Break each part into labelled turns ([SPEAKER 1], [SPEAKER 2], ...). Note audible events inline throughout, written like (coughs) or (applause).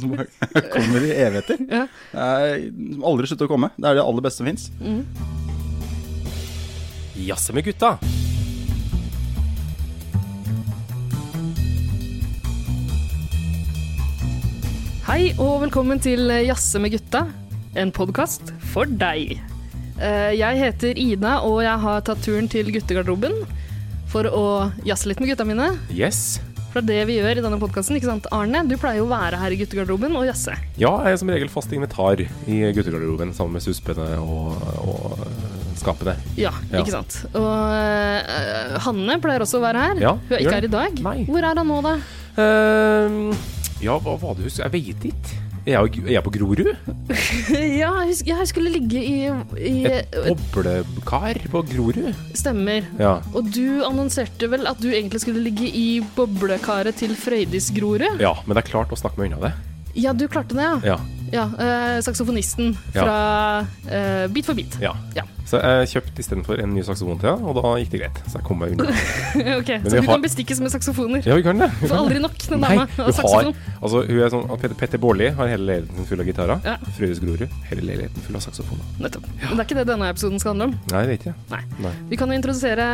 [SPEAKER 1] som bare kommer i evigheter.
[SPEAKER 2] Ja.
[SPEAKER 1] Det er- Som aldri slutter å komme. Det er det aller beste som fins.
[SPEAKER 3] Jazze med gutta.
[SPEAKER 2] Hei og velkommen til Jasse med gutta, en podkast for deg. Eh, Jeg heter Ida, og jeg har tatt turen til guttegarderoben for å jazze litt med gutta mine.
[SPEAKER 3] Yes.
[SPEAKER 2] For det er det vi gjør i denne podkasten, ikke sant? Arne, du pleier jo å være her i guttegarderoben og jazze.
[SPEAKER 3] Ja, jeg er som regel fast invitar i guttegarderoben sammen med suspene og, og eh, skapene.
[SPEAKER 2] Ja,
[SPEAKER 3] Ja.
[SPEAKER 2] ikke sant. Og eh, Hanne pleier også å være her.
[SPEAKER 3] Ja,
[SPEAKER 2] Hun Mm. er
[SPEAKER 3] gjør
[SPEAKER 2] ikke her
[SPEAKER 3] det.
[SPEAKER 2] i dag.
[SPEAKER 3] Nei.
[SPEAKER 2] Hvor er han nå,
[SPEAKER 3] (laughs)
[SPEAKER 2] da?
[SPEAKER 3] Ehm, ja, hva var det du husker? Jeg vet ikke. Jeg er, jo- jeg er på Grorud.
[SPEAKER 2] ja, jeg husker- jeg skulle ligge i,
[SPEAKER 3] Et
[SPEAKER 2] i
[SPEAKER 3] boblekar på Grorud.
[SPEAKER 2] Stemmer.
[SPEAKER 3] Ja.
[SPEAKER 2] Og du annonserte vel at du egentlig skulle ligge i boblekaret til Frøydis Grorud?
[SPEAKER 3] ja, men det er klart å snakke meg unna det.
[SPEAKER 2] Ja, du klarte det, ja.
[SPEAKER 3] Ja,
[SPEAKER 2] ja eh, saksofonisten
[SPEAKER 3] Ja.
[SPEAKER 2] fra eh, Beat for beat.
[SPEAKER 3] ja.
[SPEAKER 2] Ja.
[SPEAKER 3] Så jeg kjøpte istedenfor en ny saksofon til henne, og da gikk det greit. Så jeg kom meg unna.
[SPEAKER 2] (laughs) ok,
[SPEAKER 3] Men
[SPEAKER 2] Så
[SPEAKER 3] vi
[SPEAKER 2] du
[SPEAKER 3] har-
[SPEAKER 2] kan bestikkes med saksofoner.
[SPEAKER 3] Ja, vi kan det.
[SPEAKER 2] Du får aldri nok, den
[SPEAKER 3] Nei,
[SPEAKER 2] dama
[SPEAKER 3] hun
[SPEAKER 2] av
[SPEAKER 3] har
[SPEAKER 2] saksofon.
[SPEAKER 3] Altså, hun er sånn Petter, Petter Baarli har hele leiligheten sin full av gitarer.
[SPEAKER 2] Ja.
[SPEAKER 3] Frøydis Grorud, hele leiligheten full av saksofoner.
[SPEAKER 2] Nettopp. Men det er ikke det denne episoden skal handle om.
[SPEAKER 3] Nei, det er ikke det.
[SPEAKER 2] Nei.
[SPEAKER 3] Nei.
[SPEAKER 2] Vi kan jo introdusere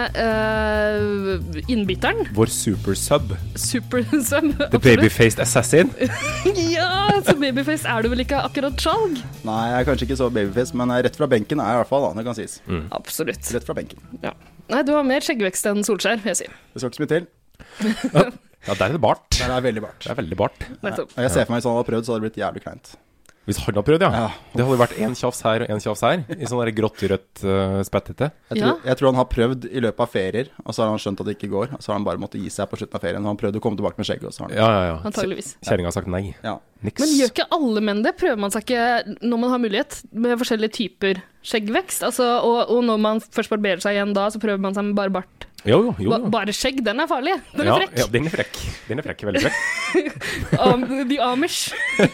[SPEAKER 2] eh, innbytteren,
[SPEAKER 3] Vår super sub,
[SPEAKER 2] Supersum.
[SPEAKER 3] the
[SPEAKER 2] (laughs)
[SPEAKER 3] babyfaced assassin.
[SPEAKER 2] ja, så babyface er du vel ikke akkurat skjalg?
[SPEAKER 1] Nei, jeg er kanskje ikke så babyface, men rett fra benken er jeg i hvert fall. da, det kan sies.
[SPEAKER 2] Mm.
[SPEAKER 3] Mm.
[SPEAKER 2] Absolutt.
[SPEAKER 1] Rett fra benken.
[SPEAKER 2] Ja. Nei, du har mer skjeggvekst enn Solskjær, vil jeg si.
[SPEAKER 1] Det skal ikke så mye til.
[SPEAKER 3] Ja, der er det bart.
[SPEAKER 1] Der er jeg veldig bart.
[SPEAKER 3] Det er veldig bart.
[SPEAKER 2] Nettopp.
[SPEAKER 1] Og jeg ser for meg hvis han hadde prøvd, så hadde det blitt jævlig kleint.
[SPEAKER 3] Hvis han hadde prøvd, ja.
[SPEAKER 1] Ja.
[SPEAKER 3] Det hadde vært én tjafs her og én tjafs her. I sånn der grått-rødt uh, spettete.
[SPEAKER 1] Jeg
[SPEAKER 2] Ja.
[SPEAKER 1] tror, jeg tror han har prøvd i løpet av ferier, og så har han skjønt at det ikke går. Og så har han bare måttet gi seg på slutten av ferien. Og han prøvde å komme tilbake med skjegget, og så har han
[SPEAKER 3] Ja, ja, ja.
[SPEAKER 2] Antageligvis.
[SPEAKER 3] Kjerringa har sagt nei.
[SPEAKER 1] Ja.
[SPEAKER 3] Niks.
[SPEAKER 2] Men gjør ikke alle menn det? Prøver man seg ikke når man har mulighet, med forskjellige typer skjeggvekst? Altså, og, og når man først barberer seg igjen da, så prøver man seg med bare bart.
[SPEAKER 3] Jo, jo, jo.
[SPEAKER 2] Ba, bare skjegg, den er farlig. Den er
[SPEAKER 3] ja,
[SPEAKER 2] frekk.
[SPEAKER 3] ja, den er frekk. Den er frekk, veldig frekk.
[SPEAKER 2] (laughs) Am, the Amish. (laughs)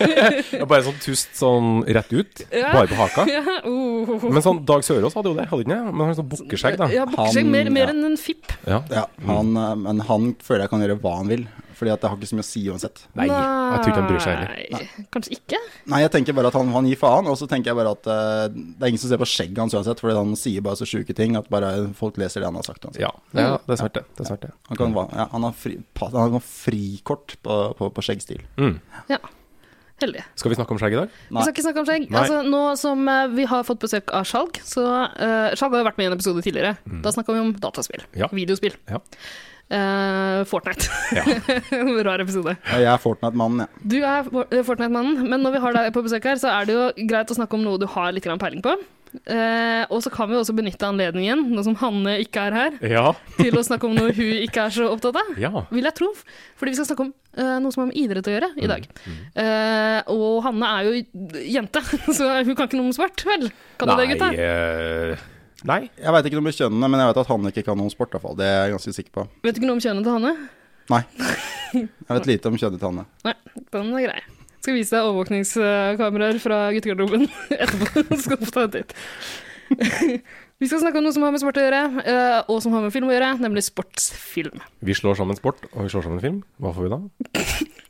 [SPEAKER 3] Ja, bare sånn tust sånn rett ut,
[SPEAKER 2] Ja.
[SPEAKER 3] bare på haka.
[SPEAKER 2] (laughs) Ja, oh.
[SPEAKER 3] Men sånn Dag Sørås hadde jo det, hadde ikke det? Men han har sånn bukkeskjegg, da.
[SPEAKER 2] Ja, bukkeskjegg. Mer,
[SPEAKER 1] Han-
[SPEAKER 2] mer
[SPEAKER 1] ja.
[SPEAKER 2] enn en fipp.
[SPEAKER 3] Ja.
[SPEAKER 1] Ja, han, eh, men han føler jeg kan gjøre hva han vil, fordi at det har ikke så mye å si uansett.
[SPEAKER 3] Nei, jeg tror ikke han bryr seg heller.
[SPEAKER 2] Nei, Kanskje ikke?
[SPEAKER 1] Nei, jeg tenker bare at han, han gir faen, og så tenker jeg bare at eh, det er ingen som ser på skjegget hans uansett, fordi han sier bare så sjuke ting at bare folk leser det han har sagt. uansett.
[SPEAKER 3] Ja,
[SPEAKER 2] Mm.
[SPEAKER 3] det er, det er svært, det. det, er svært, det.
[SPEAKER 1] Han, kan, va- ja, han har fri- pa- han har frikort på, på, på skjeggstil.
[SPEAKER 2] Ja. Heldig.
[SPEAKER 3] Mm. Skal vi snakke om skjegg i dag?
[SPEAKER 2] Vi
[SPEAKER 1] Nei.
[SPEAKER 2] skal ikke snakke om skjegg.
[SPEAKER 3] Nei.
[SPEAKER 2] Altså, nå som eh, vi har fått besøk av Skjalg så eh, Skjalg har jo vært med i en episode tidligere. Da snakka vi om dataspill.
[SPEAKER 3] Mm. Ja.
[SPEAKER 2] Videospill.
[SPEAKER 3] Ja.
[SPEAKER 2] Eh, Fortnite.
[SPEAKER 3] Ja.
[SPEAKER 2] (laughs) Rar episode.
[SPEAKER 1] Ja, Jeg er Fortnite-mannen, jeg.
[SPEAKER 2] Du er For- eh, Fortnite-mannen, men når vi har deg på besøk her, så er det jo greit å snakke om noe du har litt grann peiling på. Eh, og så kan vi også benytte anledningen, nå som Hanne ikke er her,
[SPEAKER 3] Ja.
[SPEAKER 2] til å snakke om noe hun ikke er så opptatt av.
[SPEAKER 3] ja.
[SPEAKER 2] Vil jeg tro. Fordi vi skal snakke om eh, noe som har med idrett å gjøre i dag. Eh, og Hanne er jo jente, (laughs) så hun kan ikke noe om sport, vel? Kan du det, gutta?
[SPEAKER 3] eh, nei.
[SPEAKER 1] Jeg veit ikke noe om kjønnene, men jeg vet at han ikke kan noe om sport, i hvert fall. Det er jeg ganske sikker på.
[SPEAKER 2] Vet du ikke noe om kjønnet til Hanne?
[SPEAKER 1] Nei. Jeg vet lite om kjønnet til Hanne.
[SPEAKER 2] Nei, den er grei. Skal vise deg overvåkningskameraer fra guttegarderoben (laughs) etterpå. Så skal du få ta en titt. (laughs) Vi skal snakke om noe som har med sport å gjøre, eh, og som har med film å gjøre, nemlig sportsfilm.
[SPEAKER 3] Vi slår sammen sport, og vi slår sammen film. Hva får vi
[SPEAKER 2] (laughs)
[SPEAKER 3] da?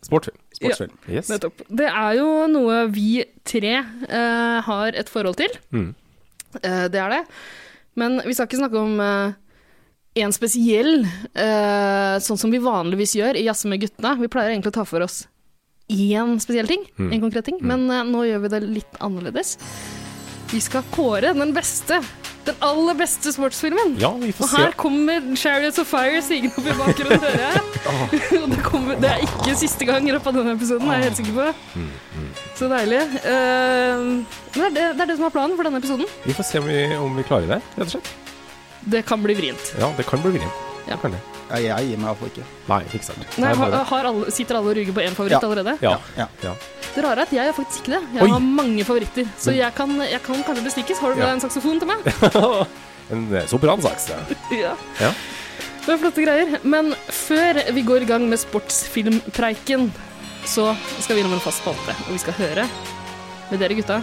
[SPEAKER 3] Sportfilm.
[SPEAKER 1] Sportsfilm.
[SPEAKER 3] Yes.
[SPEAKER 2] Nettopp. Det er jo noe vi tre eh, har et forhold til.
[SPEAKER 3] Mm.
[SPEAKER 2] Eh, det er det. Men vi skal ikke snakke om eh, en spesiell, eh, sånn som vi vanligvis gjør i Jazze med guttene. Vi pleier egentlig å ta for oss én spesiell ting,
[SPEAKER 3] Mm.
[SPEAKER 2] en konkret ting, men eh, nå gjør vi det litt annerledes. Vi skal kåre den beste, den aller beste sportsfilmen.
[SPEAKER 3] Ja, vi
[SPEAKER 2] Og
[SPEAKER 3] får se.
[SPEAKER 2] her kommer Chariots of Fire sigende opp i bakgrunnen, hører
[SPEAKER 3] (laughs)
[SPEAKER 2] jeg. Og det, kommer, det er ikke siste gang i løpet av denne episoden, er jeg helt sikker
[SPEAKER 3] Mm,
[SPEAKER 2] på. Så deilig. Eh, men det er det, det er det som er planen for denne episoden.
[SPEAKER 3] Vi får se om vi, om vi klarer det, rett og slett.
[SPEAKER 2] Det kan bli vrient.
[SPEAKER 3] Ja, det kan bli vrient.
[SPEAKER 2] Ja.
[SPEAKER 3] Det Kan det.
[SPEAKER 1] Ja, jeg gir meg i hvert fall ikke.
[SPEAKER 3] Nei, ikke sant.
[SPEAKER 2] Nei,
[SPEAKER 3] Nei,
[SPEAKER 2] har,
[SPEAKER 3] bare-
[SPEAKER 2] har alle, sitter alle og ruger på én favoritt
[SPEAKER 1] Ja.
[SPEAKER 2] allerede?
[SPEAKER 3] Ja.
[SPEAKER 1] Ja.
[SPEAKER 3] ja.
[SPEAKER 2] Det rare er at jeg har faktisk ikke det. Jeg
[SPEAKER 3] Oi. Mm.
[SPEAKER 2] har mange favoritter, så jeg kan, jeg kan kanskje bestikkes. Har du med
[SPEAKER 3] Ja.
[SPEAKER 2] deg en saksofon til meg?
[SPEAKER 3] En eh, sopransaks. ja.
[SPEAKER 2] Ja.
[SPEAKER 3] Ja.
[SPEAKER 2] Det var flotte greier. Men før vi går i gang med sportsfilmpreiken, så skal vi innom en fast spalte, og vi skal høre med dere gutta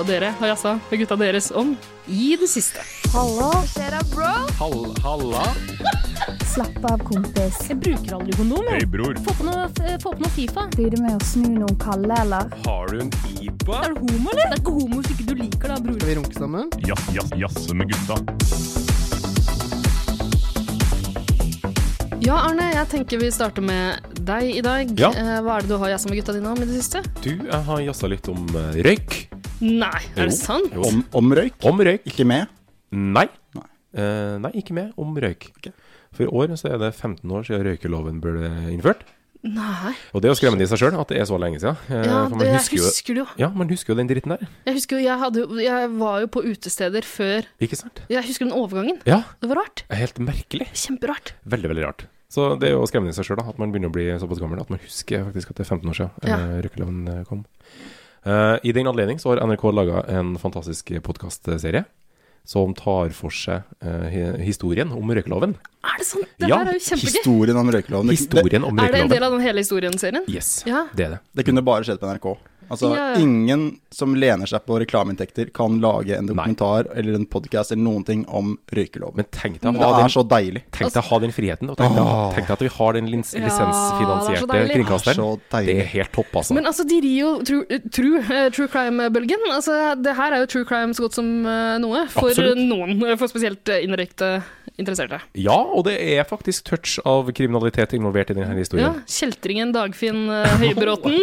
[SPEAKER 2] Og dere har jazza med gutta deres om i det siste.
[SPEAKER 3] Hall, halla.
[SPEAKER 4] Slapp av, kompis.
[SPEAKER 5] Jeg bruker aldri kondom. jeg.
[SPEAKER 3] bror.
[SPEAKER 5] Få på noe, eh, få på noe Fifa.
[SPEAKER 4] Blir det med å snu noen kalde, eller?
[SPEAKER 3] Har du en IPA?
[SPEAKER 5] Er du homo, eller? Det er ikke homo hvis ikke du liker det, bror.
[SPEAKER 6] Skal vi runke sammen?
[SPEAKER 7] Jazz, jazz, jazz med gutta.
[SPEAKER 2] Ja, Arne, jeg tenker vi starter med deg i dag.
[SPEAKER 3] Ja.
[SPEAKER 2] Eh, Hva er det du har jazza med gutta dine om i det siste?
[SPEAKER 3] Du, jeg har jazza litt om eh, røyk.
[SPEAKER 2] Nei, er
[SPEAKER 3] Jo.
[SPEAKER 2] det sant?
[SPEAKER 3] Jo.
[SPEAKER 1] Om, om røyk?
[SPEAKER 3] Om røyk.
[SPEAKER 1] Ikke med?
[SPEAKER 3] Nei.
[SPEAKER 1] Nei.
[SPEAKER 3] Eh, nei, ikke med om røyk. For i år så er det 15 år siden røykeloven ble innført.
[SPEAKER 2] Nei.
[SPEAKER 3] Og det er jo skremmende i seg sjøl at det er så lenge siden. Eh,
[SPEAKER 2] Ja,
[SPEAKER 3] for
[SPEAKER 2] det,
[SPEAKER 3] man
[SPEAKER 2] jeg
[SPEAKER 3] husker jo,
[SPEAKER 2] husker det jo.
[SPEAKER 3] ja, man husker jo den dritten der.
[SPEAKER 2] Jeg husker jo, jeg, hadde, jo- jeg var jo på utesteder før
[SPEAKER 3] Ikke sant?
[SPEAKER 2] Jeg husker den overgangen.
[SPEAKER 3] Ja.
[SPEAKER 2] Det var rart.
[SPEAKER 3] Helt merkelig.
[SPEAKER 2] Kjemperart.
[SPEAKER 3] Veldig, veldig rart. Så det er jo skremmende i seg sjøl at man begynner å bli såpass gammel at man husker faktisk at det er 15 år siden
[SPEAKER 2] Ja.
[SPEAKER 3] ja. røykeloven eh, kom. Eh, I den anledning så har NRK laga en fantastisk podkastserie som tar for seg eh, hi- historien om røykeloven.
[SPEAKER 2] Er det sant? Det
[SPEAKER 3] Ja,
[SPEAKER 2] her er jo kjempegøy.
[SPEAKER 1] Historien om røykeloven. Det-
[SPEAKER 3] Historien
[SPEAKER 2] Er det
[SPEAKER 3] om
[SPEAKER 2] en
[SPEAKER 3] røykeloven.
[SPEAKER 2] del av den hele historien-serien?
[SPEAKER 3] Yes,
[SPEAKER 2] Ja.
[SPEAKER 3] det er det.
[SPEAKER 1] Det kunne bare skjedd på NRK. Altså,
[SPEAKER 2] Ja, ja.
[SPEAKER 1] Ingen som lener seg på reklameinntekter, kan lage en dokumentar eller en podkast eller noen ting om røykeloven.
[SPEAKER 3] Men tenk
[SPEAKER 1] det
[SPEAKER 3] deg å ha
[SPEAKER 1] er
[SPEAKER 3] den,
[SPEAKER 1] så deilig.
[SPEAKER 3] tenk deg å ha den friheten, og tenk deg,
[SPEAKER 1] Åh.
[SPEAKER 3] tenk deg at vi har den lins,
[SPEAKER 2] Ja, det er så
[SPEAKER 3] lisensfinansierte
[SPEAKER 2] deilig.
[SPEAKER 3] kringkasteren.
[SPEAKER 1] Det er så deilig.
[SPEAKER 3] Det er helt topp, altså.
[SPEAKER 2] Men altså, de rir jo true, true, eh, true crime-bølgen. Altså, det her er jo true crime så godt som eh, noe. For
[SPEAKER 3] Absolutt.
[SPEAKER 2] noen, eh, for spesielt eh, indirekte interesserte.
[SPEAKER 3] Ja, og det er faktisk touch av kriminalitet involvert i denne
[SPEAKER 2] Ja,
[SPEAKER 3] historien.
[SPEAKER 2] Kjeltringen Dagfinn eh, Høybråten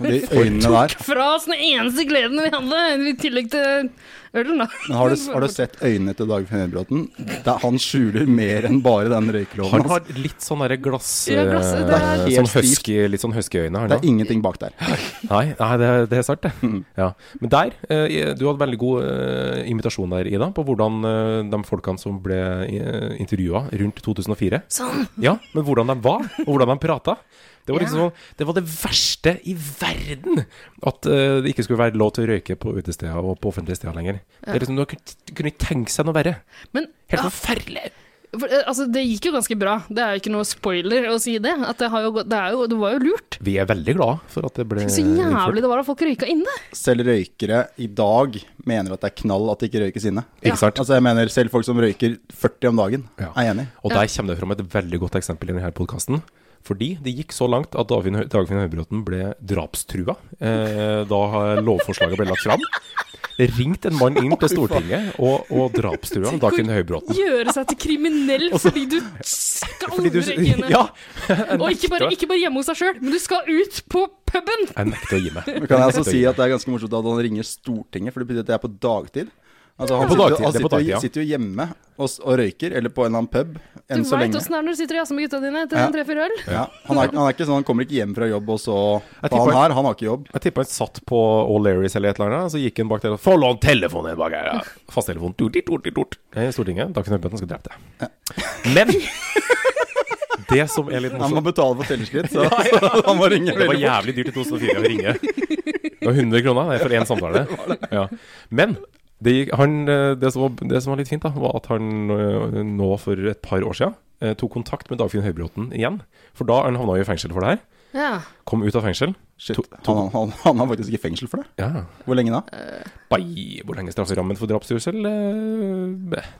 [SPEAKER 1] De øynene der.
[SPEAKER 2] tok fra oss den eneste gleden vi hadde, i tillegg til ølen, da.
[SPEAKER 1] Men har du, har du sett øynene til Dagfinn Høybråten? Det er- Han skjuler mer enn bare den røykeloven.
[SPEAKER 3] Han
[SPEAKER 1] altså.
[SPEAKER 3] har litt sånn derre glass...
[SPEAKER 2] Ja, glass-
[SPEAKER 3] eh,
[SPEAKER 2] det er-
[SPEAKER 3] sånn
[SPEAKER 1] Helt stivt.
[SPEAKER 3] husky, litt sånn huskyøyne. har han
[SPEAKER 1] Det
[SPEAKER 3] da.
[SPEAKER 1] er Mm. ingenting bak der.
[SPEAKER 3] Nei, nei det, er- det er sant, det. Ja. Men der eh, Du hadde veldig god eh, invitasjon der, Ida, på hvordan eh, de folkene som ble eh, intervjua rundt 2004
[SPEAKER 2] Sånn.
[SPEAKER 3] Ja, men hvordan de var, og hvordan de prata. Det var liksom sånn, det var det verste i verden! At eh, det ikke skulle være lov til å røyke på utesteder og på offentlige steder lenger. Det er liksom, Du kunne- du kunne ikke tenke seg noe verre.
[SPEAKER 2] Men
[SPEAKER 3] Helt forferdelig!
[SPEAKER 2] for, eh, altså, det gikk jo ganske bra. Det er jo ikke noe spoiler å si det. At det, har jo, gått- det, er jo, det var jo lurt.
[SPEAKER 3] Vi er veldig glad for at det ble
[SPEAKER 2] Så jævlig det var at folk røyka inne.
[SPEAKER 1] Selv røykere i dag mener at det er knall at det ikke røykes inne.
[SPEAKER 3] Ikke sant?
[SPEAKER 1] Altså jeg mener Selv folk som røyker 40 om dagen,
[SPEAKER 3] Ja.
[SPEAKER 1] er enig.
[SPEAKER 3] Og der kommer det fram et veldig godt eksempel i denne podkasten. Fordi det gikk så langt at Dagfinn Hø- Dagfinn Høybråten ble drapstrua eh, da lovforslaget ble lagt fram. Det ringte en mann inn til Stortinget og, og drapstrua Dagfinn Høybråten.
[SPEAKER 2] Gjøre seg til kriminell fordi du skal
[SPEAKER 3] Fordi du-
[SPEAKER 2] røyke inne.
[SPEAKER 3] (laughs) ja,
[SPEAKER 2] Og ikke bare, ikke bare hjemme hos deg sjøl, men du skal ut på puben!
[SPEAKER 3] jeg nekter å gi meg.
[SPEAKER 1] Men Kan jeg altså si at det er ganske morsomt at han ringer Stortinget, for det betyr at det er på dagtid. Altså han
[SPEAKER 3] På
[SPEAKER 1] sitter,
[SPEAKER 3] dagtid,
[SPEAKER 1] han
[SPEAKER 3] det er på
[SPEAKER 1] sitter,
[SPEAKER 3] dagtid, ja.
[SPEAKER 1] jo- sitter jo hjemme og, s- og røyker, eller på en eller annen pub,
[SPEAKER 2] Du
[SPEAKER 1] enn så
[SPEAKER 2] veit
[SPEAKER 1] lenge.
[SPEAKER 2] åssen det er når du sitter og jazzer med gutta dine etter
[SPEAKER 1] Ja.
[SPEAKER 2] en tre-fire øl.
[SPEAKER 1] Ja, han, er, han er ikke sånn, han kommer ikke hjem fra jobb, og så
[SPEAKER 3] Jeg
[SPEAKER 1] Faen
[SPEAKER 3] tipper-
[SPEAKER 1] her, han har ikke jobb.
[SPEAKER 3] Jeg tipper han satt på O'Learys eller et eller annet, og så gikk han bak der og Få lånt telefonen din bak her! ja. Fasttelefon. Tut, tut, tut, tut. Nei, Stortinget. Dagfinn Høybråten skal drepe deg. Men det som er litt
[SPEAKER 1] Han
[SPEAKER 3] morsomt
[SPEAKER 1] må betale for tellerskritt,
[SPEAKER 3] (laughs)
[SPEAKER 1] så, så (laughs) han må ringe.
[SPEAKER 3] Det var
[SPEAKER 1] veldig fort.
[SPEAKER 3] jævlig dyrt i 2004 å ringe. Det var 100 kroner det, for
[SPEAKER 1] (laughs)
[SPEAKER 3] én samtale. Ja. Men det, gikk, han, eh, det, som var, det som var litt fint, da, var at han eh, nå for et par år siden eh, tok kontakt med Dagfinn Høybråten igjen. For da han havna jo i fengsel for det her.
[SPEAKER 2] Ja.
[SPEAKER 3] Kom ut av fengsel.
[SPEAKER 1] Shit,
[SPEAKER 3] To-
[SPEAKER 1] han, han, han er faktisk i fengsel for det.
[SPEAKER 3] Ja.
[SPEAKER 1] Hvor lenge da?
[SPEAKER 3] Bai, hvor lenge er strafferammen for drapstrussel? Eh,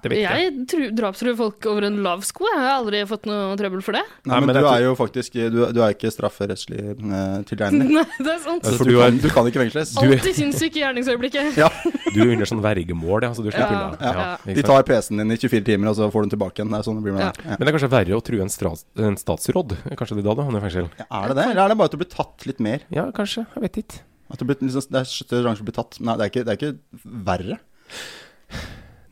[SPEAKER 3] Det vet jeg ikke.
[SPEAKER 2] Jeg tru- drapstruer folk over en lav sko. Jeg har aldri fått noe trøbbel for det.
[SPEAKER 1] Nei, men,
[SPEAKER 3] men jeg
[SPEAKER 1] du
[SPEAKER 3] tror-
[SPEAKER 1] er jo faktisk Du, du er ikke strafferettslig eh, tilregnelig.
[SPEAKER 2] Nei, det er sant.
[SPEAKER 3] Altså,
[SPEAKER 1] For du
[SPEAKER 3] du er-
[SPEAKER 1] kan, du kan ikke fengsles.
[SPEAKER 3] Du-
[SPEAKER 2] Alltid sinnssyk i gjerningsøyeblikket.
[SPEAKER 1] Ja,
[SPEAKER 3] Du er under sånn vergemål, ja, så du slipper
[SPEAKER 2] Ja,
[SPEAKER 3] unna.
[SPEAKER 2] ja.
[SPEAKER 3] ikke
[SPEAKER 1] De
[SPEAKER 3] sant?
[SPEAKER 1] tar PC-en din i 24 timer, og så får du den tilbake igjen. Det er sånn det blir med
[SPEAKER 2] Ja.
[SPEAKER 1] det.
[SPEAKER 3] Men det er kanskje verre å true en, stra- en statsråd? Kanskje det er da du havner i fengsel?
[SPEAKER 1] Ja. Er det det, eller er det bare at du blir tatt litt mer?
[SPEAKER 3] Ja, kanskje. Jeg vet ikke.
[SPEAKER 1] At du blir, liksom, det er større sjanse for å bli tatt. Nei, det er ikke, det er ikke verre.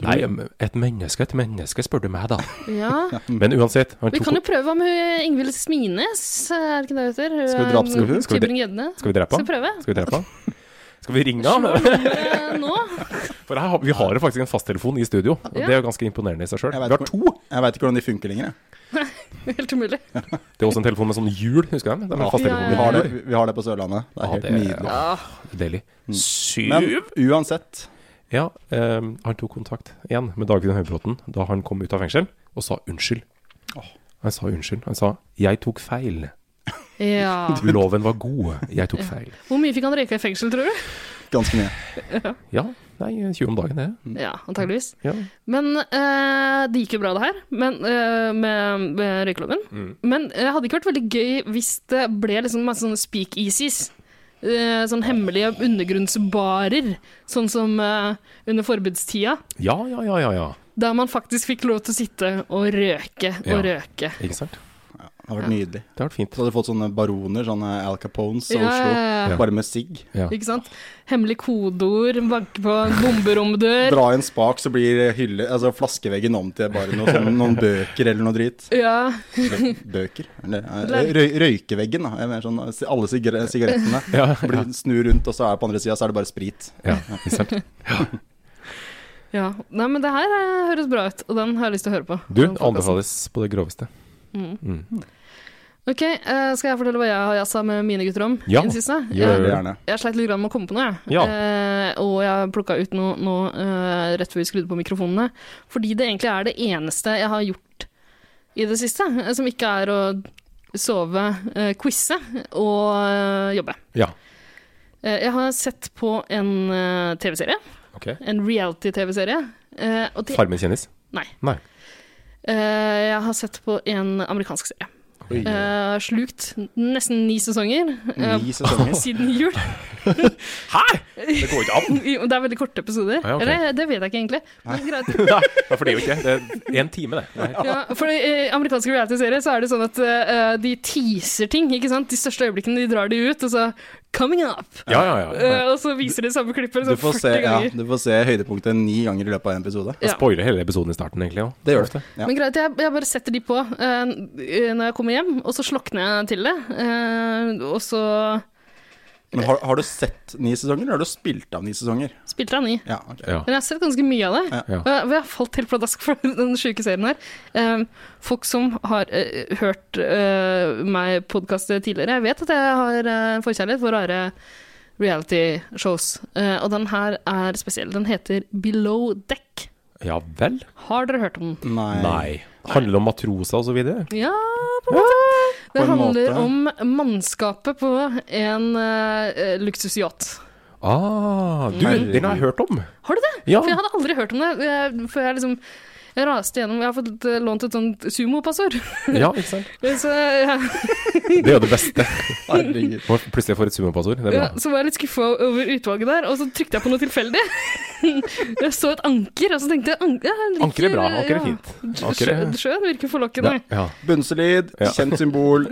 [SPEAKER 3] Nei, men et menneske, et menneske, spør du meg, da. (laughs)
[SPEAKER 2] Ja.
[SPEAKER 3] Men uansett, han
[SPEAKER 2] Vi
[SPEAKER 3] tok
[SPEAKER 2] kan jo prøve hva med Ingvild Smines, er det ikke det hun heter? Hun
[SPEAKER 1] Skal vi
[SPEAKER 2] er
[SPEAKER 1] drapstru hun?
[SPEAKER 3] Skal vi dre-
[SPEAKER 2] Tybring-Gjedde.
[SPEAKER 3] Skal vi drepe
[SPEAKER 2] Skal vi
[SPEAKER 3] han?
[SPEAKER 2] prøve? (laughs)
[SPEAKER 3] Skal vi drepe han? Skal vi ringe han?
[SPEAKER 2] Eh, Nå?
[SPEAKER 3] (laughs) For her, har- vi har jo faktisk en fasttelefon i studio. Og
[SPEAKER 2] Ja.
[SPEAKER 3] Det er jo ganske imponerende i seg sjøl.
[SPEAKER 1] Jeg
[SPEAKER 3] Vi
[SPEAKER 1] vet
[SPEAKER 3] har
[SPEAKER 1] ikke-
[SPEAKER 3] to.
[SPEAKER 1] Jeg veit ikke hvordan de funker lenger. jeg.
[SPEAKER 2] Helt
[SPEAKER 3] (laughs)
[SPEAKER 2] umulig.
[SPEAKER 3] Det er også en telefon med sånn hjul, husker du den? Det er en
[SPEAKER 2] Ja,
[SPEAKER 3] fasttelefon
[SPEAKER 1] Vi
[SPEAKER 3] med
[SPEAKER 1] har det,
[SPEAKER 3] hjul.
[SPEAKER 1] vi- vi har det på Sørlandet. Det er
[SPEAKER 3] Ja,
[SPEAKER 1] helt
[SPEAKER 3] det er-
[SPEAKER 1] nydelig.
[SPEAKER 2] Ja.
[SPEAKER 3] Deilig. Syv.
[SPEAKER 1] Men uansett
[SPEAKER 3] Ja, ehm, han tok kontakt igjen med Dagfinn Høybråten da han kom ut av fengsel, og sa unnskyld. Han sa unnskyld. Han sa 'jeg tok feil'.
[SPEAKER 2] ja.
[SPEAKER 3] Loven var god. Jeg tok feil.
[SPEAKER 2] Hvor mye fikk han røyka i fengsel, tror du?
[SPEAKER 1] ganske mye.
[SPEAKER 3] Ja, nei, 20 om dagen, det.
[SPEAKER 2] Ja, antageligvis.
[SPEAKER 3] Ja.
[SPEAKER 2] Men eh, det gikk jo bra, det her, men, eh, med, med røykeloven. Men det hadde ikke vært veldig gøy hvis det ble liksom masse sånne speakeasies. Uh, sånn hemmelige undergrunnsbarer, sånn som eh, under forbudstida.
[SPEAKER 3] ja, ja, ja, ja, ja.
[SPEAKER 2] Der man faktisk fikk lov til å sitte og røyke og
[SPEAKER 3] Ja.
[SPEAKER 2] røyke.
[SPEAKER 3] Ikke sant?
[SPEAKER 1] Det har vært nydelig.
[SPEAKER 3] Det har vært fint.
[SPEAKER 1] Så hadde du fått sånne baroner, sånne Al Capones av
[SPEAKER 2] Ja,
[SPEAKER 1] Oslo,
[SPEAKER 2] ja, ja.
[SPEAKER 1] bare med sigg.
[SPEAKER 3] Ja.
[SPEAKER 2] Ikke sant? Hemmelig kodeord, banke på bomberomdør.
[SPEAKER 1] Dra i en spak, så blir hylle, altså flaskeveggen om til bare noe, sånn, noen bøker eller noe drit.
[SPEAKER 2] Ja,
[SPEAKER 1] Bø- Bøker? Eller, eh, røy, røykeveggen, da. Jeg mener sånn, eh, alle sigar sigarettene.
[SPEAKER 3] Ja,
[SPEAKER 1] Blir, snur rundt, og så er på andre sida, så er det bare sprit.
[SPEAKER 3] ja, ikke sant?
[SPEAKER 2] ja. Nei, men det her eh, høres bra ut, og den har jeg lyst til å høre på.
[SPEAKER 3] Du,
[SPEAKER 2] Den podcasten.
[SPEAKER 3] anbefales på det groveste.
[SPEAKER 2] Ok, eh, skal jeg fortelle hva jeg har jazza med mine gutter om
[SPEAKER 3] Ja,
[SPEAKER 2] i det siste?
[SPEAKER 3] gjør
[SPEAKER 1] Det
[SPEAKER 2] jeg,
[SPEAKER 1] er gjerne.
[SPEAKER 2] jeg sleit litt grann med å komme på noe, jeg.
[SPEAKER 3] Ja.
[SPEAKER 2] Eh, og jeg plukka ut noe, noe eh, rett før vi skrudde på mikrofonene. Fordi det egentlig er det eneste jeg har gjort i det siste, eh, som ikke er å sove, uh, quize og eh, jobbe.
[SPEAKER 3] Ja.
[SPEAKER 2] Eh, jeg har sett på en eh, TV-serie,
[SPEAKER 3] Ok.
[SPEAKER 2] en reality-TV-serie. eh, og det
[SPEAKER 3] Farmen kjendis?
[SPEAKER 2] Nei.
[SPEAKER 3] Nei.
[SPEAKER 2] Eh, jeg har sett på en amerikansk serie.
[SPEAKER 3] Oi.
[SPEAKER 2] Eh, slukt nesten ni sesonger eh,
[SPEAKER 1] Ni sesonger.
[SPEAKER 2] siden jul.
[SPEAKER 3] Hæ?! Det går
[SPEAKER 2] (laughs)
[SPEAKER 3] ikke an!
[SPEAKER 2] Jo, Det er veldig korte episoder.
[SPEAKER 3] Ah, ja, ok.
[SPEAKER 2] Eller det vet jeg ikke egentlig. Men greit.
[SPEAKER 1] (laughs)
[SPEAKER 3] Nei, for det er jo ikke det. Det er én time, det. Nei.
[SPEAKER 2] Ja, for i eh, amerikanske reality-serier så er det sånn at eh, de teaser ting, ikke sant? De største øyeblikkene, de drar de ut, og så 'coming up',
[SPEAKER 3] Ja, ja, ja.
[SPEAKER 2] eh, og så viser de samme klippet
[SPEAKER 1] Du
[SPEAKER 2] sånn
[SPEAKER 1] får
[SPEAKER 2] 40
[SPEAKER 1] se, ja,
[SPEAKER 2] ganger.
[SPEAKER 1] du får se høydepunktet ni ganger i løpet av en episode.
[SPEAKER 2] Ja.
[SPEAKER 3] Spoiler hele episoden i starten, egentlig. også.
[SPEAKER 1] Det gjør du. Ja.
[SPEAKER 2] Men greit, jeg, jeg bare setter de på eh, når jeg kommer hjem, og så slokner jeg til det. eh, og så
[SPEAKER 1] Men har, har du sett ni sesonger, eller har du spilt av ni sesonger?
[SPEAKER 2] spilte jeg ny.
[SPEAKER 1] Ja, ok.
[SPEAKER 3] Ja.
[SPEAKER 2] Men jeg har sett ganske mye av det.
[SPEAKER 3] Ja.
[SPEAKER 2] Og jeg- og jeg har falt helt pladask for (laughs) den sjuke serien her. Eh, folk som har eh, hørt eh, meg podkaste tidligere, jeg vet at jeg har eh, en forkjærlighet for rare reality-shows. Eh, og den her er spesiell. Den heter Below Deck.
[SPEAKER 3] Ja vel?
[SPEAKER 2] Har dere hørt om den?
[SPEAKER 1] Nei.
[SPEAKER 3] Nei. Handler det om matroser og så videre?
[SPEAKER 2] Ja, på en måte.
[SPEAKER 1] på
[SPEAKER 2] det
[SPEAKER 1] en
[SPEAKER 2] handler
[SPEAKER 1] måte.
[SPEAKER 2] om mannskapet på en uh, luksusyacht.
[SPEAKER 3] Ah, du,
[SPEAKER 1] Herregud.
[SPEAKER 3] den har jeg hørt om.
[SPEAKER 2] Har du det?
[SPEAKER 3] Ja.
[SPEAKER 2] For jeg hadde aldri hørt om det. eh, Før jeg liksom jeg raste gjennom Jeg har fått eh, lånt et sånt sumopassord.
[SPEAKER 3] ja, ikke sant?
[SPEAKER 2] Så, ja,
[SPEAKER 3] Det er jo det beste.
[SPEAKER 1] Herregud.
[SPEAKER 3] Når plutselig jeg får et sumopassord. Det er
[SPEAKER 2] ja,
[SPEAKER 3] bra.
[SPEAKER 2] så var jeg litt skuffa over utvalget der, og så trykte jeg på noe tilfeldig. (laughs) Jeg så et anker, og så tenkte jeg an ja, jeg liker,
[SPEAKER 3] Anker er bra. Anker er
[SPEAKER 2] ja.
[SPEAKER 3] fint. Anker
[SPEAKER 2] Sjø,
[SPEAKER 3] er
[SPEAKER 2] sjøen virker
[SPEAKER 3] ja,
[SPEAKER 2] forlokkende.
[SPEAKER 3] ja.
[SPEAKER 1] Bunselyd,
[SPEAKER 3] Ja.
[SPEAKER 1] kjent symbol,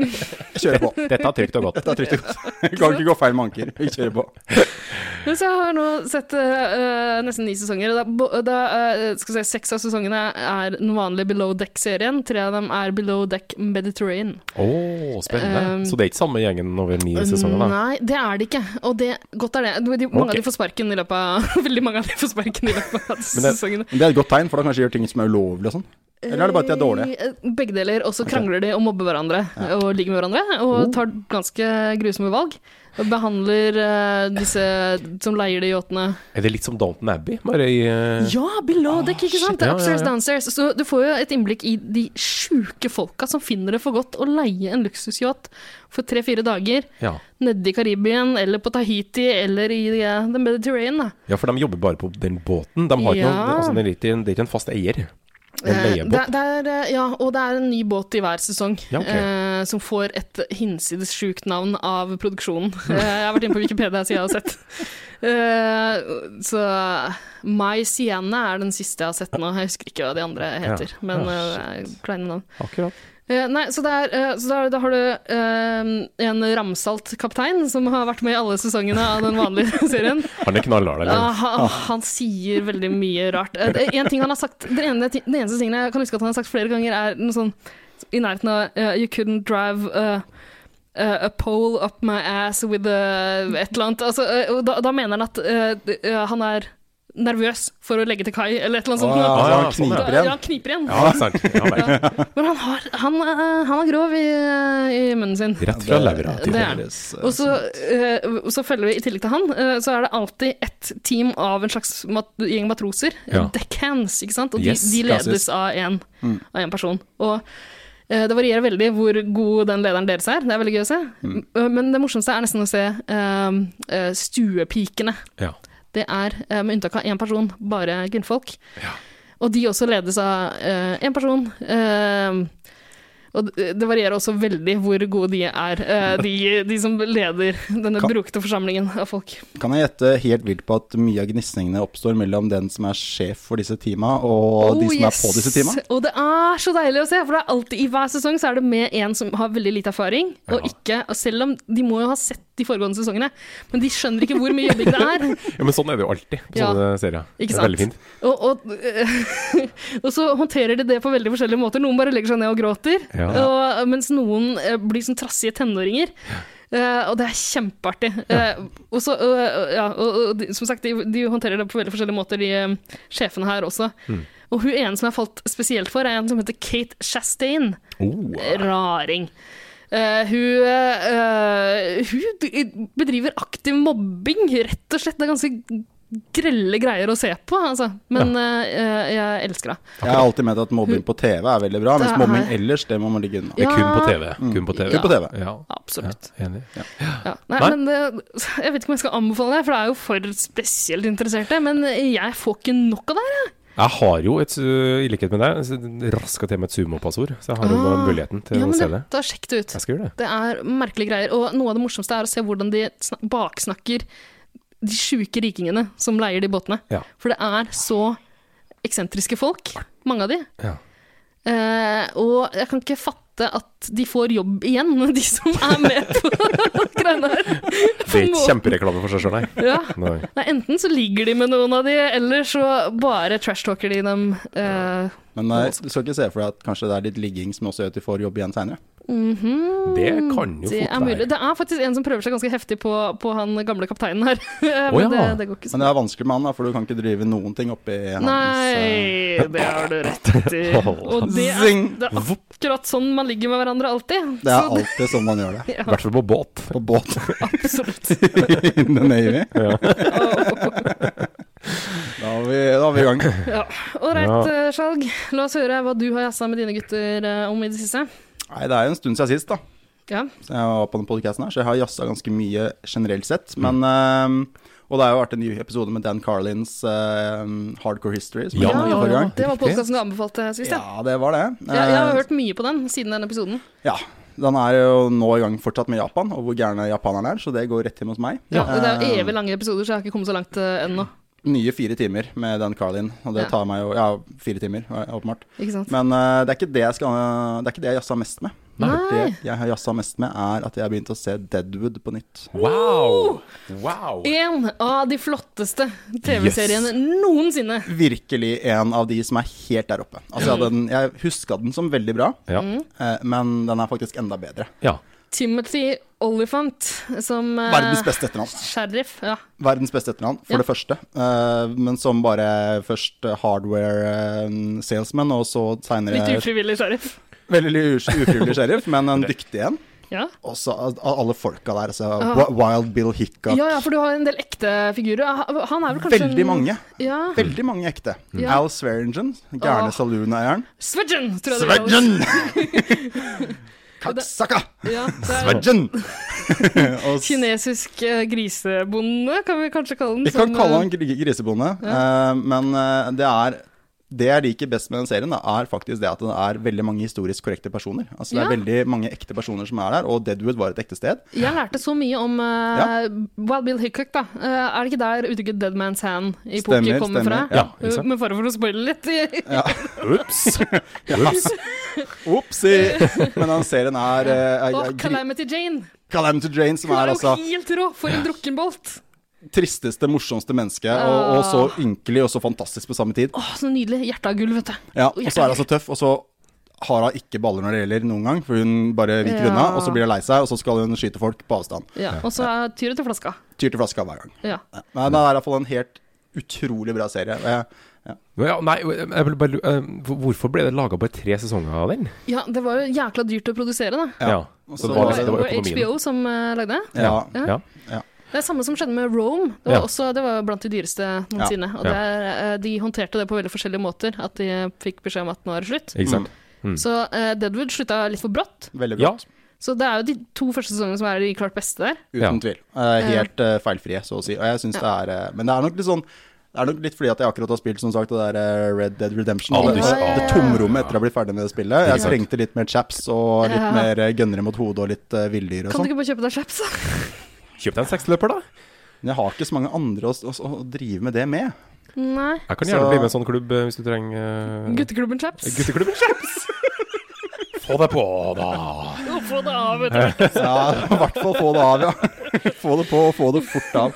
[SPEAKER 1] kjører på.
[SPEAKER 3] Dette er trygt og godt.
[SPEAKER 1] Dette er trygt og godt. Kan ikke gå feil med anker. Vi kjører på.
[SPEAKER 2] Men så har jeg nå sett eh, eh, nesten ni sesonger, og da, bo- da eh, skal vi si, seks av sesongene er den vanlige Below Deck-serien. Tre av dem er Below Deck Mediterranean.
[SPEAKER 3] Å, spennende.
[SPEAKER 2] Um, uh,
[SPEAKER 3] Så det er ikke samme gjengen over ni sesonger, da?
[SPEAKER 2] Nei, det er det ikke. Og det, godt er det. De, de, mange
[SPEAKER 3] Ok.
[SPEAKER 2] av de får sparken i løpet av (laughs) Veldig mange av de får sparken i løpet av disse
[SPEAKER 3] Men det-
[SPEAKER 2] sesongene.
[SPEAKER 1] Men det er et godt tegn, for da kanskje de gjør ting som er ulovlig og sånn. Eller er det bare at de er dårlige?
[SPEAKER 2] Eh, Begge deler. Og så krangler de og mobber hverandre og ligger med hverandre. Og
[SPEAKER 1] Oh.
[SPEAKER 2] tar ganske grusomme valg. Og behandler eh, disse som leier de yachtene
[SPEAKER 3] Er det litt som Downton Abbey? Bare i eh,
[SPEAKER 2] Ja, below deck, ikke sant?
[SPEAKER 3] shit,
[SPEAKER 2] Det er
[SPEAKER 3] ja,
[SPEAKER 2] upstairs,
[SPEAKER 3] ja, ja.
[SPEAKER 2] downstairs. Så du får jo et innblikk i de sjuke folka som finner det for godt å leie en luksusyacht for tre-fire dager
[SPEAKER 3] ja.
[SPEAKER 2] nede i Karibien eller på Tahiti eller i eh, The Mediterranean. Da.
[SPEAKER 3] ja, for de jobber bare på den båten. De har ikke noe,
[SPEAKER 2] Ja.
[SPEAKER 3] altså, det, er ikke, det er ikke en fast eier. Det er en
[SPEAKER 2] Eh,
[SPEAKER 3] leiebåt.
[SPEAKER 2] Det, det er, eh, ja, og det er en ny båt i hver sesong
[SPEAKER 3] Ja, ok.
[SPEAKER 2] eh, som får et hinsides sjukt navn av
[SPEAKER 3] (laughs)
[SPEAKER 2] produksjonen. Eh, jeg har vært inne på Wikipedia siden jeg har sett. Eh, så My Sienna er den siste jeg har sett nå. Jeg husker ikke hva de andre heter,
[SPEAKER 3] Ja.
[SPEAKER 2] men
[SPEAKER 3] Ja,
[SPEAKER 2] eh, det er kleine navn.
[SPEAKER 3] Akkurat.
[SPEAKER 2] Eh, nei, så, det er, eh, så da, da har du eh, en ramsalt kaptein som har vært med i alle sesongene av den vanlige (laughs) serien.
[SPEAKER 3] Han er knallhard,
[SPEAKER 2] Ja,
[SPEAKER 3] eller?
[SPEAKER 1] Ah.
[SPEAKER 2] han, han sier veldig mye rart. Eh, det- En ting han har sagt, den, ene, ti- den eneste tingen jeg kan huske at han har sagt flere ganger, er noe sånn i nærheten av eh, You couldn't drive eh, eh, a pole up my ass with a, et eller annet. Altså, eh, og da, da mener han at eh, d- eh, han er nervøs for å legge til kai, eller et eller annet
[SPEAKER 1] Å,
[SPEAKER 2] sånt.
[SPEAKER 1] ja,
[SPEAKER 3] Ah,
[SPEAKER 1] altså,
[SPEAKER 3] ja,
[SPEAKER 1] han
[SPEAKER 3] sånn,
[SPEAKER 2] Da-
[SPEAKER 1] kniper
[SPEAKER 2] ja,
[SPEAKER 1] igjen.
[SPEAKER 2] han kniper igjen.
[SPEAKER 3] Ja, ikke sant. Ja, vel.
[SPEAKER 2] Men han, har, han, eh, han er grov i, eh, i munnen sin.
[SPEAKER 3] Rett fra levra.
[SPEAKER 2] det er- Og så, eh, og så følger vi i tillegg til han, eh, så er det alltid ett team av en slags mat gjeng matroser.
[SPEAKER 3] Ja.
[SPEAKER 2] Deckhands, ikke sant. Og de,
[SPEAKER 3] Yes,
[SPEAKER 2] de ledes
[SPEAKER 1] klassisk.
[SPEAKER 2] av én
[SPEAKER 1] Mm.
[SPEAKER 2] av en person. Og Eh, Det varierer veldig hvor god den lederen deres er. Det er veldig gøy å se.
[SPEAKER 3] Mm.
[SPEAKER 2] Eh, Men det morsomste er nesten å se eh, eh, stuepikene.
[SPEAKER 3] Ja.
[SPEAKER 2] Det er, eh, med unntak av én person, bare kvinnfolk. Og de også ledes av eh, én person. Eh, og d- det varierer også veldig hvor gode de er, eh, de, de som leder denne
[SPEAKER 1] Kan-
[SPEAKER 2] brokete forsamlingen av folk.
[SPEAKER 1] Kan jeg gjette helt vilt på at mye av gnisningene oppstår mellom den som er sjef for disse teama, og de
[SPEAKER 2] Oh,
[SPEAKER 1] som
[SPEAKER 2] yes.
[SPEAKER 1] er på disse teama?
[SPEAKER 2] Og det er så deilig å se, for det er alltid i hver sesong så er det med en som har veldig lite erfaring, og
[SPEAKER 3] Ja.
[SPEAKER 2] ikke og Selv om de må jo ha sett de foregående sesongene, men de skjønner ikke hvor mye jobbing det er.
[SPEAKER 3] ja, men sånn er det jo alltid på
[SPEAKER 2] Ja.
[SPEAKER 3] sånne serier. Det
[SPEAKER 2] Ikke
[SPEAKER 3] er
[SPEAKER 2] sant?
[SPEAKER 3] Veldig fint.
[SPEAKER 2] Og, og, og (laughs) så håndterer de det på veldig forskjellige måter. Noen bare legger seg ned og gråter,
[SPEAKER 3] Ja.
[SPEAKER 2] og, mens noen eh, blir sånn trassige tenåringer. Eh, og det er kjempeartig. Eh, og så, eh, ja, og, og de, som sagt, de, de håndterer det på veldig forskjellige måter, de eh, sjefene her også.
[SPEAKER 3] Mm.
[SPEAKER 2] Og hun ene som jeg falt spesielt for, er en som heter Kate Chastain.
[SPEAKER 3] Oh,
[SPEAKER 2] Raring. Eh, hun, eh, hun d- bedriver aktiv mobbing, rett og slett. Det er ganske grelle greier å se på, altså. Men eh, eh, jeg elsker henne.
[SPEAKER 1] Jeg har alltid ment at mobbing på TV er veldig bra, mens
[SPEAKER 2] Det er-
[SPEAKER 1] mobbing ellers, det må man ligge unna.
[SPEAKER 3] Det er kun
[SPEAKER 2] Ja.
[SPEAKER 3] på TV. Mm. Kun på TV.
[SPEAKER 1] Kun på TV.
[SPEAKER 3] Ja. Ja,
[SPEAKER 2] Absolutt.
[SPEAKER 3] enig.
[SPEAKER 2] Ja. Nei,
[SPEAKER 3] Nei.
[SPEAKER 2] Men det, jeg vet ikke om jeg skal anbefale det, for det er jo for spesielt interesserte. Men jeg får ikke nok av det her, jeg.
[SPEAKER 3] Jeg har jo et, øh, i likhet med deg, raska til meg et sumopassord, så jeg har jo nå
[SPEAKER 2] Ah.
[SPEAKER 3] muligheten til
[SPEAKER 2] Ja,
[SPEAKER 3] å
[SPEAKER 2] men
[SPEAKER 3] se
[SPEAKER 2] det,
[SPEAKER 3] det.
[SPEAKER 2] da sjekk det ut.
[SPEAKER 3] Jeg skal gjøre det.
[SPEAKER 2] Det er merkelige greier. Og noe av det morsomste er å se hvordan de snak- baksnakker de sjuke rikingene som leier de båtene.
[SPEAKER 3] Ja.
[SPEAKER 2] For det er så eksentriske folk, mange av de.
[SPEAKER 3] Ja.
[SPEAKER 2] Eh, og jeg kan ikke fatte at de får jobb igjen, (laughs) de som er med på (laughs) greiene her.
[SPEAKER 3] Det er ikke kjempereklame for seg sjøl, nei.
[SPEAKER 2] Ja.
[SPEAKER 3] nei.
[SPEAKER 2] Nei, enten så ligger de med noen av de, eller så bare trashtalker de dem. Eh,
[SPEAKER 1] Men eh, du skal ikke se for deg at kanskje det er litt ligging som også gjør at de får jobb igjen seinere.
[SPEAKER 2] mhm.
[SPEAKER 3] (laughs) Det kan jo
[SPEAKER 2] det
[SPEAKER 3] fort
[SPEAKER 2] er mulig.
[SPEAKER 3] være.
[SPEAKER 2] Det er faktisk en som prøver seg ganske heftig på, på han gamle kapteinen her. (laughs) Men
[SPEAKER 3] Å ja.
[SPEAKER 2] det, det går ikke så
[SPEAKER 1] Men det er vanskelig med han, da, for du kan ikke drive noen ting oppi hans eh,
[SPEAKER 2] Nei, det har du rett
[SPEAKER 1] (laughs)
[SPEAKER 2] i. Og
[SPEAKER 1] altså.
[SPEAKER 2] det er,
[SPEAKER 1] Zing!
[SPEAKER 2] det er akkurat sånn man ligger med hverandre alltid.
[SPEAKER 1] Det er alltid sånn man gjør det.
[SPEAKER 3] I hvert fall på båt.
[SPEAKER 1] På båt
[SPEAKER 2] (laughs)
[SPEAKER 1] (laughs)
[SPEAKER 2] Absolutt.
[SPEAKER 1] in the Navy. Da er vi, da er vi i gang.
[SPEAKER 2] Ålreit,
[SPEAKER 3] Ja.
[SPEAKER 2] ja. Skjalg. La oss høre hva du har jazza med dine gutter eh, om i det siste.
[SPEAKER 1] Nei, det er jo en stund siden sist, da.
[SPEAKER 2] Ja.
[SPEAKER 1] Så jeg var på den podcasten her, så jeg har jazza ganske mye generelt sett. Men, eh, og det har jo vært en ny episode med Dan Carlins eh, Hardcore History. Som
[SPEAKER 3] Ja,
[SPEAKER 1] jeg nevnte
[SPEAKER 3] ja,
[SPEAKER 1] forrige gang.
[SPEAKER 2] Det var podkasten du anbefalte sist, ja.
[SPEAKER 1] ja, det var det.
[SPEAKER 2] Jeg, jeg har
[SPEAKER 1] Eh,
[SPEAKER 2] hørt mye på den siden den episoden.
[SPEAKER 1] Ja, den er jo nå i gang fortsatt med Japan, og hvor gærne japanerne er, så det går rett hjem hos meg.
[SPEAKER 2] Ja, det er jo
[SPEAKER 1] Eh,
[SPEAKER 2] evig lange episoder, så jeg har ikke kommet så langt eh, ennå.
[SPEAKER 1] Nye fire timer med Dan Carlin, og det
[SPEAKER 2] Ja.
[SPEAKER 1] tar meg jo Ja, fire timer, eh, åpenbart.
[SPEAKER 2] Ikke sant?
[SPEAKER 1] Men eh, det er ikke det jeg skal eh, Det er ikke det jeg jazza mest med.
[SPEAKER 2] Nei.
[SPEAKER 1] Det jeg har jazza mest med, er at jeg har begynt å se Deadwood på nytt.
[SPEAKER 3] Wow! Wow!
[SPEAKER 2] En av de flotteste TV-seriene noensinne.
[SPEAKER 1] Virkelig en av de som er helt der oppe. Altså, jeg, hadde den, jeg huska den som veldig bra,
[SPEAKER 3] Ja.
[SPEAKER 2] Mm.
[SPEAKER 1] eh, men den er faktisk enda bedre.
[SPEAKER 3] ja.
[SPEAKER 2] Timothy Olifant som eh,
[SPEAKER 1] Verdens beste etternavn.
[SPEAKER 2] sheriff. Ja.
[SPEAKER 1] Verdens beste etternavn, for
[SPEAKER 2] Ja.
[SPEAKER 1] det første. Eh, men som bare først hardware-salesman, og så
[SPEAKER 2] Litt
[SPEAKER 1] seinere
[SPEAKER 2] ufrivillig sheriff.
[SPEAKER 1] veldig us-
[SPEAKER 2] (laughs)
[SPEAKER 1] ufrivillig sheriff, men en dyktig en.
[SPEAKER 2] Ja.
[SPEAKER 1] Og så al- alle folka der. Altså, Wi- Wild Bill Hickok.
[SPEAKER 2] ja, ja, for du har en del ekte figurer. Ha- Han er vel kanskje
[SPEAKER 1] Veldig
[SPEAKER 2] en-
[SPEAKER 1] mange.
[SPEAKER 2] Ja.
[SPEAKER 1] Veldig mange ekte.
[SPEAKER 2] Ja.
[SPEAKER 1] Al Swearingen, gærne
[SPEAKER 2] Åh.
[SPEAKER 1] saloon-eieren.
[SPEAKER 2] Svedgen, tror jeg det kalles.
[SPEAKER 1] Swearingen! (laughs) Kakksakka!
[SPEAKER 2] Ja, det er (laughs)
[SPEAKER 1] Swearingen! (laughs) Og s-
[SPEAKER 2] kinesisk eh, grisebonde, kan vi kanskje kalle den.
[SPEAKER 1] Vi kan
[SPEAKER 2] som,
[SPEAKER 1] kalle
[SPEAKER 2] eh,
[SPEAKER 1] han gri- grisebonde, eh, men eh, det er det jeg liker best med den serien, da, er faktisk det at det er veldig mange historisk korrekte personer. Altså Det er
[SPEAKER 2] Ja.
[SPEAKER 1] veldig mange ekte personer som er der, og Deadwood var et ekte sted.
[SPEAKER 2] Jeg lærte så mye om eh, Wild Bill Hickok, da. Eh, er det ikke der uttrykket 'dead man's hand' i poker
[SPEAKER 1] Stemmer,
[SPEAKER 2] kommer fra?
[SPEAKER 1] stemmer,
[SPEAKER 3] ja. Ja, ikke
[SPEAKER 2] Eh,
[SPEAKER 3] sant?
[SPEAKER 2] Med fare for å spoile litt.
[SPEAKER 3] Ups. Ups.
[SPEAKER 1] Opsi! (laughs) Men den serien er, eh, er,
[SPEAKER 2] Og
[SPEAKER 1] er gri-
[SPEAKER 2] Calamity Jane.
[SPEAKER 1] Calamity Jane, som
[SPEAKER 2] Hun
[SPEAKER 1] er
[SPEAKER 2] er jo
[SPEAKER 1] altså
[SPEAKER 2] helt rå! For en drukkenbolt!
[SPEAKER 1] tristeste, morsomste menneske, og, og
[SPEAKER 2] Ah.
[SPEAKER 1] så ynkelig og så fantastisk på samme tid.
[SPEAKER 2] Å, så nydelig. Hjertet av gull, vet du.
[SPEAKER 1] Ja, og så er hun så tøff, og så har hun ikke baller når det gjelder noen gang, for hun bare viker
[SPEAKER 2] Ja.
[SPEAKER 1] unna, og så blir hun lei seg, og så skal hun skyte folk på avstand.
[SPEAKER 2] Ja, og så er tyret til flaska.
[SPEAKER 1] Tyr til flaska hver gang.
[SPEAKER 2] Ja.
[SPEAKER 1] Ja. Nei, det er i hvert fall en helt utrolig bra serie. Og jeg,
[SPEAKER 3] Ja, nei, jeg vil bare, lu- eh, hvorfor ble det laga bare tre sesonger av den?
[SPEAKER 2] ja, det var jo jækla dyrt å produsere, da.
[SPEAKER 1] Ja. Så
[SPEAKER 3] Så
[SPEAKER 2] Det
[SPEAKER 3] det var,
[SPEAKER 1] var-
[SPEAKER 2] var,
[SPEAKER 3] det var
[SPEAKER 2] HBO
[SPEAKER 3] økonomien.
[SPEAKER 2] som eh, lagde det.
[SPEAKER 1] ja.
[SPEAKER 2] Ja.
[SPEAKER 3] Ja.
[SPEAKER 2] Det er samme som skjedde med Rome. Det var,
[SPEAKER 3] Ja.
[SPEAKER 2] også, det var jo blant de dyreste noensinne. Og
[SPEAKER 3] Ja.
[SPEAKER 2] der, eh, de håndterte det på veldig forskjellige måter. At de fikk beskjed om at nå er det slutt.
[SPEAKER 3] Ikke sant. Mm.
[SPEAKER 2] Så eh, Deadwood slutta litt for brått.
[SPEAKER 1] Veldig bra.
[SPEAKER 3] Ja,
[SPEAKER 2] Så det er jo de to første sesongene som er de klart beste der.
[SPEAKER 1] Uten
[SPEAKER 3] Ja.
[SPEAKER 1] tvil. Eh, helt eh, feilfrie, så å si. Og jeg synes det er eh, Men det er nok litt sånn det er nok litt fordi at jeg akkurat har spilt som sagt, det der eh, Red Dead Redemption.
[SPEAKER 3] Aldri
[SPEAKER 1] det,
[SPEAKER 2] spilt.
[SPEAKER 1] det tomrommet etter å ha blitt ferdig med det spillet.
[SPEAKER 3] Ikke
[SPEAKER 1] Jeg
[SPEAKER 3] sant.
[SPEAKER 1] trengte litt mer chaps og litt
[SPEAKER 2] Ja.
[SPEAKER 1] mer eh, gønnere mot hodet og litt uh, villdyr og
[SPEAKER 2] Kan du
[SPEAKER 1] sånn.
[SPEAKER 2] ikke bare kjøpe deg chaps? da?
[SPEAKER 3] (laughs) kjøp deg en seksløper, da.
[SPEAKER 1] Men jeg har ikke så mange andre å, å, å drive med det med.
[SPEAKER 2] Nei.
[SPEAKER 3] Jeg kan gjerne
[SPEAKER 1] Så-
[SPEAKER 3] bli med i en sånn klubb eh, hvis du trenger eh,
[SPEAKER 2] Gutteklubben chaps.
[SPEAKER 1] (laughs)
[SPEAKER 3] Gutteklubben Chaps! Få deg på, da.
[SPEAKER 2] Få det av, vet du.
[SPEAKER 1] (laughs) Ja, i hvert fall få det av, ja. (laughs) Få det på og få det fort av.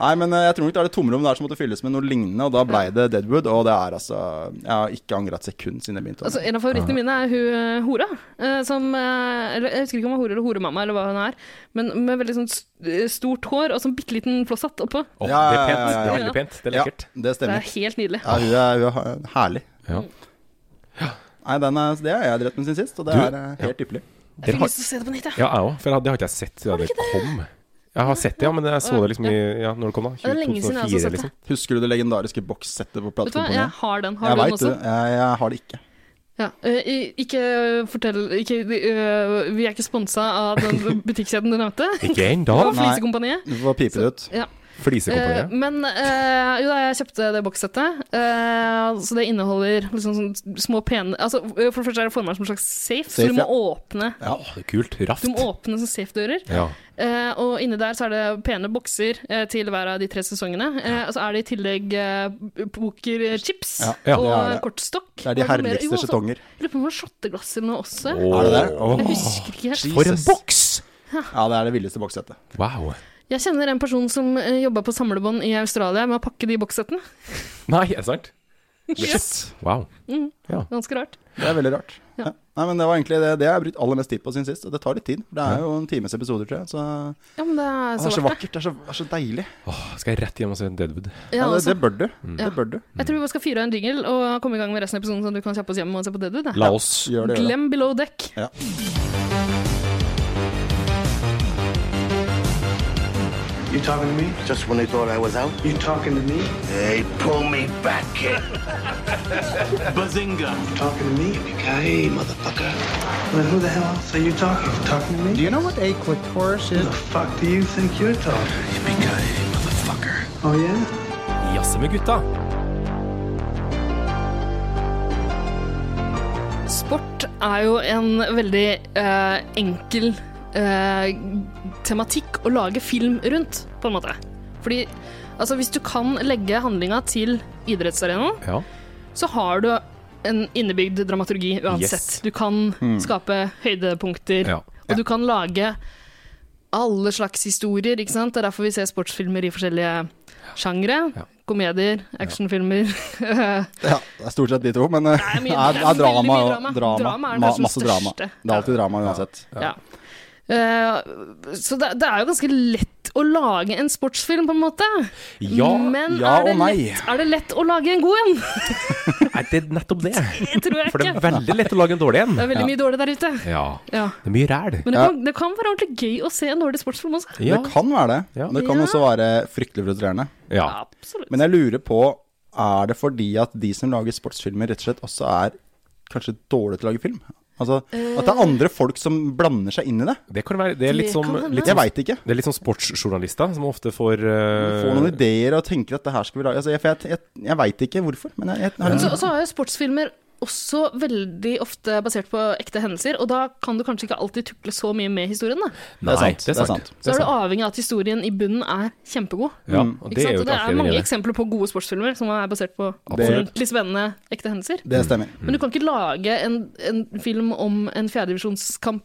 [SPEAKER 1] Nei, men eh, jeg tror nok det er det tomrom der som måtte fylles med noe lignende, og da blei det Deadwood. Og det er altså Jeg har ikke angret et sekund siden jeg begynte.
[SPEAKER 2] Altså, en av favorittene mine er hun eh, hora. eh, Som eh, eller, Jeg husker ikke om hun er hore eller horemamma, eller hva hun er. Men med veldig sånn st- stort hår og sånn bitte liten flosshatt oppå.
[SPEAKER 3] Å,
[SPEAKER 1] Ja,
[SPEAKER 3] det er
[SPEAKER 1] ja,
[SPEAKER 3] pent.
[SPEAKER 1] ja, ja,
[SPEAKER 3] Det er
[SPEAKER 2] ja.
[SPEAKER 3] veldig pent. Det er
[SPEAKER 1] ja,
[SPEAKER 3] lekkert.
[SPEAKER 1] det
[SPEAKER 2] Det
[SPEAKER 1] stemmer.
[SPEAKER 2] er helt nydelig.
[SPEAKER 1] Ja, hun er, hun er herlig.
[SPEAKER 3] Ja.
[SPEAKER 1] Nei, den er, det har jeg drept med sin sist, og det
[SPEAKER 3] Du-
[SPEAKER 1] er eh, helt ypperlig.
[SPEAKER 2] Jeg
[SPEAKER 3] Dere
[SPEAKER 2] fikk
[SPEAKER 3] har-
[SPEAKER 2] lyst til å se det på nytt, jeg.
[SPEAKER 3] Ja, jeg òg. For det har ikke jeg sett siden det kom. Jeg har sett det, ja, men jeg så det liksom i ja, når det kom, da.
[SPEAKER 2] Ja, det er lenge siden jeg også har sett
[SPEAKER 3] 2004,
[SPEAKER 2] det.
[SPEAKER 3] liksom.
[SPEAKER 1] Husker du det legendariske bokssettet på
[SPEAKER 2] Vet du hva,
[SPEAKER 1] platekomponiet?
[SPEAKER 2] jeg har den.
[SPEAKER 1] Jeg
[SPEAKER 2] Har du den
[SPEAKER 1] vet
[SPEAKER 2] også?
[SPEAKER 1] det. Jeg, jeg har det ikke.
[SPEAKER 2] Ja, eh, i- ikke fortell ikke, eh, Vi er ikke sponsa
[SPEAKER 1] (laughs)
[SPEAKER 2] av den butikkjeden du nevnte.
[SPEAKER 3] Ikke ennå.
[SPEAKER 2] Og
[SPEAKER 1] Nei.
[SPEAKER 2] Flisekompaniet.
[SPEAKER 1] Du får pipe det ut.
[SPEAKER 2] Ja. Eh,
[SPEAKER 3] Flisekompaniet.
[SPEAKER 2] men eh, jo da, jeg kjøpte det bokssettet. eh, så det inneholder liksom sånn små pene altså, eh, For det første er det formet som en slags safe,
[SPEAKER 1] Safe,
[SPEAKER 2] så du må
[SPEAKER 1] ja.
[SPEAKER 2] åpne
[SPEAKER 3] Ja, kult.
[SPEAKER 2] Du må
[SPEAKER 3] Raft.
[SPEAKER 2] åpne sånn safe-dører.
[SPEAKER 3] Ja.
[SPEAKER 2] Eh, og inni der så er det pene bokser eh, til hver av de tre sesongene. Eh, og så er det i tillegg eh, pokerchips
[SPEAKER 1] Ja, ja,
[SPEAKER 2] og
[SPEAKER 1] det er det.
[SPEAKER 2] kortstokk.
[SPEAKER 1] Det er de
[SPEAKER 2] Og noe mer- jo,
[SPEAKER 1] herligste
[SPEAKER 2] altså,
[SPEAKER 1] skjetonger.
[SPEAKER 2] Jeg lurer på om det var shotteglass eller noe også.
[SPEAKER 1] Er det det? Åh,
[SPEAKER 2] Jeg husker ikke helt.
[SPEAKER 3] For en
[SPEAKER 1] Jesus.
[SPEAKER 3] boks!
[SPEAKER 1] Ja, det er det villeste bokssettet.
[SPEAKER 3] Wow.
[SPEAKER 2] Jeg kjenner en person som eh, jobba på samlebånd i Australia med å pakke de bokssettene.
[SPEAKER 3] Nei, er det sant?
[SPEAKER 2] Yes.
[SPEAKER 3] Wow.
[SPEAKER 2] Ganske rart.
[SPEAKER 1] Det er veldig rart.
[SPEAKER 2] Ja.
[SPEAKER 1] Ja. Nei, men Det var egentlig det, det jeg har brukt aller mest tid på siden sist. og Det tar litt tid. for Det er jo en times episoder, tror jeg. Så det
[SPEAKER 2] Ja, men det
[SPEAKER 1] er Ah,
[SPEAKER 2] er så,
[SPEAKER 1] så
[SPEAKER 2] verdt det.
[SPEAKER 1] vakkert. Det er så, det er så deilig. Mm.
[SPEAKER 3] Åh, skal jeg rett hjem og se Deadwood?
[SPEAKER 1] Ja,
[SPEAKER 2] Ja,
[SPEAKER 1] det,
[SPEAKER 2] altså,
[SPEAKER 1] det bør du.
[SPEAKER 2] Ja.
[SPEAKER 1] Det bør du.
[SPEAKER 2] jeg tror vi bare skal fyre av en jingle og komme i gang med resten av episoden, så du kan kjappe oss hjem og se på Deadwood. da.
[SPEAKER 3] La oss
[SPEAKER 1] Gjør det. Gjør det.
[SPEAKER 2] Glem below deck.
[SPEAKER 1] Ja.
[SPEAKER 6] You talking to me? Just when they thought I was out. You talking to me? They pull me back in. Bazinga. You talking to me? Hey, motherfucker. Well, who the hell else are you talking? You talking to me? Do you know what a clitoris is? Who the fuck do you think you're talking? Yippee-ki-yay, motherfucker. Oh, yeah?
[SPEAKER 3] jazze med gutta.
[SPEAKER 2] Sport er jo en veldig eh, enkel eh, tematikk å lage film rundt, på en måte. Fordi altså, hvis du kan legge handlinga til idrettsarenaen,
[SPEAKER 3] Ja.
[SPEAKER 2] så har du en innebygd dramaturgi uansett.
[SPEAKER 3] Yes. Mm.
[SPEAKER 2] Du kan skape høydepunkter,
[SPEAKER 3] Ja.
[SPEAKER 2] og du kan lage alle slags historier, ikke sant? Det er derfor vi ser sportsfilmer i forskjellige sjangre.
[SPEAKER 3] Ja.
[SPEAKER 2] Komedier, actionfilmer. (laughs)
[SPEAKER 1] Ja, det er stort sett de to, men eh,
[SPEAKER 2] er mye-
[SPEAKER 1] det (laughs) er, det er
[SPEAKER 2] det er veldig
[SPEAKER 1] drama.
[SPEAKER 2] mye
[SPEAKER 1] og-
[SPEAKER 2] drama.
[SPEAKER 1] drama.
[SPEAKER 2] Drama er
[SPEAKER 1] Ma-
[SPEAKER 2] kanskje den
[SPEAKER 1] masse drama.
[SPEAKER 2] største.
[SPEAKER 1] Det er alltid drama uansett.
[SPEAKER 2] Ja. Eh, så det, det er jo ganske lett å lage en sportsfilm, på en måte.
[SPEAKER 3] Ja,
[SPEAKER 2] Men
[SPEAKER 1] ja
[SPEAKER 2] er, det
[SPEAKER 1] og nei.
[SPEAKER 2] lett, er det lett å lage en god en? (laughs)
[SPEAKER 3] er det nettopp det?
[SPEAKER 2] Det tror jeg
[SPEAKER 3] For det er
[SPEAKER 2] ikke.
[SPEAKER 3] veldig lett å lage en dårlig en.
[SPEAKER 2] Det er veldig mye dårlig der ute.
[SPEAKER 3] Ja.
[SPEAKER 2] Ja.
[SPEAKER 3] Det er mye ræl.
[SPEAKER 2] Men det
[SPEAKER 1] Ja.
[SPEAKER 2] kan, det kan være ordentlig gøy å se en dårlig sportsfilm også.
[SPEAKER 3] Ja.
[SPEAKER 1] Det kan være det.
[SPEAKER 3] Ja.
[SPEAKER 1] Det kan
[SPEAKER 2] Ja.
[SPEAKER 1] også være fryktelig frustrerende.
[SPEAKER 3] ja.
[SPEAKER 2] Absolutt.
[SPEAKER 1] Men jeg lurer på, er det fordi at de som lager sportsfilmer rett og slett også er kanskje dårlige til å lage film? Altså, At det
[SPEAKER 2] Eh.
[SPEAKER 1] er andre folk som blander seg inn i det?
[SPEAKER 3] Det kan være Det er litt
[SPEAKER 2] Det
[SPEAKER 3] som,
[SPEAKER 2] kan hende.
[SPEAKER 3] litt
[SPEAKER 1] Jeg
[SPEAKER 3] som,
[SPEAKER 1] veit ikke.
[SPEAKER 3] det er litt som sportsjournalister som ofte får
[SPEAKER 1] Du
[SPEAKER 3] eh,
[SPEAKER 1] får noen ideer og tenker at det her skal vi lage altså, Jeg, for jeg, jeg, jeg veit ikke hvorfor, men jeg, jeg har
[SPEAKER 2] Men
[SPEAKER 1] en
[SPEAKER 2] så, så er jo sportsfilmer også veldig ofte basert på ekte hendelser, og da kan du kanskje ikke alltid tukle så mye med historien. Da.
[SPEAKER 3] Nei,
[SPEAKER 1] sant,
[SPEAKER 3] det er sant.
[SPEAKER 2] Så
[SPEAKER 3] Det
[SPEAKER 2] er du
[SPEAKER 3] er sant.
[SPEAKER 2] avhengig av at historien i bunnen er kjempegod.
[SPEAKER 3] Ja, og
[SPEAKER 2] Ikke
[SPEAKER 3] det
[SPEAKER 2] sant?
[SPEAKER 3] er jo
[SPEAKER 2] Og
[SPEAKER 3] et
[SPEAKER 2] det
[SPEAKER 3] artig
[SPEAKER 2] er mange
[SPEAKER 3] greie.
[SPEAKER 2] eksempler på gode sportsfilmer som er basert på
[SPEAKER 1] Absolutt.
[SPEAKER 2] ordentlig spennende ekte hendelser.
[SPEAKER 1] Det stemmer.
[SPEAKER 2] Men du kan ikke lage en, en film om en fjerdedivisjonskamp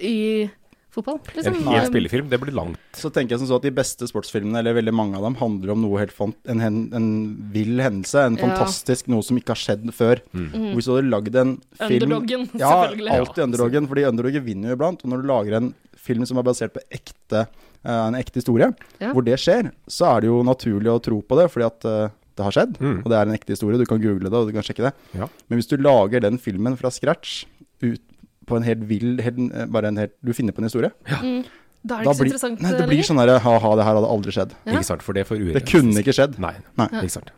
[SPEAKER 2] i fotball.
[SPEAKER 3] En
[SPEAKER 2] Liksom.
[SPEAKER 3] hel spillefilm, det blir langt.
[SPEAKER 1] Så tenker jeg som så at de beste sportsfilmene, eller veldig mange av dem, handler om noe helt fan- en, hen, en vill hendelse. En
[SPEAKER 2] Ja. Mm.
[SPEAKER 1] fantastisk Noe som ikke har skjedd før. Og Hvis du hadde lagd en film
[SPEAKER 2] Underdoggen, (laughs)
[SPEAKER 1] ja,
[SPEAKER 2] selvfølgelig.
[SPEAKER 1] Alltid underdoggen, fordi underdoggen vinner jo iblant. Og når du lager en film som er basert på ekte, eh, en ekte historie,
[SPEAKER 2] Ja.
[SPEAKER 1] hvor det skjer, så er det jo naturlig å tro på det, fordi at eh, det har skjedd,
[SPEAKER 3] Mm.
[SPEAKER 1] og det er en ekte historie. Du kan google det, og du kan sjekke det.
[SPEAKER 3] Ja.
[SPEAKER 1] Men hvis du lager den filmen fra scratch ut på en helt vill helt, eh, bare en helt, Du finner på en historie.
[SPEAKER 2] Da er det
[SPEAKER 1] Da
[SPEAKER 2] ikke så
[SPEAKER 1] blir,
[SPEAKER 2] interessant eh,
[SPEAKER 1] nei, det
[SPEAKER 2] lenger.
[SPEAKER 1] blir sånn derre ha-ha, det her hadde aldri skjedd.
[SPEAKER 2] Ja.
[SPEAKER 3] Ikke sant, for det er for
[SPEAKER 1] Det kunne ikke skjedd.
[SPEAKER 3] Nei,
[SPEAKER 1] Nei.
[SPEAKER 3] ikke sant.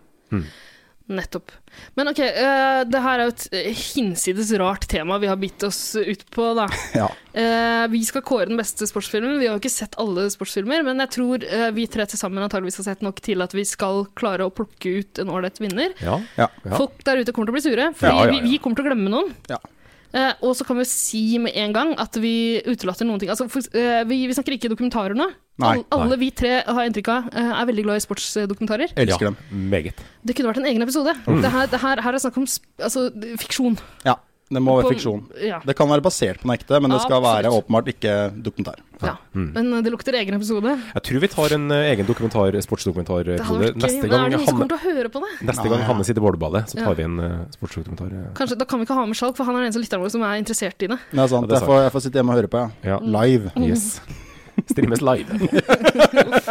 [SPEAKER 2] Nettopp. Men ok, eh, det her er jo et eh, hinsides rart tema vi har bitt oss ut på,
[SPEAKER 3] (laughs)
[SPEAKER 2] da.
[SPEAKER 1] Ja.
[SPEAKER 2] Eh, vi skal kåre den beste sportsfilmen. Vi har jo ikke sett alle sportsfilmer, men jeg tror eh, vi tre til sammen antageligvis har sett nok til at vi skal klare å plukke ut en ålreit vinner.
[SPEAKER 3] Ja.
[SPEAKER 1] Ja.
[SPEAKER 3] Ja.
[SPEAKER 2] Folk der ute kommer til å bli sure, fordi
[SPEAKER 3] Ja, ja, ja.
[SPEAKER 2] Vi, vi kommer til å glemme noen.
[SPEAKER 1] Ja.
[SPEAKER 2] Eh, og så kan vi si med en gang at vi utelater noen ting. Altså, for, eh, vi, vi snakker ikke dokumentarer nå.
[SPEAKER 1] Nei,
[SPEAKER 2] Alle- alle vi tre har jeg inntrykk av eh, er veldig glad i sportsdokumentarer.
[SPEAKER 1] Elsker
[SPEAKER 3] Ja,
[SPEAKER 1] dem.
[SPEAKER 3] Meget.
[SPEAKER 2] Det kunne vært en egen episode.
[SPEAKER 3] Mm.
[SPEAKER 2] Det her, det her, her er snakk om sp altså, fiksjon.
[SPEAKER 1] Ja. Det må være
[SPEAKER 2] På-
[SPEAKER 1] fiksjon.
[SPEAKER 2] Ja.
[SPEAKER 1] Det kan være basert på noe ekte, men det skal være
[SPEAKER 2] Absolutt.
[SPEAKER 1] åpenbart ikke dokumentar.
[SPEAKER 2] ja. Men eh, det lukter egen episode.
[SPEAKER 3] Mm. Jeg tror vi tar en eh, egen dokumentar,
[SPEAKER 2] Det hadde
[SPEAKER 3] sportsdokumentarepisode
[SPEAKER 2] vært gøy.
[SPEAKER 3] neste
[SPEAKER 2] Men er
[SPEAKER 3] gang.
[SPEAKER 2] det noen som
[SPEAKER 3] Hanne,
[SPEAKER 2] kommer til å høre på det?
[SPEAKER 3] neste gang Hanne sitter i bålbadet, så tar vi en eh, sportsdokumentar. eh.
[SPEAKER 2] Kanskje, Da kan vi ikke ha med Skjalg, for han er den eneste lytteren vår som er interessert i det.
[SPEAKER 1] Det er sant.
[SPEAKER 3] det er
[SPEAKER 1] Jeg, får, jeg får sitte hjemme og høre på, ja.
[SPEAKER 2] Mm.
[SPEAKER 3] Mm. Ja.
[SPEAKER 1] Live.
[SPEAKER 3] Yes. (laughs) Streames live.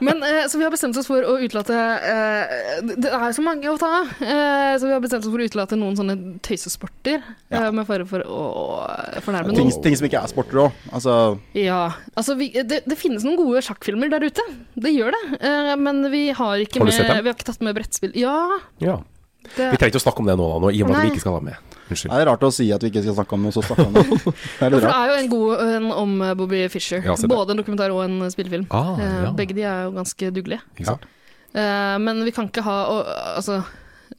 [SPEAKER 2] Men eh, Så vi har bestemt oss for å utelate eh, Det det er så mange å ta av. Eh, så vi har bestemt oss for å utelate noen sånne tøysesporter, eh, med fare for å fornærme
[SPEAKER 1] Ting,
[SPEAKER 2] noen.
[SPEAKER 1] ting som ikke er sporter òg. Altså,
[SPEAKER 2] Ja, altså vi, det, det finnes noen gode sjakkfilmer der ute. Det gjør det. Eh, men vi har ikke
[SPEAKER 3] Har du
[SPEAKER 2] med
[SPEAKER 3] sett dem?
[SPEAKER 2] Vi har ikke tatt med brettspill. Ja,
[SPEAKER 3] Ja.
[SPEAKER 2] det,
[SPEAKER 3] Vi trenger ikke å snakke om det nå, da, nå i og med at vi
[SPEAKER 2] Nei.
[SPEAKER 3] ikke skal ha med. Unnskyld.
[SPEAKER 1] det er rart å si at vi ikke skal snakke om noe, så snakker vi om det. Det er litt
[SPEAKER 2] For det
[SPEAKER 1] rart.
[SPEAKER 2] er jo en god en om eh, Bobby Fischer.
[SPEAKER 3] Ja, se det.
[SPEAKER 2] Både en dokumentar og en spillefilm.
[SPEAKER 3] Ah,
[SPEAKER 2] Eh,
[SPEAKER 3] ja.
[SPEAKER 2] Begge de er jo ganske dugelige.
[SPEAKER 3] Ikke sant?
[SPEAKER 2] Eh, men vi kan ikke ha og, Altså,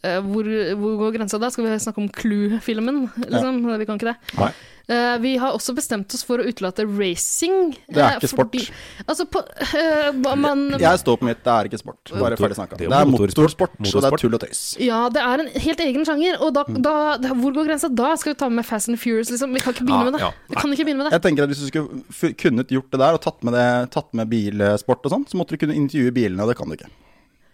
[SPEAKER 2] eh, hvor, hvor går grensa da? Skal vi snakke om Clue-filmen, liksom? Vi kan ikke det.
[SPEAKER 3] Nei.
[SPEAKER 2] Eh, vi har også bestemt oss for å utelate racing.
[SPEAKER 1] Det er
[SPEAKER 2] eh,
[SPEAKER 1] ikke sport.
[SPEAKER 2] fordi- Altså, på, eh, hva man
[SPEAKER 1] Jeg står på mitt, det er ikke sport. Bare
[SPEAKER 3] Motor-
[SPEAKER 1] ferdig snakka.
[SPEAKER 3] det er
[SPEAKER 1] Det
[SPEAKER 3] jo
[SPEAKER 1] er
[SPEAKER 3] motorsport.
[SPEAKER 1] motorsport, så det
[SPEAKER 3] Motorsport.
[SPEAKER 1] er tull og tøys.
[SPEAKER 2] ja, det er en helt egen sjanger, og da,
[SPEAKER 3] Mm.
[SPEAKER 2] da, da Hvor går grensa da? Skal vi ta med Fast and Furious, liksom? Vi kan ikke begynne
[SPEAKER 3] Ah,
[SPEAKER 2] med det.
[SPEAKER 3] ja.
[SPEAKER 2] Vi kan ikke begynne med
[SPEAKER 1] Jeg
[SPEAKER 2] det.
[SPEAKER 1] tenker at Hvis du skulle f- kunnet gjort det der, og tatt med, det, tatt med bilsport og sånn, så måtte du kunne intervjue bilene, og det kan du ikke.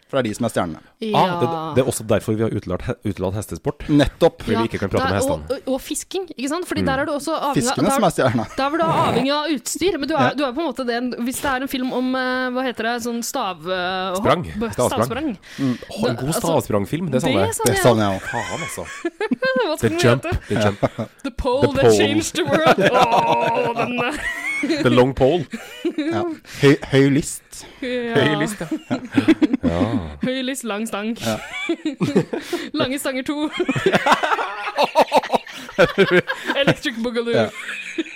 [SPEAKER 1] For det er de som er stjernene.
[SPEAKER 3] Ah, det, det er også derfor vi har utelatt, he- utelatt hestesport.
[SPEAKER 1] Nettopp.
[SPEAKER 3] Fordi vi ikke kan prate
[SPEAKER 2] der-
[SPEAKER 3] med hestene. Mm.
[SPEAKER 2] Og, og, og fisking, ikke sant? Fordi der er du også avhengig av
[SPEAKER 1] Fiskene som er stjerna.
[SPEAKER 2] (laughs) der var du avhengig av utstyr, men du er,
[SPEAKER 1] Ja.
[SPEAKER 2] du er på en måte den Hvis det er en film om eh, hva heter det, sånn stav... eh, hopp,
[SPEAKER 3] Sprang.
[SPEAKER 2] Stavsprang.
[SPEAKER 3] Å, en god
[SPEAKER 2] altså,
[SPEAKER 3] stavsprangfilm, det savner
[SPEAKER 2] det
[SPEAKER 3] jeg.
[SPEAKER 2] savner
[SPEAKER 1] Det savner jeg òg.
[SPEAKER 3] Faen, altså.
[SPEAKER 2] (laughs) Hva
[SPEAKER 3] The
[SPEAKER 2] skal den
[SPEAKER 3] jump.
[SPEAKER 2] hete?
[SPEAKER 3] The, jump.
[SPEAKER 2] The pole
[SPEAKER 3] The
[SPEAKER 2] that
[SPEAKER 3] pole.
[SPEAKER 2] changed the
[SPEAKER 3] (laughs)
[SPEAKER 2] world. Åh, den eh,
[SPEAKER 3] The long pole.
[SPEAKER 1] Ja. Høy, høy list.
[SPEAKER 2] (laughs) eh,
[SPEAKER 3] (laughs)
[SPEAKER 2] ja.
[SPEAKER 3] Høy list, ja.
[SPEAKER 2] Høy list, lang stang. (laughs) Lange stanger
[SPEAKER 3] (laughs)
[SPEAKER 2] to. Electric boogaloo.
[SPEAKER 1] Ja.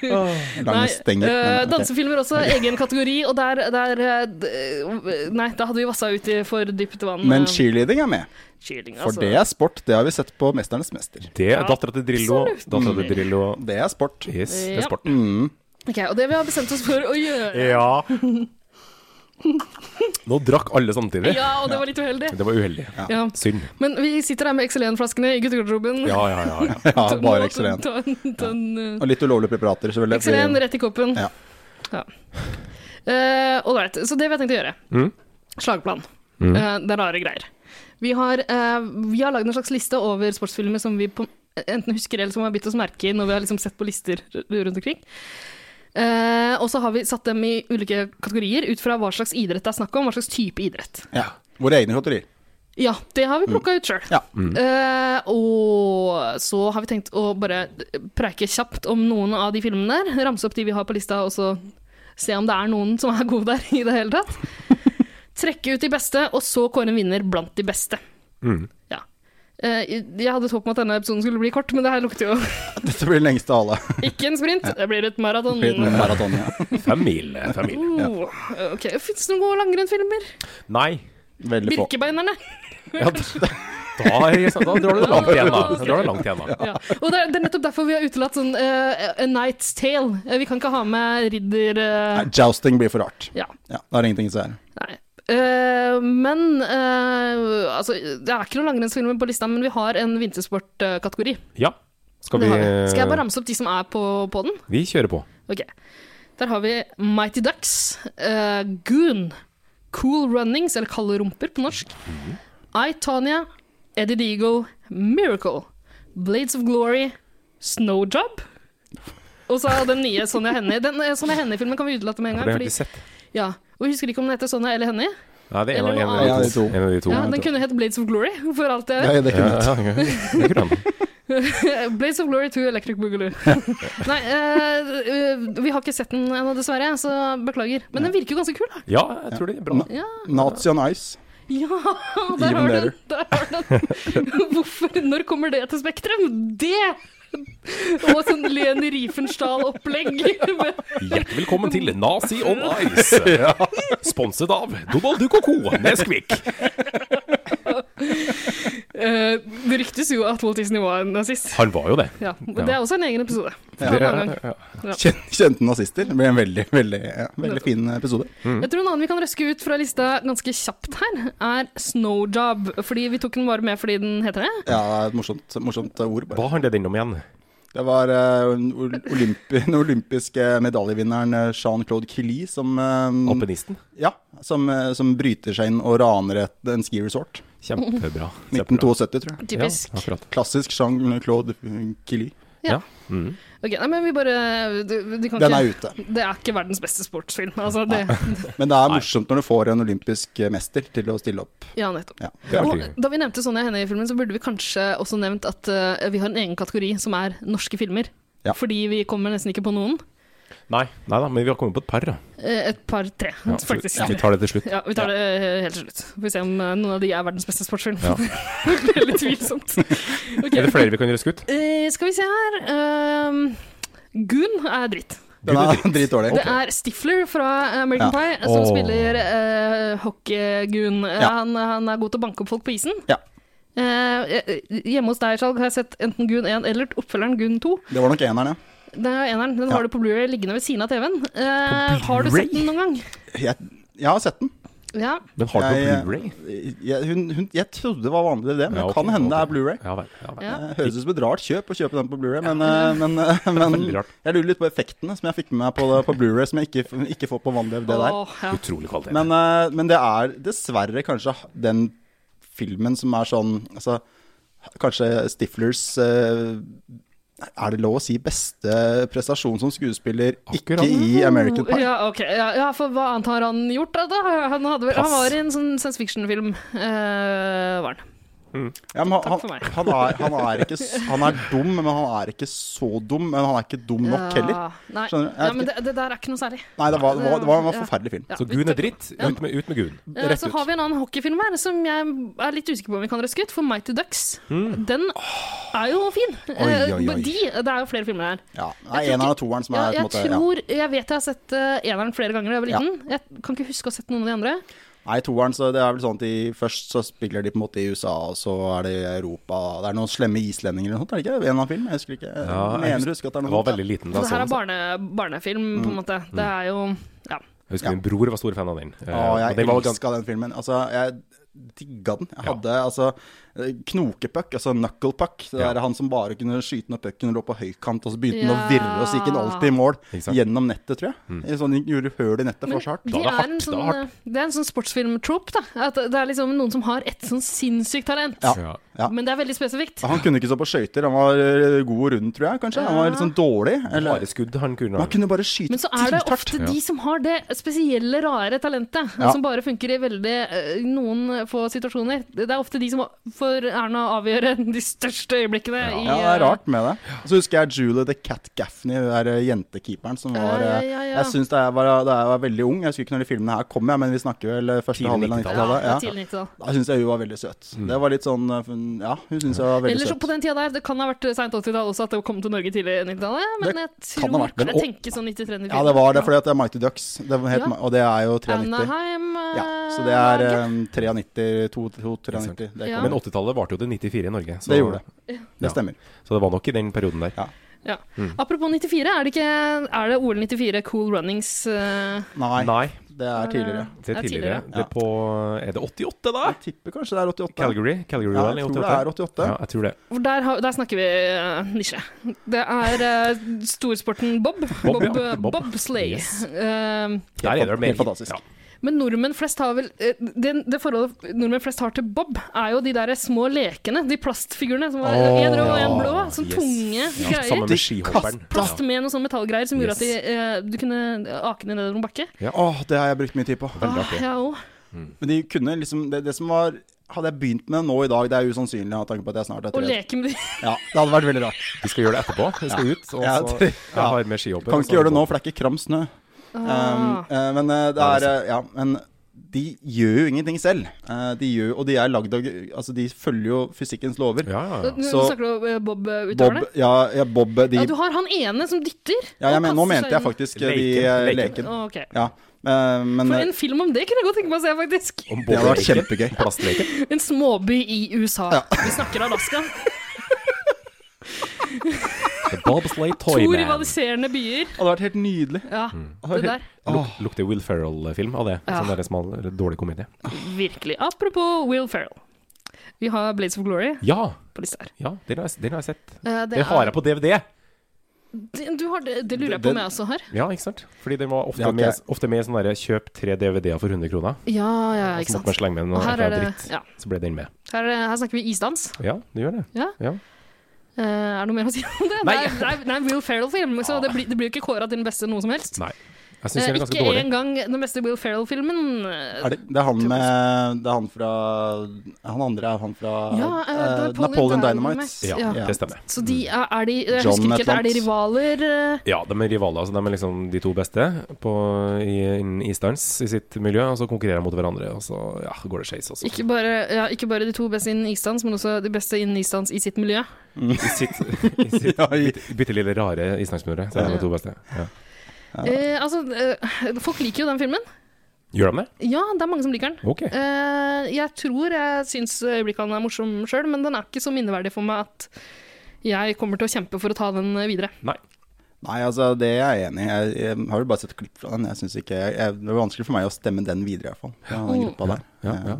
[SPEAKER 1] Lange
[SPEAKER 2] Nei,
[SPEAKER 1] stenger.
[SPEAKER 2] eh,
[SPEAKER 1] Men, ok.
[SPEAKER 2] dansefilmer også, egen kategori, og der, der eh, d- eh, Nei, da hadde vi vassa ut i for dypt vann.
[SPEAKER 1] Men
[SPEAKER 2] eh,
[SPEAKER 1] cheerleading er med.
[SPEAKER 2] cheerleading,
[SPEAKER 1] For
[SPEAKER 2] altså.
[SPEAKER 1] det er sport. Det har vi sett på 'Mesternes mester'.
[SPEAKER 3] Det er dattera til Drillo. Dattera til Drillo.
[SPEAKER 1] Det er sport.
[SPEAKER 3] Yes, det
[SPEAKER 2] Ja.
[SPEAKER 3] er sport.
[SPEAKER 2] Ok, Og det vi har bestemt oss for å
[SPEAKER 1] (laughs)
[SPEAKER 2] gjøre.
[SPEAKER 3] Mm. Ja. Nå drakk alle samtidig.
[SPEAKER 2] Ja, og det var litt uheldig.
[SPEAKER 3] Det var uheldig.
[SPEAKER 2] Ja.
[SPEAKER 3] Synd.
[SPEAKER 2] Men vi sitter her med XLN-flaskene i guttegarderoben.
[SPEAKER 3] Ja, ja, ja. ja.
[SPEAKER 1] (laughs) Ja, bare
[SPEAKER 2] Nå-
[SPEAKER 1] ekstrem.
[SPEAKER 2] ta- ta en, eh,
[SPEAKER 1] Og litt ulovlige preparater, selvfølgelig.
[SPEAKER 2] XLN
[SPEAKER 1] fordi-
[SPEAKER 2] rett i koppen.
[SPEAKER 1] Ja.
[SPEAKER 2] Ja. Eh, Ålreit. så det vi har tenkt å gjøre. Slagplan. Eh, det er rare greier. Vi har, uh, har lagd en slags liste over sportsfilmer som vi på, enten husker eller som har bitt oss merke i når vi har liksom sett på lister r- rundt omkring. Eh, og så har vi satt dem i ulike kategorier ut fra hva slags idrett det er snakk om, hva slags type idrett.
[SPEAKER 1] Ja. Våre egne kategorier.
[SPEAKER 2] Ja, det har vi plukka ut sjøl.
[SPEAKER 1] Mm. Ja.
[SPEAKER 2] Eh, og så har vi tenkt å bare preike kjapt om noen av de filmene der. Ramse opp de vi har på lista, og så se om det er noen som er gode der (laughs) i det hele tatt. Trekke ut de beste, og så kåre en vinner blant de beste. Ja. Eh, jeg hadde et håp om at denne episoden skulle bli kort, men det her lukter jo
[SPEAKER 1] (laughs)
[SPEAKER 2] (laughs)
[SPEAKER 1] Dette blir den lengste av alle.
[SPEAKER 2] ikke en sprint. Det blir et maraton.
[SPEAKER 1] Blir en Maraton, ja.
[SPEAKER 3] Fem mil. Fem
[SPEAKER 2] (laughs)
[SPEAKER 3] mil.
[SPEAKER 2] Oh, ok, Fins det noen gode langrennsfilmer?
[SPEAKER 3] Nei.
[SPEAKER 1] Veldig få.
[SPEAKER 2] Birkebeinerne.
[SPEAKER 3] Ja, (laughs) da, da, er- da drar du det langt igjen, da. da, drar du det langt igjen, da.
[SPEAKER 2] Ja. Og det er, det er nettopp derfor vi har utelatt sånn eh, A Night's Tale. Eh, Vi kan ikke ha med ridder... eh,
[SPEAKER 1] Nei, Jousting blir for rart.
[SPEAKER 2] ja,
[SPEAKER 1] Ja, Da er det ingenting som er
[SPEAKER 2] nei. Eh, men eh, altså, det er ikke noen langrennsfilmer på lista, men vi har en vintersportkategori.
[SPEAKER 3] Ja. Skal
[SPEAKER 2] Det
[SPEAKER 3] vi eh,
[SPEAKER 2] har vi. Skal jeg bare ramse opp de som er på, på den?
[SPEAKER 3] Vi kjører på.
[SPEAKER 2] Ok. Der har vi Mighty Ducks, eh, Goon, Cool Runnings, eller Kalde rumper på norsk,
[SPEAKER 3] Mhm.
[SPEAKER 2] I, Tanya, Eddie Deagle, Miracle, Blades of Glory, Snowjob, og så er den nye Sonja Hennie. Den eh, Sonja Hennie-filmen kan vi utelate med en gang.
[SPEAKER 3] For det har
[SPEAKER 2] Fordi,
[SPEAKER 3] vi ikke sett.
[SPEAKER 2] ja. Og vi husker ikke om den heter Sonja eller Hennie.
[SPEAKER 3] Nei, det er en
[SPEAKER 2] Eller
[SPEAKER 3] av, en
[SPEAKER 2] noe
[SPEAKER 3] av de
[SPEAKER 1] annet.
[SPEAKER 3] to. En av de to.
[SPEAKER 2] Ja, den kunne hett Blades of Glory, (laughs) for alt jeg vet.
[SPEAKER 1] Ja, det
[SPEAKER 3] Ja,
[SPEAKER 1] kunne
[SPEAKER 3] ja, ja. Det er kult, da.
[SPEAKER 2] Blades of Glory to Electric
[SPEAKER 3] (laughs)
[SPEAKER 2] Boogaloo. Nei, eh, eh, vi har ikke sett den ennå, dessverre, så beklager. Men den virker jo ganske kul, da.
[SPEAKER 3] ja, jeg tror det er bra.
[SPEAKER 1] Nazi on Ice.
[SPEAKER 2] (laughs) Ja, der
[SPEAKER 1] Even
[SPEAKER 2] har du den!
[SPEAKER 1] better.
[SPEAKER 2] Der har du den. (laughs) Hvorfor? Når kommer det til Spektrum? Det! (laughs) Og sånn Leni Riefenstahl-opplegg. (laughs)
[SPEAKER 3] Hjertelig velkommen til Nazi on (laughs) Ice. Sponset av Donald Duck og co. Neskvik.
[SPEAKER 2] Eh, Det ryktes jo at Walt Disney var en nazist.
[SPEAKER 3] Han var jo det.
[SPEAKER 2] Ja, men Det er også en egen episode.
[SPEAKER 3] Ja.
[SPEAKER 2] Ta en annen gang.
[SPEAKER 3] ja.
[SPEAKER 1] Kjen- Kjente nazister. Det ble en veldig, veldig, ja, veldig fin episode.
[SPEAKER 3] Mm.
[SPEAKER 2] Jeg tror en annen vi kan røske ut fra lista ganske kjapt her, er Snowjob. Fordi vi tok den bare med fordi den heter det.
[SPEAKER 1] Ja, et morsomt, morsomt ord. Bare.
[SPEAKER 3] Hva handler den om igjen?
[SPEAKER 1] Det var eh, ol- olympi, (laughs) den olympiske medaljevinneren eh, Jean-Claude Killy som, eh,
[SPEAKER 3] Alpinisten?
[SPEAKER 1] ja, som, eh, som bryter seg inn og raner et, en ski resort.
[SPEAKER 3] Kjempebra.
[SPEAKER 1] 1972, tror jeg.
[SPEAKER 2] Typisk.
[SPEAKER 3] Ja, akkurat.
[SPEAKER 1] Klassisk Jean-Claude Killy.
[SPEAKER 2] Ja.
[SPEAKER 3] Ja. Mm.
[SPEAKER 2] Ok, nei, men vi bare de, de kan
[SPEAKER 1] Den er
[SPEAKER 2] ikke,
[SPEAKER 1] ute.
[SPEAKER 2] Det er ikke verdens beste sportsfilm. Altså, det,
[SPEAKER 3] Ah.
[SPEAKER 1] Men det er morsomt når du får en olympisk eh, mester til å stille opp.
[SPEAKER 2] ja, nettopp.
[SPEAKER 1] Ja.
[SPEAKER 3] Det er
[SPEAKER 2] Og
[SPEAKER 3] artig.
[SPEAKER 2] da vi nevnte Sonja Henie i filmen, så burde vi kanskje også nevnt at eh, vi har en egen kategori som er norske filmer.
[SPEAKER 1] Ja.
[SPEAKER 2] Fordi vi kommer nesten ikke på noen.
[SPEAKER 3] Nei, nei da, men vi har kommet på et par, da.
[SPEAKER 2] Eh, et par-tre,
[SPEAKER 3] Ja, så
[SPEAKER 2] faktisk.
[SPEAKER 3] Vi tar det til slutt.
[SPEAKER 2] Ja, vi tar det eh, helt til slutt. Får vi se om eh, noen av de er verdens beste sportsfilm.
[SPEAKER 3] Ja.
[SPEAKER 2] (laughs) det er litt tvilsomt.
[SPEAKER 1] (laughs)
[SPEAKER 2] Ok.
[SPEAKER 3] Er det flere vi kan røske ut?
[SPEAKER 2] Eh, skal vi se her um, Goon er dritt.
[SPEAKER 1] Den er (laughs) dritdårlig.
[SPEAKER 2] Det er Stifler fra eh,
[SPEAKER 1] Ja.
[SPEAKER 2] American Pie som
[SPEAKER 3] Åh.
[SPEAKER 2] spiller eh, hockey-Goon. Eh,
[SPEAKER 1] Ja.
[SPEAKER 2] Han, han er god til å banke opp folk på isen.
[SPEAKER 1] Ja.
[SPEAKER 2] Eh, eh, hjemme hos deg Skjalg, har jeg sett enten Goon 1 eller oppfølgeren Goon 2.
[SPEAKER 1] Det var nok eneren, ja.
[SPEAKER 2] Det er eneren. Den
[SPEAKER 1] Ja.
[SPEAKER 2] har du på Blu-ray liggende ved siden av TV-en. Eh, har du sett den noen gang?
[SPEAKER 1] Jeg, jeg har sett den.
[SPEAKER 2] Ja.
[SPEAKER 3] Men har du
[SPEAKER 1] Jeg-
[SPEAKER 3] på Blu-ray?
[SPEAKER 1] Jeg, hun, hun, jeg trodde det var vanlig DVD, men
[SPEAKER 3] Ja,
[SPEAKER 1] det
[SPEAKER 3] ok,
[SPEAKER 1] kan hende det
[SPEAKER 3] ok.
[SPEAKER 1] er Blu-ray.
[SPEAKER 3] Ja vel. Ja, vel.
[SPEAKER 2] ja.
[SPEAKER 1] Eh, Høres ut som et rart kjøp å kjøpe den på Blu-ray, men, eh, men,
[SPEAKER 3] (laughs)
[SPEAKER 1] eh, men
[SPEAKER 3] Veldig rart.
[SPEAKER 1] jeg lurer litt på effektene som jeg fikk med meg på, det- på Blu-ray, som jeg ikke, ikke får på vanlig DVD der.
[SPEAKER 2] Åh, ja.
[SPEAKER 3] Utrolig kvalitet.
[SPEAKER 1] Men, eh, men det er dessverre kanskje den filmen som er sånn altså, Kanskje Stiflers eh, Er det lov å si beste prestasjon som skuesspiller
[SPEAKER 3] Akkurat.
[SPEAKER 1] ikke i American Pie?
[SPEAKER 2] Ja, ok. ja, ja, for hva annet har han gjort da? da? Han, hadde, vel- han
[SPEAKER 3] Pass.
[SPEAKER 2] var i en sånn science fiction-film, eh, var han.
[SPEAKER 1] Ja, men
[SPEAKER 2] Takk
[SPEAKER 1] han,
[SPEAKER 2] for meg.
[SPEAKER 1] han, er, han, er ikke, s- han er dum, men han er ikke så dum. Men han er ikke dum nok heller.
[SPEAKER 2] Ja, Nei,
[SPEAKER 1] Skjønner du? Jeg
[SPEAKER 2] ja,
[SPEAKER 1] vet
[SPEAKER 2] men
[SPEAKER 1] ikke.
[SPEAKER 2] det, det der er ikke noe særlig.
[SPEAKER 1] Nei, det var, det var, det var, det var en
[SPEAKER 2] Ja.
[SPEAKER 1] forferdelig film.
[SPEAKER 2] Ja,
[SPEAKER 3] Så
[SPEAKER 2] vi-
[SPEAKER 3] Gun er dritt. Ut med, ut med Gun.
[SPEAKER 2] Ja,
[SPEAKER 1] Rett
[SPEAKER 2] så
[SPEAKER 1] ut.
[SPEAKER 2] har vi en annen hockeyfilm her som jeg er litt usikker på om vi kan røske ut, for Mighty Ducks. Den er jo fin.
[SPEAKER 1] Mm.
[SPEAKER 2] Eh,
[SPEAKER 1] oi, oi.
[SPEAKER 2] De, det er jo flere filmer her.
[SPEAKER 1] Ja, det er
[SPEAKER 2] Jeg tror
[SPEAKER 1] eneren
[SPEAKER 2] ikke-
[SPEAKER 1] og toeren som
[SPEAKER 2] Ja,
[SPEAKER 1] er på en
[SPEAKER 2] jeg
[SPEAKER 1] måte ja.
[SPEAKER 2] tror, jeg vet jeg har sett eh, eneren flere ganger da jeg
[SPEAKER 1] Ja.
[SPEAKER 2] var liten. Jeg kan ikke huske å ha sett noen av de andre.
[SPEAKER 1] Nei, toeren, så det er vel sånn at de, først så spiller de på en måte i USA, og så er det i Europa Det er noen slemme islendinger eller noe sånt, er det ikke? En eller annen film? Jeg husker ikke. Ja,
[SPEAKER 3] Ja, jeg
[SPEAKER 1] Mener
[SPEAKER 3] husker-
[SPEAKER 1] du husker at det er noe
[SPEAKER 3] Jeg var
[SPEAKER 1] sånt?
[SPEAKER 3] veldig liten da
[SPEAKER 2] Så det
[SPEAKER 3] jeg så
[SPEAKER 2] her
[SPEAKER 3] den.
[SPEAKER 2] er
[SPEAKER 3] så-
[SPEAKER 2] barne, barnefilm, på en
[SPEAKER 1] Mm.
[SPEAKER 2] måte. Det er jo ja.
[SPEAKER 3] Jeg husker min bror var stor fan av den. Eh,
[SPEAKER 1] Å,
[SPEAKER 3] og
[SPEAKER 1] jeg
[SPEAKER 3] den var ganske
[SPEAKER 1] elska den filmen. Altså, jeg digga den. Jeg hadde altså knokepuck, altså knuckle puck. Det
[SPEAKER 3] Ja.
[SPEAKER 1] er han som bare kunne skyte når pucken lå på høykant, og så begynte den å
[SPEAKER 2] Ja.
[SPEAKER 1] virre, og så gikk den alltid i mål.
[SPEAKER 3] Ikke sant? Mm.
[SPEAKER 1] Gjennom nettet, tror jeg. Sånn gjorde hull i nettet for så hardt.
[SPEAKER 2] det,
[SPEAKER 3] Da er det
[SPEAKER 2] er
[SPEAKER 3] hardt,
[SPEAKER 2] en
[SPEAKER 3] da er
[SPEAKER 2] sånn,
[SPEAKER 3] det hardt.
[SPEAKER 2] eh, det er en sånn sportsfilm-trope. da. At det er liksom noen som har et sånn sinnssykt talent.
[SPEAKER 1] Ja.
[SPEAKER 3] Ja.
[SPEAKER 1] Ja.
[SPEAKER 2] Men det er veldig spesifikt.
[SPEAKER 1] Han kunne ikke stå på skøyter, han var ø, god rundt, tror jeg, kanskje. Han var litt sånn dårlig. Eller,
[SPEAKER 3] Bare skudd han kunne
[SPEAKER 1] han kunne bare skyte
[SPEAKER 2] Men så er det
[SPEAKER 1] tiltart.
[SPEAKER 2] ofte de som har det spesielle, rare talentet,
[SPEAKER 1] Ja.
[SPEAKER 2] som bare funker i veldig eh, noen få situasjoner. Det er ofte de som får æren av å avgjøre de største øyeblikkene i
[SPEAKER 1] Ja, det er rart med det. Så husker jeg Julie the Cat Gaffney, den der eh, jentekeeperen som var
[SPEAKER 2] Ja, ja,
[SPEAKER 1] eh,
[SPEAKER 2] ja, ja.
[SPEAKER 1] Jeg syns da jeg var, da jeg var veldig ung, jeg husker ikke når de filmene her kom, jeg, men vi snakker vel eh, første
[SPEAKER 3] Tidlig Mm.
[SPEAKER 1] halvdel av
[SPEAKER 3] 90-tallet.
[SPEAKER 2] Ja,
[SPEAKER 1] 90-tallet. Ja.
[SPEAKER 2] tidlig 90-tall.
[SPEAKER 1] Da syns jeg hun var veldig søt. Det var litt sånn eh, fun- Ja, hun syns jeg var veldig
[SPEAKER 2] Eller så på
[SPEAKER 1] søt.
[SPEAKER 2] den tida der, det kan ha vært seint 80-tall også, at det kom til Norge tidlig 90-tallet. Men
[SPEAKER 1] Det kan
[SPEAKER 2] jeg
[SPEAKER 1] ha
[SPEAKER 2] tror
[SPEAKER 1] vært, men-
[SPEAKER 2] Jeg tenker sånn 93-94.
[SPEAKER 1] Ja, det var det, fordi at det er Mighty Ducks, det var helt,
[SPEAKER 2] Ja.
[SPEAKER 1] ma- og det er jo 93.
[SPEAKER 2] Anaheim eh,
[SPEAKER 1] Ja, så det er
[SPEAKER 2] laget.
[SPEAKER 1] eh, 93, 2-93. Det,
[SPEAKER 2] Ja.
[SPEAKER 1] kommer.
[SPEAKER 3] Men 80-tallet varte jo til 94 i Norge. Så
[SPEAKER 1] det gjorde det.
[SPEAKER 3] Ja.
[SPEAKER 1] Det stemmer.
[SPEAKER 3] Så det var nok i den perioden der.
[SPEAKER 1] Ja.
[SPEAKER 2] Ja.
[SPEAKER 1] mm.
[SPEAKER 2] Apropos 94, er det, ikke, er det OL 94 Cool Runnings eh,
[SPEAKER 1] Nei,
[SPEAKER 3] Nei,
[SPEAKER 1] det er tidligere.
[SPEAKER 3] det er
[SPEAKER 2] Ja, tidligere.
[SPEAKER 3] tidligere. Det er, på, er det 88, da?
[SPEAKER 1] Jeg tipper kanskje det er 88.
[SPEAKER 3] Calgary? Calgary
[SPEAKER 1] Ja,
[SPEAKER 3] Rally
[SPEAKER 1] jeg
[SPEAKER 3] 88?
[SPEAKER 1] tror det er 88.
[SPEAKER 3] Ja, jeg tror det.
[SPEAKER 2] For der, har- der snakker vi eh, nisje. Det er eh, storsporten bob.
[SPEAKER 3] Bob,
[SPEAKER 2] Bob,
[SPEAKER 3] ja.
[SPEAKER 2] eh,
[SPEAKER 3] Bob.
[SPEAKER 2] bobsleigh.
[SPEAKER 3] Yes.
[SPEAKER 2] Eh,
[SPEAKER 3] Der er det
[SPEAKER 1] Helt
[SPEAKER 3] mer-
[SPEAKER 1] fantastisk.
[SPEAKER 3] Ja.
[SPEAKER 2] men nordmenn flest har vel eh, det, det forholdet nordmenn flest har til bob, er jo de der små lekene. De plastfigurene som var
[SPEAKER 3] Åh,
[SPEAKER 2] én rød og én
[SPEAKER 3] ja.
[SPEAKER 2] blå. Sånn
[SPEAKER 3] Yes.
[SPEAKER 2] tunge
[SPEAKER 3] Ja, sammen
[SPEAKER 2] greier.
[SPEAKER 3] med skihopperen.
[SPEAKER 2] Plast med noe sånn metallgreier som gjorde at de,
[SPEAKER 3] Yes.
[SPEAKER 2] eh, du kunne ake ned nedover en bakke.
[SPEAKER 1] Åh, det har jeg brukt mye tid på.
[SPEAKER 3] Veldig
[SPEAKER 2] Ah,
[SPEAKER 3] artig.
[SPEAKER 2] ja, og.
[SPEAKER 1] Men de kunne liksom Det, det som var Hadde jeg begynt med det nå i dag, det er usannsynlig av tanke på at jeg snart er
[SPEAKER 2] og
[SPEAKER 1] 30.
[SPEAKER 2] leke med de
[SPEAKER 1] Ja, det hadde vært veldig rart.
[SPEAKER 3] Vi skal gjøre det etterpå. Vi skal ut. Og
[SPEAKER 1] Ja,
[SPEAKER 3] så
[SPEAKER 1] det-
[SPEAKER 3] jeg har med skihopper.
[SPEAKER 1] Kan
[SPEAKER 3] og så-
[SPEAKER 1] ikke gjøre det nå, for det er ikke kram snø. Um,
[SPEAKER 2] Ah.
[SPEAKER 1] eh, men eh, det
[SPEAKER 3] Nei,
[SPEAKER 1] er
[SPEAKER 3] det
[SPEAKER 1] eh, Ja, men de gjør jo ingenting selv. Eh, de gjør, og de er lagd av Altså, de følger jo fysikkens lover.
[SPEAKER 3] Ja, ja, ja.
[SPEAKER 2] Nå
[SPEAKER 1] Så-
[SPEAKER 2] snakker du om eh, Bob-utøverne?
[SPEAKER 1] Bob, ja, ja, Bob eh, de,
[SPEAKER 2] Ja,
[SPEAKER 1] ja,
[SPEAKER 2] du har han ene som dytter.
[SPEAKER 1] jeg
[SPEAKER 2] og
[SPEAKER 1] men, Nå
[SPEAKER 2] kaster
[SPEAKER 1] mente
[SPEAKER 2] seg
[SPEAKER 1] jeg
[SPEAKER 2] inn.
[SPEAKER 1] faktisk eh,
[SPEAKER 8] Leken,
[SPEAKER 1] de eh, leken.
[SPEAKER 8] leken.
[SPEAKER 2] Å, ok.
[SPEAKER 1] Ja, eh, men
[SPEAKER 2] For
[SPEAKER 1] eh,
[SPEAKER 2] en film om det kunne jeg godt tenke meg å se, faktisk.
[SPEAKER 3] Om
[SPEAKER 1] det var
[SPEAKER 3] Bob-leken.
[SPEAKER 1] kjempegøy.
[SPEAKER 3] Plastleken.
[SPEAKER 2] En småby i USA. Vi snakker
[SPEAKER 3] (laughs)
[SPEAKER 2] Alaska.
[SPEAKER 3] The Bobsleigh
[SPEAKER 2] To
[SPEAKER 3] Toy Man. Mm.
[SPEAKER 2] rivaliserende byer.
[SPEAKER 1] Det hadde vært helt nydelig.
[SPEAKER 2] Ja, det der.
[SPEAKER 3] Luk, lukter Will Ferrell-film av det.
[SPEAKER 2] Ja.
[SPEAKER 3] Sånn der smal, eller dårlig komedie.
[SPEAKER 2] Virkelig. Apropos Will Ferrell. Vi har Blades of Glory
[SPEAKER 3] Ja!
[SPEAKER 2] på lista her.
[SPEAKER 3] ja den, har jeg, den har jeg sett.
[SPEAKER 2] Eh,
[SPEAKER 3] Den har jeg på DVD!
[SPEAKER 2] Det, du har, det, det lurer jeg på
[SPEAKER 1] Det-
[SPEAKER 2] om jeg også har.
[SPEAKER 3] Ja, ikke sant? Fordi den var ofte,
[SPEAKER 1] Det har ikke
[SPEAKER 3] med,
[SPEAKER 1] jeg.
[SPEAKER 3] ofte med i sånn derre kjøp tre DVD-er for 100 kroner.
[SPEAKER 2] Ja, ja,
[SPEAKER 3] Og
[SPEAKER 2] ikke
[SPEAKER 3] Så måtte man
[SPEAKER 2] sant.
[SPEAKER 3] slenge med
[SPEAKER 2] Og
[SPEAKER 3] noe
[SPEAKER 2] her er
[SPEAKER 3] ekstra
[SPEAKER 2] det
[SPEAKER 3] dritt.
[SPEAKER 2] ja.
[SPEAKER 3] Så ble den med.
[SPEAKER 2] her, er det- her snakker vi isdans.
[SPEAKER 3] Ja, det gjør det.
[SPEAKER 2] Ja.
[SPEAKER 3] Ja.
[SPEAKER 2] Eh, er det noe mer å si om det?
[SPEAKER 3] Nei.
[SPEAKER 2] Det, er, det, er, det er en Will Ferrell-film, så det blir, det blir jo ikke kåra til den beste noe som helst.
[SPEAKER 3] Nei. Jeg syns
[SPEAKER 2] Eh,
[SPEAKER 3] den er ganske
[SPEAKER 2] ikke
[SPEAKER 3] dårlig.
[SPEAKER 2] engang den beste Will Ferrell-filmen.
[SPEAKER 1] Er det, det er han med Det er han fra Han andre er han fra
[SPEAKER 2] Ja, eh, det er
[SPEAKER 1] eh, Napoleon
[SPEAKER 2] Napoleon
[SPEAKER 1] Dynamite.
[SPEAKER 2] Dynamite.
[SPEAKER 3] Ja,
[SPEAKER 2] Ja.
[SPEAKER 3] det stemmer.
[SPEAKER 2] Så de er, er de Jeg
[SPEAKER 1] John
[SPEAKER 2] husker ikke helt,
[SPEAKER 1] Atlant.
[SPEAKER 2] er de rivaler? eh?
[SPEAKER 3] Ja, de er rivaler. Så de er liksom de to beste på, i, innen isdans i sitt miljø. Og så konkurrerer de mot hverandre, og så ja, går det skeis også.
[SPEAKER 2] Ikke bare, ja, ikke bare de to beste innen isdans, men også de beste innen isdans i sitt miljø.
[SPEAKER 3] I sitt, i
[SPEAKER 1] (laughs) (laughs)
[SPEAKER 3] sitt
[SPEAKER 1] Ja, i-
[SPEAKER 3] bitte, bitte lille rare isdansmiljø. Så er de to beste. Ja.
[SPEAKER 2] Eh, altså, eh, folk liker jo den filmen.
[SPEAKER 3] Gjør de det?
[SPEAKER 2] Ja, det er mange som liker den.
[SPEAKER 3] Ok.
[SPEAKER 2] Eh, jeg tror jeg syns øyeblikkene er morsom sjøl, men den er ikke så minneverdig for meg at jeg kommer til å kjempe for å ta den videre.
[SPEAKER 3] Nei.
[SPEAKER 1] Nei, altså, det er jeg enig i. Jeg, jeg har jo bare sett klipp fra den. Jeg synes ikke, jeg, jeg, det var vanskelig for meg å stemme den videre, i hvert fall. Ja, den gruppa der.
[SPEAKER 3] Ja, ja, ja.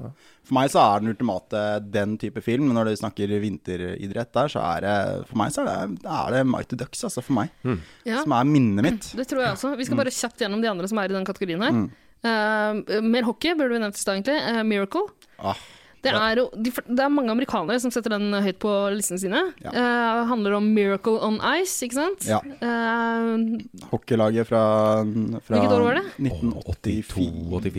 [SPEAKER 1] For meg så er den ultimate den type film. Men når du snakker vinteridrett der, så er det For meg så er det, er det Mighty Ducks, altså. For meg.
[SPEAKER 2] Ja,
[SPEAKER 1] Som er minnet mitt.
[SPEAKER 2] det tror jeg også. Vi
[SPEAKER 1] Mm.
[SPEAKER 2] skal bare kjapt gjennom de andre som er i den kategorien her. Eh, mer hockey burde vi nevnt i stad, egentlig. Eh, Miracle.
[SPEAKER 1] Ah,
[SPEAKER 2] Det er, jo- de, fl- det er mange amerikanere som setter den høyt på listene sine.
[SPEAKER 1] Ja.
[SPEAKER 2] Eh, handler om Miracle on Ice, ikke sant?
[SPEAKER 1] Ja.
[SPEAKER 2] Eh,
[SPEAKER 1] hockeylaget fra, fra
[SPEAKER 2] Hvilket år var det?
[SPEAKER 1] 1982.
[SPEAKER 3] 82,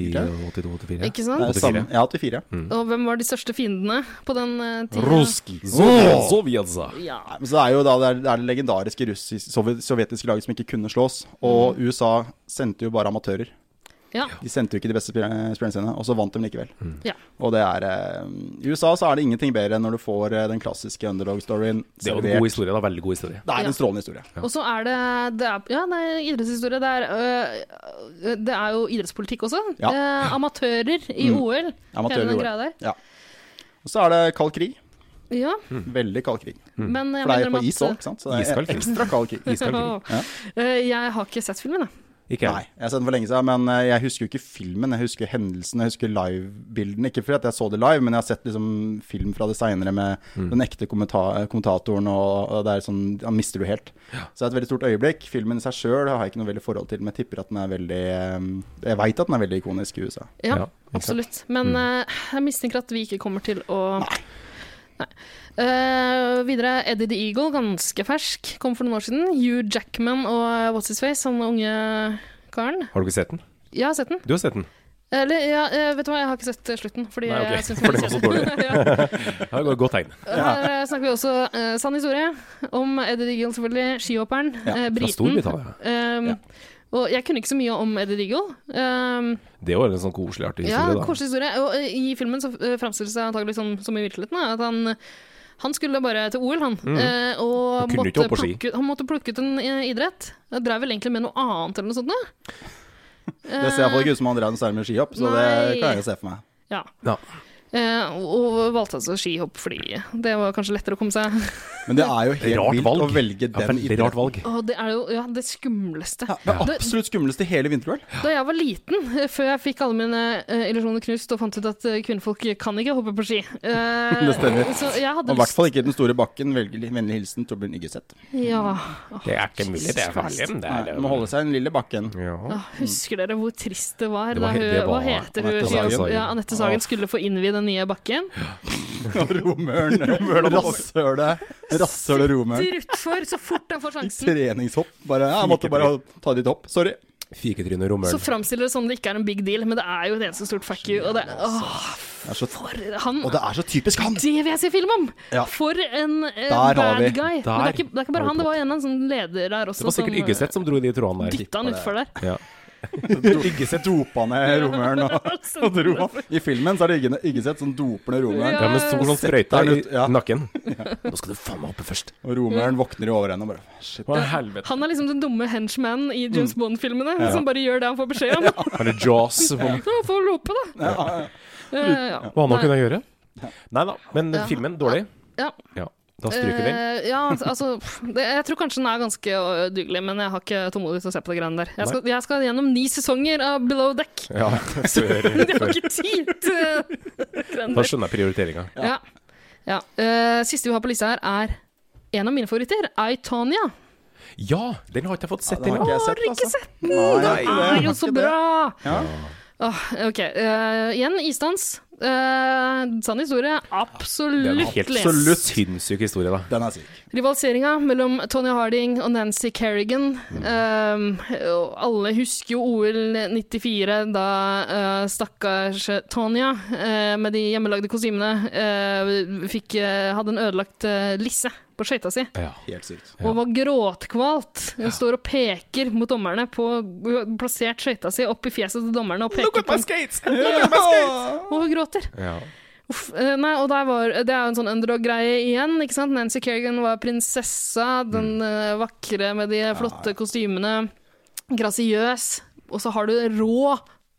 [SPEAKER 3] 84, 84.
[SPEAKER 2] ikke sant?
[SPEAKER 1] Det er samme- Ja, 84. ja.
[SPEAKER 2] Og hvem var de største fiendene på den eh, tiden?
[SPEAKER 3] Rusk.
[SPEAKER 2] Ja.
[SPEAKER 1] Men så er jo da, det, er, det er det legendariske russisk, sovjet, sovjetiske laget som ikke kunne slås. Og
[SPEAKER 3] Mm.
[SPEAKER 1] USA sendte jo bare amatører.
[SPEAKER 2] Ja.
[SPEAKER 1] De sendte jo ikke de beste spillerne spillerne sine, og så vant de likevel.
[SPEAKER 3] Mm.
[SPEAKER 2] ja.
[SPEAKER 1] Og det er eh, I USA så er det ingenting bedre enn når du får eh, den klassiske underdog-storyen.
[SPEAKER 3] Det er jo
[SPEAKER 1] servert.
[SPEAKER 3] en god historie, da. Veldig god historie.
[SPEAKER 1] Det er
[SPEAKER 2] Ja.
[SPEAKER 1] en strålende historie.
[SPEAKER 2] Og så er det, det er, Ja, det er idrettshistorie. Det er, øh, det er jo idrettspolitikk også.
[SPEAKER 1] Ja. Mm.
[SPEAKER 2] Eh, amatører i OL, hele
[SPEAKER 1] Amatører
[SPEAKER 2] den
[SPEAKER 1] i
[SPEAKER 2] greia der.
[SPEAKER 1] OL. Ja. Og så er det kald krig.
[SPEAKER 2] Ja,
[SPEAKER 1] Veldig kald krig.
[SPEAKER 2] men eh, jeg
[SPEAKER 1] For det er jo på
[SPEAKER 2] mener
[SPEAKER 1] is òg,
[SPEAKER 2] (laughs)
[SPEAKER 1] ikke sant? Så det
[SPEAKER 3] Mm. Iskald
[SPEAKER 1] er
[SPEAKER 3] krig.
[SPEAKER 1] ekstra kald krig.
[SPEAKER 3] (laughs) Iskald krig.
[SPEAKER 1] Ja.
[SPEAKER 2] Eh, Jeg har ikke sett filmen, jeg.
[SPEAKER 3] Ikke
[SPEAKER 1] Nei,
[SPEAKER 3] jeg.
[SPEAKER 1] jeg har sett den for lenge siden, men eh, jeg husker jo ikke filmen. Jeg husker hendelsen, jeg husker livebildene. Ikke fordi at jeg så det live, men jeg har sett liksom film fra det seinere med
[SPEAKER 3] Mm.
[SPEAKER 1] den ekte kommenta kommentatoren, og, og det er sånn Han mister du helt. Så det er et veldig stort øyeblikk. Filmen i seg sjøl har jeg ikke noe veldig forhold til, men jeg tipper at den er veldig eh, Jeg veit at den er veldig ikonisk i USA.
[SPEAKER 2] Ja,
[SPEAKER 3] Ja, ikke sant. Mm.
[SPEAKER 2] absolutt. Men eh, jeg mistenker at vi ikke kommer til å Nei. Eh, videre Eddie the Eagle, ganske fersk, kom for noen år siden. Hugh Jackman og eh, What's His Face, han unge karen.
[SPEAKER 3] Har du ikke sett den?
[SPEAKER 2] Jeg har sett den.
[SPEAKER 3] Du har
[SPEAKER 1] (laughs)
[SPEAKER 3] sett den.
[SPEAKER 2] Eller, ja, eh, vet du hva, jeg har ikke sett eh, slutten, fordi
[SPEAKER 3] Nei, ok.
[SPEAKER 2] jeg syns
[SPEAKER 3] (laughs) For det var så dårlig.
[SPEAKER 2] (laughs) ja.
[SPEAKER 3] Det er jo et godt tegn.
[SPEAKER 2] Her eh, snakker vi også eh, sann historie om Eddie Diggle, selvfølgelig. Skihopperen. eh,
[SPEAKER 3] Fra
[SPEAKER 2] briten.
[SPEAKER 3] Storbritannia.
[SPEAKER 2] Um, Og jeg kunne ikke så mye om Eddie Diggle. Um,
[SPEAKER 3] Det er jo en sånn koselig, artig
[SPEAKER 2] ja,
[SPEAKER 3] historie, da.
[SPEAKER 2] koselig historie. Og eh, i filmen så eh, framstilles det antagelig sånn som i virkeligheten, da, at han han skulle bare til OL, han.
[SPEAKER 1] Mm.
[SPEAKER 2] eh,
[SPEAKER 3] Han
[SPEAKER 2] Og
[SPEAKER 3] kunne ikke
[SPEAKER 2] måtte
[SPEAKER 3] hoppe på ski.
[SPEAKER 2] plukke, ut- han måtte plukke ut en eh, idrett. Jeg drev vel egentlig med noe annet eller noe sånt. Da.
[SPEAKER 1] (laughs) Det ser iallfall ikke ut som han drev noe særlig med skihopp, så
[SPEAKER 2] Nei.
[SPEAKER 1] det kan jeg jo se for meg.
[SPEAKER 2] Ja.
[SPEAKER 3] Ja.
[SPEAKER 2] Eh, og og valgte altså skihopp fordi det var kanskje lettere å komme seg (laughs)
[SPEAKER 1] Men det er jo helt
[SPEAKER 3] Rart
[SPEAKER 1] vilt
[SPEAKER 3] valg.
[SPEAKER 1] å velge
[SPEAKER 3] Ja,
[SPEAKER 1] den
[SPEAKER 3] veldig rart valg.
[SPEAKER 2] Å, det er jo ja, det skumleste.
[SPEAKER 1] Ja, det
[SPEAKER 2] Det-
[SPEAKER 1] absolutt skumleste i hele vinter-OL.
[SPEAKER 2] Da jeg var liten, eh, før jeg fikk alle mine eh, illusjoner knust og fant ut at eh, kvinnfolk kan ikke hoppe
[SPEAKER 1] (laughs)
[SPEAKER 2] på ski eh,
[SPEAKER 1] Det stemmer.
[SPEAKER 2] Så jeg
[SPEAKER 1] Og
[SPEAKER 2] hadde
[SPEAKER 1] i hvert fall ikke den store bakken. Velger vennlig hilsen Torbjørn Iggeseth.
[SPEAKER 2] Ja.
[SPEAKER 3] Det er ikke mulig, det er farlig. men Det
[SPEAKER 1] Nei,
[SPEAKER 3] er,
[SPEAKER 1] Du må holde seg i den lille
[SPEAKER 3] (laughs)
[SPEAKER 1] bakken.
[SPEAKER 3] Ja.
[SPEAKER 2] Åh, Husker dere hvor trist det var
[SPEAKER 3] Det
[SPEAKER 2] da
[SPEAKER 3] var
[SPEAKER 2] hun
[SPEAKER 3] he- det
[SPEAKER 2] Hva
[SPEAKER 3] var
[SPEAKER 2] heter hun?
[SPEAKER 1] Anette
[SPEAKER 2] skihopp-
[SPEAKER 3] Sagen.
[SPEAKER 2] Ja, Anette Sagen skulle få innvie den nye bakken.
[SPEAKER 1] Romøren. Rasshølet. Rasshølet og romøren.
[SPEAKER 2] Utfor så fort han får (laughs) sjansen.
[SPEAKER 1] Treningshopp. Bare, ja, jeg måtte bare ta ditt hopp. Sorry.
[SPEAKER 3] Fiketryne og
[SPEAKER 2] Så
[SPEAKER 3] romøren.
[SPEAKER 2] framstiller det som det ikke er en big deal, men det er jo et eneste stort fuck you. Og det, åh,
[SPEAKER 1] Det er så,
[SPEAKER 2] for han
[SPEAKER 1] og det er så typisk han!
[SPEAKER 2] Det vil jeg se film om!
[SPEAKER 1] Ja.
[SPEAKER 2] For en eh,
[SPEAKER 1] har
[SPEAKER 2] bad
[SPEAKER 1] vi.
[SPEAKER 2] guy. Men det
[SPEAKER 3] Der
[SPEAKER 2] er, ikke, det er ikke
[SPEAKER 3] har vi
[SPEAKER 2] bare han, det
[SPEAKER 3] fått.
[SPEAKER 2] var en eller annen sånn leder der også
[SPEAKER 3] Det var sikkert
[SPEAKER 2] som
[SPEAKER 3] Yggeseth som dro i de trådene der.
[SPEAKER 2] dytta han utfor der.
[SPEAKER 3] Ja.
[SPEAKER 1] Iggeseth dopa ned romeren.
[SPEAKER 2] (laughs)
[SPEAKER 1] Og,
[SPEAKER 2] sånn
[SPEAKER 1] og dro. han. I filmen så er det Igge- Iggeseth som doper ned romeren.
[SPEAKER 3] Ja, med stor sånn sprøyte
[SPEAKER 1] Setter
[SPEAKER 3] i
[SPEAKER 1] den ut, (laughs) ja.
[SPEAKER 3] nakken. Nå skal du faen meg hoppe først.
[SPEAKER 1] Og romeren våkner i overenden og bare Shit.
[SPEAKER 3] Hva i helvete?
[SPEAKER 2] Han er liksom den dumme henchman i James Bond-filmene som bare gjør det han får beskjed om.
[SPEAKER 3] Har du jaws på
[SPEAKER 2] Så han får lope, da. Eh, ja.
[SPEAKER 3] Hva annet
[SPEAKER 2] Nei.
[SPEAKER 3] kunne jeg gjøre? Nei da, men
[SPEAKER 2] Ja.
[SPEAKER 3] filmen, dårlig.
[SPEAKER 2] Ja.
[SPEAKER 3] Ja, Da stryker vi den.
[SPEAKER 2] Eh, ja, altså pff, det, Jeg tror kanskje den er ganske udugelig, men jeg har ikke tålmodighet til å se på de greiene der. Jeg skal, jeg skal gjennom ni sesonger av Below Deck.
[SPEAKER 3] Ja, (laughs)
[SPEAKER 2] Jeg
[SPEAKER 3] før,
[SPEAKER 2] har
[SPEAKER 3] før.
[SPEAKER 2] ikke tid til de greiene
[SPEAKER 3] Da
[SPEAKER 2] der.
[SPEAKER 3] skjønner jeg prioriteringa.
[SPEAKER 2] Ja. ja. Eh, siste vi har på lista her, er en av mine favoritter, I, Tonya.
[SPEAKER 3] Ja, den har ikke jeg fått sett
[SPEAKER 1] den har
[SPEAKER 3] ennå.
[SPEAKER 1] ikke jeg sett, altså. Nei,
[SPEAKER 2] Det er jo
[SPEAKER 1] har
[SPEAKER 2] så
[SPEAKER 1] ikke det.
[SPEAKER 2] bra!
[SPEAKER 1] Ja.
[SPEAKER 2] Åh, ok, eh, igjen isdans. Eh, sann historie.
[SPEAKER 3] Det er en
[SPEAKER 2] Absolutt
[SPEAKER 3] helt
[SPEAKER 2] les.
[SPEAKER 3] sinnssyk historie, da.
[SPEAKER 1] Den er syk.
[SPEAKER 2] Rivaliseringa mellom Tony Harding og Nancy Kerrigan.
[SPEAKER 3] Mm.
[SPEAKER 2] Eh, og alle husker jo OL 94, da eh, stakkars Tonya eh, med de hjemmelagde kostymene eh, fikk, eh, hadde en ødelagt eh, lisse på skøyta si.
[SPEAKER 3] Ja.
[SPEAKER 1] Helt sykt.
[SPEAKER 2] Og var gråtkvalt. Hun står og peker mot dommerne på Hun har plassert skøyta si opp i fjeset til dommerne og peker på
[SPEAKER 3] skates!
[SPEAKER 2] Og hun gråter.
[SPEAKER 3] Ja.
[SPEAKER 2] Uff, eh, nei, og der var, det er jo en sånn underdog-greie igjen. ikke sant? Nancy Kerrigan var prinsessa, den
[SPEAKER 3] Mm.
[SPEAKER 2] eh, vakre med de flotte kostymene. Grasiøs. Og så har du det rå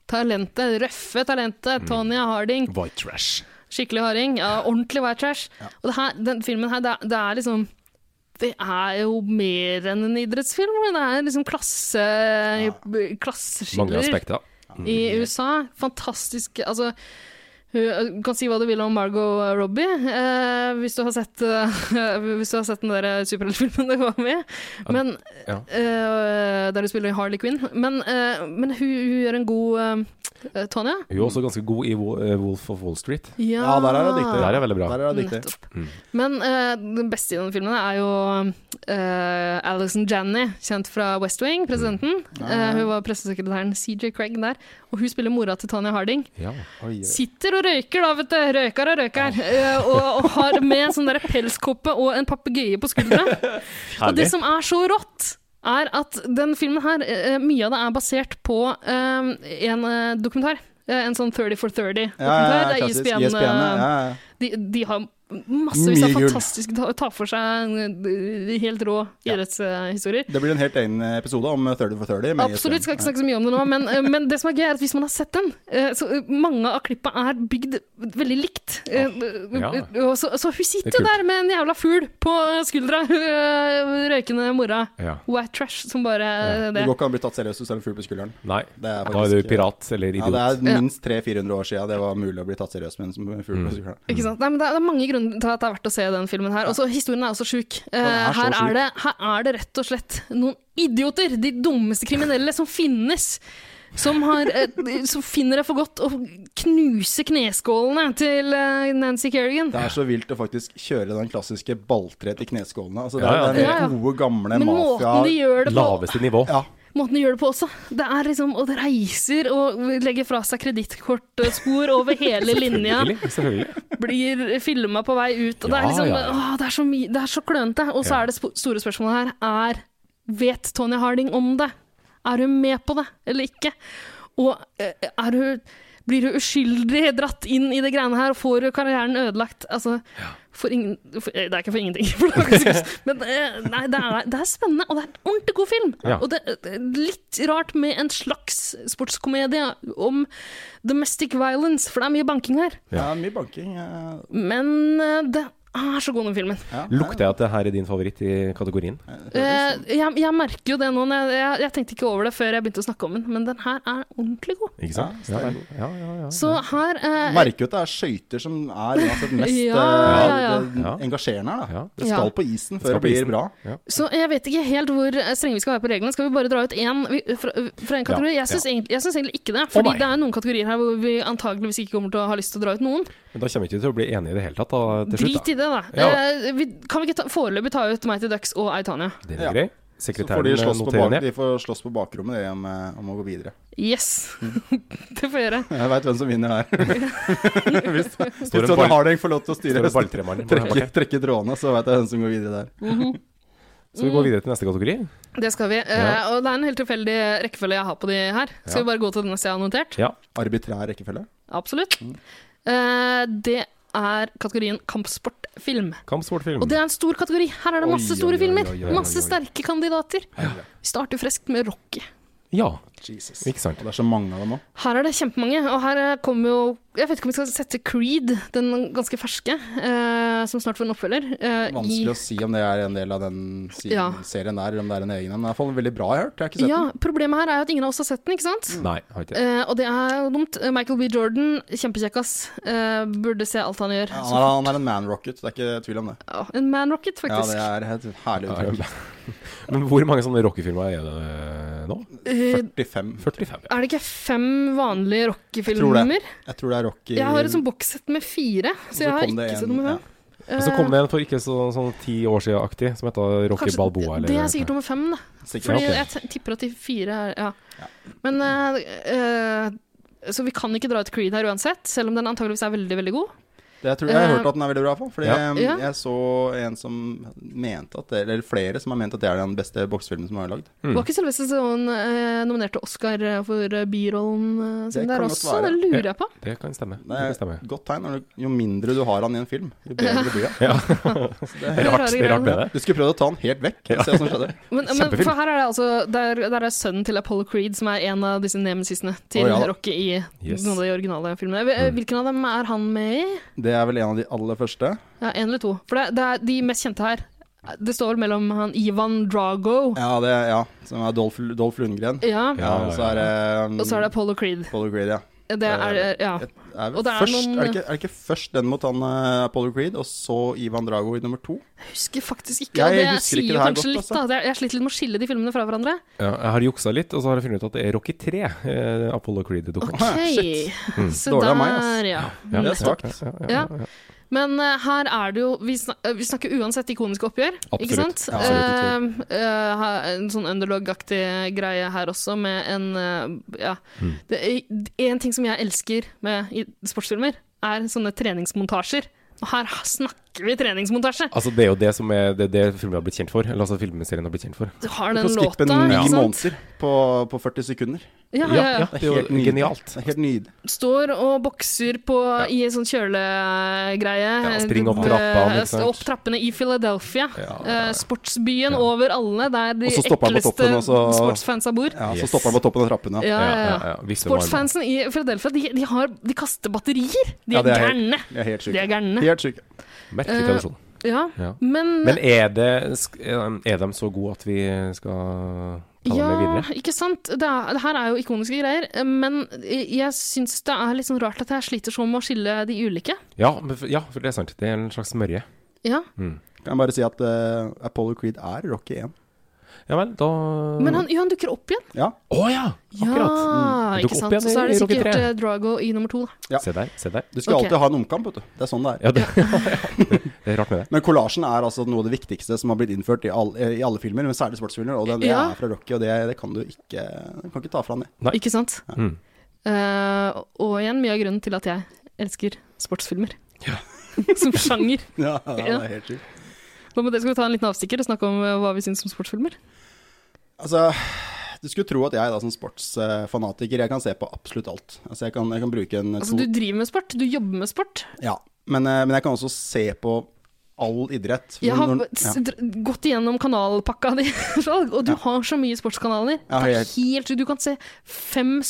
[SPEAKER 2] talentet, røffe
[SPEAKER 3] Mm.
[SPEAKER 2] talentet, Tonya Harding.
[SPEAKER 3] White trash.
[SPEAKER 2] Skikkelig harding. Ja, ordentlig white trash. Og det her, den filmen her, det er, det er liksom Det er jo mer enn en idrettsfilm. Det er liksom klasse,
[SPEAKER 3] Mange
[SPEAKER 2] klasseskiller
[SPEAKER 3] aspekter.
[SPEAKER 1] Mm.
[SPEAKER 2] i USA. Fantastisk Altså, hun du kan si hva du vil om Margot Robbie, eh, hvis, du har sett, eh, (laughs) hvis du har sett den der superheltfilmen det var med. Men,
[SPEAKER 3] Ja.
[SPEAKER 2] eh, der hun spiller Harley Quinn. Men, eh, men hun, hun gjør en god eh, Tonja.
[SPEAKER 3] Hun er også ganske god i Wo- eh, Wolf of Wall Street.
[SPEAKER 1] Ja, der er hun dyktig.
[SPEAKER 3] Der er veldig bra.
[SPEAKER 1] Der er hun dyktig. Mm.
[SPEAKER 2] Nettopp. Men eh, den beste i den filmen er jo eh, Alison Janney, kjent fra West Wing, presidenten. Eh, hun var pressesekretæren CJ Craig der. Og hun spiller mora til Tanya Harding.
[SPEAKER 3] Ja.
[SPEAKER 2] Sitter og røyker, da, vet du. Røyker og røyker. Eh, og, og har med en sånn der pelskåpe og en papegøye på skuldra. og det
[SPEAKER 3] Herlig.
[SPEAKER 2] som er så rått, er at den filmen her, eh, mye av det er basert på eh, en eh, dokumentar. Eh, En sånn 30 for 30-dokumentar.
[SPEAKER 1] Ja, ja, ja,
[SPEAKER 2] det er
[SPEAKER 1] klassisk. E
[SPEAKER 2] ISBN.
[SPEAKER 1] ISBN, ja,
[SPEAKER 2] eh,
[SPEAKER 1] ja.
[SPEAKER 2] de, de har massevis av
[SPEAKER 1] Mye gull.
[SPEAKER 2] fantastiske ta, ta for seg eh, helt rå idrettshistorier.
[SPEAKER 1] Det blir en helt egen episode om 30 for 30. med
[SPEAKER 2] Absolutt,
[SPEAKER 1] ISBN.
[SPEAKER 2] skal ikke snakke så mye om det nå, men, eh, men det som er gøy, er at hvis man har sett den, eh, så eh, mange av klippa er bygd veldig likt. Eh,
[SPEAKER 3] Ah, ja.
[SPEAKER 2] eh, og Så, så hun
[SPEAKER 3] Det er
[SPEAKER 2] sitter jo
[SPEAKER 3] kult.
[SPEAKER 2] der med en jævla fugl på skuldra, eh, røykende mora.
[SPEAKER 3] Ja.
[SPEAKER 2] White trash som bare
[SPEAKER 1] Det
[SPEAKER 2] det.
[SPEAKER 1] går ikke an å bli tatt seriøst hvis du har en fugl på skulderen.
[SPEAKER 3] Nei,
[SPEAKER 1] Det er
[SPEAKER 3] da er du
[SPEAKER 1] faktisk-
[SPEAKER 3] pirat eller
[SPEAKER 1] Ja,
[SPEAKER 3] idiot.
[SPEAKER 1] det er
[SPEAKER 2] Ja.
[SPEAKER 1] minst 300-400 år siden det var mulig å bli tatt seriøst med en fugl
[SPEAKER 3] Mm.
[SPEAKER 1] på skulderen.
[SPEAKER 2] Ikke sant? Nei, men det, er, det er mange grunner til at det er verdt å se den filmen her. Også, historien er også sjuk. Eh,
[SPEAKER 1] den er så
[SPEAKER 2] her,
[SPEAKER 1] sjuk.
[SPEAKER 2] er det, her er det rett og slett noen idioter, de dummeste kriminelle som finnes. Som, har, eh, som finner det for godt å knuse kneskålene til eh, Nancy Kerrigan.
[SPEAKER 1] Det er så vilt å faktisk kjøre den klassiske balltre til kneskålene. Altså, det
[SPEAKER 3] Ja, ja,
[SPEAKER 1] er den
[SPEAKER 2] det-
[SPEAKER 1] gode, gamle
[SPEAKER 2] Men
[SPEAKER 1] mafia...
[SPEAKER 2] måten de gjør det på,
[SPEAKER 3] Laveste nivå.
[SPEAKER 1] Ja,
[SPEAKER 2] måten de gjør det på også. Det er liksom å reiser og legger fra seg kredittkortspor over hele linja.
[SPEAKER 3] Selvfølgelig, Selvfølgelig.
[SPEAKER 2] blir filma på vei ut. Og det,
[SPEAKER 3] Ja,
[SPEAKER 2] er liksom,
[SPEAKER 3] ja, ja.
[SPEAKER 2] Åh, det er så mye Det er så klønete. Og så
[SPEAKER 3] Ja.
[SPEAKER 2] er det sp store spørsmålet her er Vet Tony Harding om det? Er hun med på det eller ikke? Og eh, er hun blir hun uskyldig dratt inn i det greiene her, og får hun karrieren ødelagt? Altså, for ingen, for, eh, det er ikke for ingenting, (laughs) for det var ikke så- men eh, nei, det, er, det er spennende, og det er en ordentlig god film.
[SPEAKER 3] Ja.
[SPEAKER 2] Og det, det er litt rart med en slags sportskomedie om domestic violence, for det er mye banking her.
[SPEAKER 1] det er mye banking. eh,
[SPEAKER 2] Men eh, det er så god, den filmen.
[SPEAKER 1] Ja.
[SPEAKER 3] Lukter jeg at det her er din favoritt i kategorien?
[SPEAKER 2] Eh, jeg, jeg merker jo det nå. når Jeg, jeg, jeg tenkte ikke over det før jeg begynte å snakke om den, men den her er ordentlig god.
[SPEAKER 3] Ikke sant? Ja, ja, ja, ja, ja.
[SPEAKER 2] Så her eh,
[SPEAKER 1] Merker jo at det er skøyter som er uansett mest
[SPEAKER 2] Ja,
[SPEAKER 1] eh,
[SPEAKER 2] ja, ja.
[SPEAKER 1] det-
[SPEAKER 3] Ja.
[SPEAKER 1] engasjerende her. Da.
[SPEAKER 3] Ja.
[SPEAKER 1] Det skal
[SPEAKER 2] Ja.
[SPEAKER 1] på isen
[SPEAKER 3] skal
[SPEAKER 1] før det
[SPEAKER 3] på
[SPEAKER 1] blir
[SPEAKER 3] isen.
[SPEAKER 1] bra.
[SPEAKER 3] Ja.
[SPEAKER 2] Så jeg vet ikke helt hvor eh, strenge vi skal være på reglene. Skal vi bare dra ut én vi- fra, fra en kategori?
[SPEAKER 3] Ja,
[SPEAKER 2] Jeg syns
[SPEAKER 3] ja.
[SPEAKER 2] egentlig, jeg syns egentlig ikke det. Fordi
[SPEAKER 3] nei.
[SPEAKER 2] det er noen kategorier her hvor vi antageligvis ikke kommer til å ha lyst til å dra ut noen.
[SPEAKER 3] Men da kommer vi ikke til å bli enige i det hele tatt, da, til slutt.
[SPEAKER 2] Drit i det, da.
[SPEAKER 3] Ja.
[SPEAKER 2] Eh, vi, kan vi ikke ta, foreløpig ta ut Mighty Ducks og Aitania?
[SPEAKER 3] Da. Det
[SPEAKER 1] Ja.
[SPEAKER 3] er grei.
[SPEAKER 1] Så får de,
[SPEAKER 3] Sekretæren
[SPEAKER 1] slåss på
[SPEAKER 3] noterer
[SPEAKER 1] bak,
[SPEAKER 3] ned.
[SPEAKER 1] de får slåss på bakrommet det, om, eh, om å gå videre.
[SPEAKER 2] Yes!
[SPEAKER 3] Mm.
[SPEAKER 2] (laughs) det får jeg gjøre.
[SPEAKER 1] Jeg veit hvem som
[SPEAKER 3] (laughs)
[SPEAKER 1] vinner der. hvis hvis
[SPEAKER 3] en
[SPEAKER 1] Tony
[SPEAKER 3] ball-
[SPEAKER 1] Harding får lov til å
[SPEAKER 3] Står
[SPEAKER 1] styre,
[SPEAKER 3] det balltremannen på den
[SPEAKER 1] trekke,
[SPEAKER 3] bakken.
[SPEAKER 1] trekke trådene, så veit jeg hvem som går videre der.
[SPEAKER 3] Så
[SPEAKER 2] Mm.
[SPEAKER 3] vi går videre til neste kategori.
[SPEAKER 2] Det skal vi. Eh,
[SPEAKER 3] Ja.
[SPEAKER 2] og det er en helt tilfeldig rekkefølge jeg har på de her. Skal
[SPEAKER 3] Ja.
[SPEAKER 2] vi bare gå til den neste jeg har notert?
[SPEAKER 3] Ja.
[SPEAKER 1] Arbitrær rekkefølge.
[SPEAKER 2] Absolutt.
[SPEAKER 3] Mm.
[SPEAKER 2] Eh, det er kategorien kampsportfilm.
[SPEAKER 3] Kampsportfilm.
[SPEAKER 2] Og det er en stor kategori. Her er det
[SPEAKER 3] Oi,
[SPEAKER 2] masse
[SPEAKER 3] Mm. oi,
[SPEAKER 2] store
[SPEAKER 3] oi,
[SPEAKER 2] filmer.
[SPEAKER 3] oi, oi, oi,
[SPEAKER 2] Masse
[SPEAKER 3] oi.
[SPEAKER 2] sterke kandidater. Vi starter friskt med Rocky.
[SPEAKER 3] Ja,
[SPEAKER 1] Jesus.
[SPEAKER 3] ikke sant.
[SPEAKER 1] Og det er så mange av dem òg.
[SPEAKER 2] Her er det kjempemange, og her eh, kommer jo Jeg vet ikke om vi skal sette Creed, den ganske ferske, eh, som snart får en oppfølger. eh, i-
[SPEAKER 1] Vanskelig å si om det er en del av den si
[SPEAKER 2] Ja.
[SPEAKER 1] serien der, eller om det er en egen en. Den er i hvert fall veldig bra, jeg har hørt. Jeg har ikke sett
[SPEAKER 2] Ja, Problemet her er jo at ingen av oss har sett den, ikke sant?
[SPEAKER 3] Nei, jeg har ikke det.
[SPEAKER 2] Eh, og det er jo dumt. Eh, Michael B. Jordan, kjempekjekkas. Eh, burde se alt han gjør.
[SPEAKER 1] den. Han
[SPEAKER 2] Så,
[SPEAKER 1] er, han er en man rocket, det er ikke tvil om det.
[SPEAKER 2] ja, en man rocket,
[SPEAKER 1] Ja,
[SPEAKER 2] faktisk.
[SPEAKER 1] det er et herlig uttrykk.
[SPEAKER 3] (laughs) Men hvor mange sånne rockefilmer er det nå?
[SPEAKER 2] Eh,
[SPEAKER 1] 45.
[SPEAKER 3] 45, ja.
[SPEAKER 2] er det ikke fem
[SPEAKER 1] Tror
[SPEAKER 2] vanlige
[SPEAKER 1] det.
[SPEAKER 2] rockefilmer?
[SPEAKER 1] Jeg tror det er Rocky
[SPEAKER 2] Jeg har et sånt bokssett med fire, så jeg har ikke sett nummer fem.
[SPEAKER 3] Og så kom det en for ikke så, sånn ti år siden-aktig, som heter Rocky
[SPEAKER 2] Kanskje-
[SPEAKER 3] Balboa.
[SPEAKER 2] Eh,
[SPEAKER 3] Eller,
[SPEAKER 2] Det er sikkert nummer fem, da.
[SPEAKER 1] Sikkert.
[SPEAKER 2] Fordi
[SPEAKER 3] ok.
[SPEAKER 2] jeg t- tipper at de fire er Ja. Men eh, eh, Så vi kan ikke dra ut Creed her uansett, selv om den antageligvis er veldig, veldig god.
[SPEAKER 1] Det tror jeg, jeg har
[SPEAKER 2] Eh,
[SPEAKER 1] hørt at den er veldig bra for. Fordi
[SPEAKER 3] Ja.
[SPEAKER 1] eh,
[SPEAKER 2] Ja.
[SPEAKER 1] jeg så en som mente at det, Eller flere som har ment at det er den beste boksefilmen som er lagd.
[SPEAKER 3] Mm.
[SPEAKER 2] Var ikke Sylvester Stallone eh, nominert til Oscar eh, for eh, birollen eh,
[SPEAKER 1] Det
[SPEAKER 2] sin der
[SPEAKER 1] kan godt
[SPEAKER 2] også?
[SPEAKER 1] være.
[SPEAKER 2] Det lurer jeg på.
[SPEAKER 3] Det kan stemme. Det
[SPEAKER 1] Det
[SPEAKER 3] kan
[SPEAKER 1] er
[SPEAKER 3] stemme.
[SPEAKER 1] et godt tegn. når du- Jo mindre du har han i en film, jo bedre blir han.
[SPEAKER 3] Ja.
[SPEAKER 2] Det er
[SPEAKER 3] Rart,
[SPEAKER 2] rare
[SPEAKER 3] det er rart med
[SPEAKER 2] greier.
[SPEAKER 3] det.
[SPEAKER 1] Du skulle prøvd å ta han helt vekk. og Se hva som skjedde.
[SPEAKER 2] Men, men
[SPEAKER 3] Kjempefilm.
[SPEAKER 2] for her er det altså Der, der er sønnen til Apollo Creed, som er en av disse nemesisene til
[SPEAKER 1] Å, ja. Mm.
[SPEAKER 2] Rocky i
[SPEAKER 3] Yes.
[SPEAKER 2] noen av de originale filmene. Eh, Hvilken av dem er han med i?
[SPEAKER 1] Det er vel en av de aller første.
[SPEAKER 2] Ja, En eller to. For det, det er de mest kjente her. Det står vel mellom han Ivan Drago
[SPEAKER 1] Ja, det, ja som er Dolph, Dolph Lundgren.
[SPEAKER 2] Ja.
[SPEAKER 3] Ja, ja,
[SPEAKER 1] Og så er det
[SPEAKER 2] Og så er det Apollo Creed.
[SPEAKER 1] Apollo Creed, ja.
[SPEAKER 2] Det er, ja.
[SPEAKER 1] Et- Er vel
[SPEAKER 2] Og det er
[SPEAKER 1] først,
[SPEAKER 2] noen-
[SPEAKER 1] er, det ikke, er det ikke først den mot han eh, Apollo Creed, og så Ivan Drago i nummer to?
[SPEAKER 2] Jeg husker faktisk ikke.
[SPEAKER 1] Jeg
[SPEAKER 2] og det
[SPEAKER 1] husker ikke
[SPEAKER 2] sier
[SPEAKER 1] det
[SPEAKER 2] jo
[SPEAKER 1] her
[SPEAKER 2] kanskje
[SPEAKER 1] godt, altså.
[SPEAKER 2] litt, da. Jeg, jeg sliter litt med å skille de filmene fra hverandre.
[SPEAKER 3] Ja, jeg har juksa litt, og så har jeg funnet ut at det er Rocky 3, eh,
[SPEAKER 1] (laughs)
[SPEAKER 3] Apollo Creed-dokumentar.
[SPEAKER 2] OK. Se
[SPEAKER 1] Dårlig
[SPEAKER 2] der,
[SPEAKER 1] av meg, ass.
[SPEAKER 2] ja.
[SPEAKER 1] Det er svakt.
[SPEAKER 2] ja. Men eh, her er det jo Vi, snak eh, vi snakker uansett ikoniske oppgjør, ikke
[SPEAKER 3] Absolutt.
[SPEAKER 2] sant?
[SPEAKER 1] Ja, absolutt,
[SPEAKER 2] Eh, eh, ha- en sånn underdog-aktig greie her også, med en eh, Ja. Det er en ting som jeg elsker med i sportsfilmer, er sånne treningsmontasjer. Og her snakker vi treningsmontasje!
[SPEAKER 3] Altså, det er jo det som er det, er det filmen har blitt kjent for. Eller altså filmserien har blitt kjent for.
[SPEAKER 2] Du har
[SPEAKER 1] Du kan
[SPEAKER 2] den
[SPEAKER 1] skippe
[SPEAKER 2] låta,
[SPEAKER 1] ni
[SPEAKER 2] ikke sant?
[SPEAKER 1] måneder på, på 40 sekunder.
[SPEAKER 2] Ja, ja, ja.
[SPEAKER 3] Det er jo
[SPEAKER 1] nydelig.
[SPEAKER 3] genialt.
[SPEAKER 1] Det er Helt nydelig.
[SPEAKER 2] Står og bokser på, i en sånn kjølegreie.
[SPEAKER 3] Ja, spring opp
[SPEAKER 2] Eh,
[SPEAKER 3] trappene, ikke sant?
[SPEAKER 2] Opp trappene i Philadelphia.
[SPEAKER 3] Ja,
[SPEAKER 2] Eh, sportsbyen over alle, der de
[SPEAKER 1] Og så stopper han på
[SPEAKER 2] ekleste
[SPEAKER 1] toppen, og så-
[SPEAKER 2] sportsfansa bor.
[SPEAKER 1] Ja,
[SPEAKER 3] Yes.
[SPEAKER 1] Så stopper han på toppen av trappene.
[SPEAKER 2] Ja, ja, ja.
[SPEAKER 3] Hvis det var-
[SPEAKER 2] Sportsfansen i Philadelphia de, de, har, de kaster batterier! De
[SPEAKER 1] Ja,
[SPEAKER 2] er
[SPEAKER 1] det er-
[SPEAKER 2] gærne!
[SPEAKER 1] De er helt
[SPEAKER 2] De
[SPEAKER 1] sjuke.
[SPEAKER 2] er gærne.
[SPEAKER 1] Helt sjuke.
[SPEAKER 3] Merkelig
[SPEAKER 2] Eh,
[SPEAKER 3] tradisjon.
[SPEAKER 2] Ja.
[SPEAKER 3] Ja.
[SPEAKER 2] Men,
[SPEAKER 3] Men er, det, sk- um, er de så gode at vi skal ta dem med
[SPEAKER 2] ja,
[SPEAKER 3] videre?
[SPEAKER 2] ikke sant? Det, er, det her er jo ikoniske greier. eh, Men jeg syns det er litt sånn rart at jeg sliter sånn med å skille de ulike.
[SPEAKER 3] Ja, men f- ja, for det er sant. Det er en slags smørje.
[SPEAKER 2] Ja.
[SPEAKER 1] Kan jeg bare si at eh, Apollo Creed er Rocky 1.
[SPEAKER 3] Ja vel, da Mm.
[SPEAKER 2] Men han, ja, han dukker opp igjen.
[SPEAKER 1] Ja.
[SPEAKER 3] Å ja! Akkurat.
[SPEAKER 2] Ja, ikke
[SPEAKER 3] Det dukker opp
[SPEAKER 2] sant.
[SPEAKER 3] igjen
[SPEAKER 2] Så er det
[SPEAKER 3] i Rocky
[SPEAKER 2] sikkert
[SPEAKER 3] III.
[SPEAKER 2] eh, Drago i nummer to. da.
[SPEAKER 1] Ja.
[SPEAKER 3] Se der, se der.
[SPEAKER 1] Du skal
[SPEAKER 2] Ok.
[SPEAKER 1] alltid ha en omkamp, vet du. Det er sånn det er.
[SPEAKER 3] Ja, det, (laughs) det er rart med det.
[SPEAKER 1] Men kollasjen er altså noe av det viktigste som har blitt innført i, all, i alle filmer, men særlig sportsfilmer. Og det, det
[SPEAKER 2] Ja.
[SPEAKER 1] er fra Rocky, og det, det kan du ikke, du kan ikke ta fra han det. (laughs)
[SPEAKER 3] Nei.
[SPEAKER 2] Ikke sant?
[SPEAKER 3] Mm.
[SPEAKER 2] Eh, og igjen mye av grunnen til at jeg elsker sportsfilmer.
[SPEAKER 3] Ja.
[SPEAKER 2] (laughs) som sjanger.
[SPEAKER 1] Ja, det
[SPEAKER 2] Ja.
[SPEAKER 1] er helt sjukt.
[SPEAKER 2] Hva med det, skal vi ta en liten avstikker og snakke om eh, hva vi syns om sportsfilmer?
[SPEAKER 1] Altså, du skulle tro at jeg da som sportsfanatiker, jeg kan se på absolutt alt. Altså, jeg kan, jeg kan bruke en
[SPEAKER 2] Altså,
[SPEAKER 1] to
[SPEAKER 2] du driver med sport, du jobber med sport.
[SPEAKER 1] Ja, men, eh, men jeg kan også se på all idrett.
[SPEAKER 2] Jeg har
[SPEAKER 1] Når-
[SPEAKER 2] s- dr- gått igjennom kanalpakka di, (laughs) og du har så mye sportskanaler.
[SPEAKER 1] Ja,
[SPEAKER 2] det er
[SPEAKER 1] helt-
[SPEAKER 2] helt, du kan se fem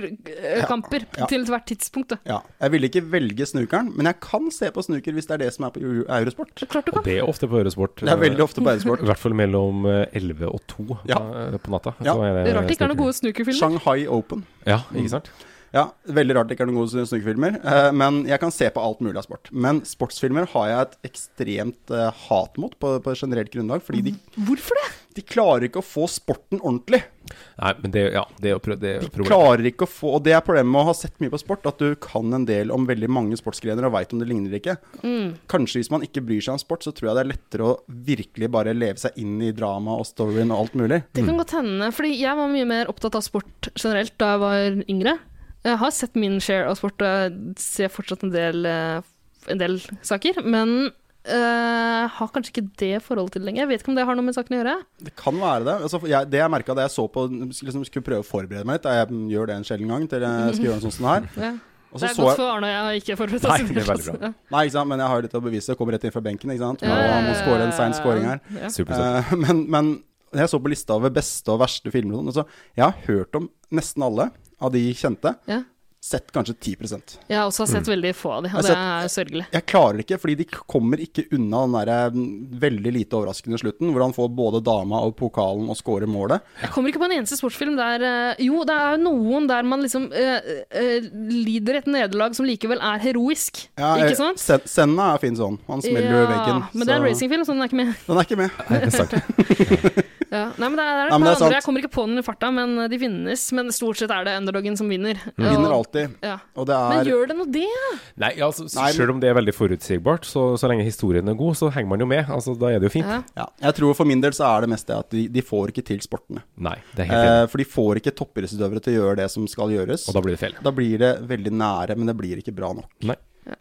[SPEAKER 2] snookerkamper
[SPEAKER 1] Ja.
[SPEAKER 2] til hvert tidspunkt. Da.
[SPEAKER 1] Ja, jeg ville ikke velge snukeren, men jeg kan se på snuker hvis det er det som er på Eu- Eurosport.
[SPEAKER 2] Klart du kan.
[SPEAKER 3] Og det er ofte på Øresport.
[SPEAKER 1] Det er veldig ofte på
[SPEAKER 3] I
[SPEAKER 2] (laughs)
[SPEAKER 1] Eurosport.
[SPEAKER 3] hvert fall mellom eh, 11 og 2
[SPEAKER 1] Ja.
[SPEAKER 3] da, eh, på natta.
[SPEAKER 1] Ja.
[SPEAKER 3] Så
[SPEAKER 2] Det er rart det ikke er noen
[SPEAKER 3] snooker.
[SPEAKER 2] gode snookerfilmer.
[SPEAKER 1] Shanghai Open.
[SPEAKER 3] Ja, ikke sant?
[SPEAKER 1] Ja, veldig rart det ikke er noen gode snukefilmer, eh, men jeg kan se på alt mulig av sport. Men sportsfilmer har jeg et ekstremt eh, hat mot på, på generelt grunnlag, fordi de,
[SPEAKER 2] Hvorfor det?
[SPEAKER 1] de klarer ikke å få sporten ordentlig.
[SPEAKER 3] Nei, men det, ja, det er jo pro- det er jo problemet.
[SPEAKER 1] Klarer ikke å få, og Det er problemet med å ha sett mye på sport, at du kan en del om veldig mange sportsgrener og veit om det ligner ikke.
[SPEAKER 2] Mm.
[SPEAKER 1] Kanskje hvis man ikke bryr seg om sport, så tror jeg det er lettere å virkelig bare leve seg inn i dramaet og storyen og alt mulig.
[SPEAKER 2] Det kan godt hende, fordi jeg var mye mer opptatt av sport generelt da jeg var yngre. Jeg har sett min share av sport, og jeg ser fortsatt en del, eh, en del saker, men eh, har kanskje ikke det forholdet til det lenger. Jeg vet ikke om det har noe med saken å gjøre.
[SPEAKER 1] Det kan være det. Altså, jeg, det jeg merka da jeg så på liksom, Skulle prøve å forberede meg litt. da Jeg gjør det en sjelden gang til
[SPEAKER 2] (laughs)
[SPEAKER 1] jeg skal gjøre noe sånt som det her.
[SPEAKER 2] Ja.
[SPEAKER 1] Og
[SPEAKER 2] Det
[SPEAKER 1] så
[SPEAKER 2] er
[SPEAKER 1] så
[SPEAKER 2] godt
[SPEAKER 1] jeg
[SPEAKER 2] for Arne og jeg har ikke forberedt
[SPEAKER 3] Nei,
[SPEAKER 2] oss.
[SPEAKER 3] det er veldig bra.
[SPEAKER 2] Ja.
[SPEAKER 1] Nei, ikke sant, men jeg har jo litt å bevise. Jeg kommer rett inn fra benken, ikke sant. Og han må score en sein scoring her.
[SPEAKER 2] Ja.
[SPEAKER 3] Supersøtt.
[SPEAKER 1] Eh, men, men jeg så på lista over beste og verste filmer og sånn. og så jeg har hørt om nesten alle av de kjente.
[SPEAKER 2] Ja.
[SPEAKER 1] Sett kanskje 10
[SPEAKER 2] Jeg har også sett veldig få av de,
[SPEAKER 1] Mm.
[SPEAKER 2] og
[SPEAKER 1] Jeg
[SPEAKER 2] det
[SPEAKER 1] har
[SPEAKER 2] er sørgelig.
[SPEAKER 1] Jeg klarer ikke, fordi de kommer ikke unna den der mm, veldig lite overraskende slutten, hvor han får både dama og pokalen og scorer målet.
[SPEAKER 2] Jeg kommer ikke på en eneste sportsfilm der eh, Jo, det er noen der man liksom eh, eh, lider et nederlag som likevel er heroisk.
[SPEAKER 1] Ja, eh,
[SPEAKER 2] ikke sant?
[SPEAKER 1] Sen- Senna er fin sånn. Han smeller jo i veggen.
[SPEAKER 2] men det er en
[SPEAKER 1] så-
[SPEAKER 2] racingfilm, så den er ikke med.
[SPEAKER 1] Den er ikke med.
[SPEAKER 3] (laughs) Nei, det er sant.
[SPEAKER 2] Ja. Nei, men det er, det er et
[SPEAKER 1] Nei, men det er
[SPEAKER 2] par
[SPEAKER 1] sant.
[SPEAKER 2] andre. Jeg kommer ikke på den i farta, men eh, de finnes. Men stort sett er det underdogen som vinner.
[SPEAKER 1] Vinner
[SPEAKER 2] Og-
[SPEAKER 1] alltid.
[SPEAKER 2] Ja.
[SPEAKER 1] Og det
[SPEAKER 2] Men
[SPEAKER 1] er
[SPEAKER 2] gjør det nå det?
[SPEAKER 3] Nei, altså, s-
[SPEAKER 1] Nei, men-
[SPEAKER 3] Selv om det er veldig forutsigbart, så, så lenge historien er god, så henger man jo med. Altså, Da er det jo fint.
[SPEAKER 2] Ja.
[SPEAKER 1] ja, Jeg tror for min del så er det mest det at de, de får ikke til sportene.
[SPEAKER 3] Nei, det er helt enig.
[SPEAKER 1] Eh, for de får ikke toppidrettsutøvere til å gjøre det som skal gjøres.
[SPEAKER 3] Og da blir det feil.
[SPEAKER 1] Da blir det veldig nære, men det blir ikke bra nok.
[SPEAKER 3] Nei.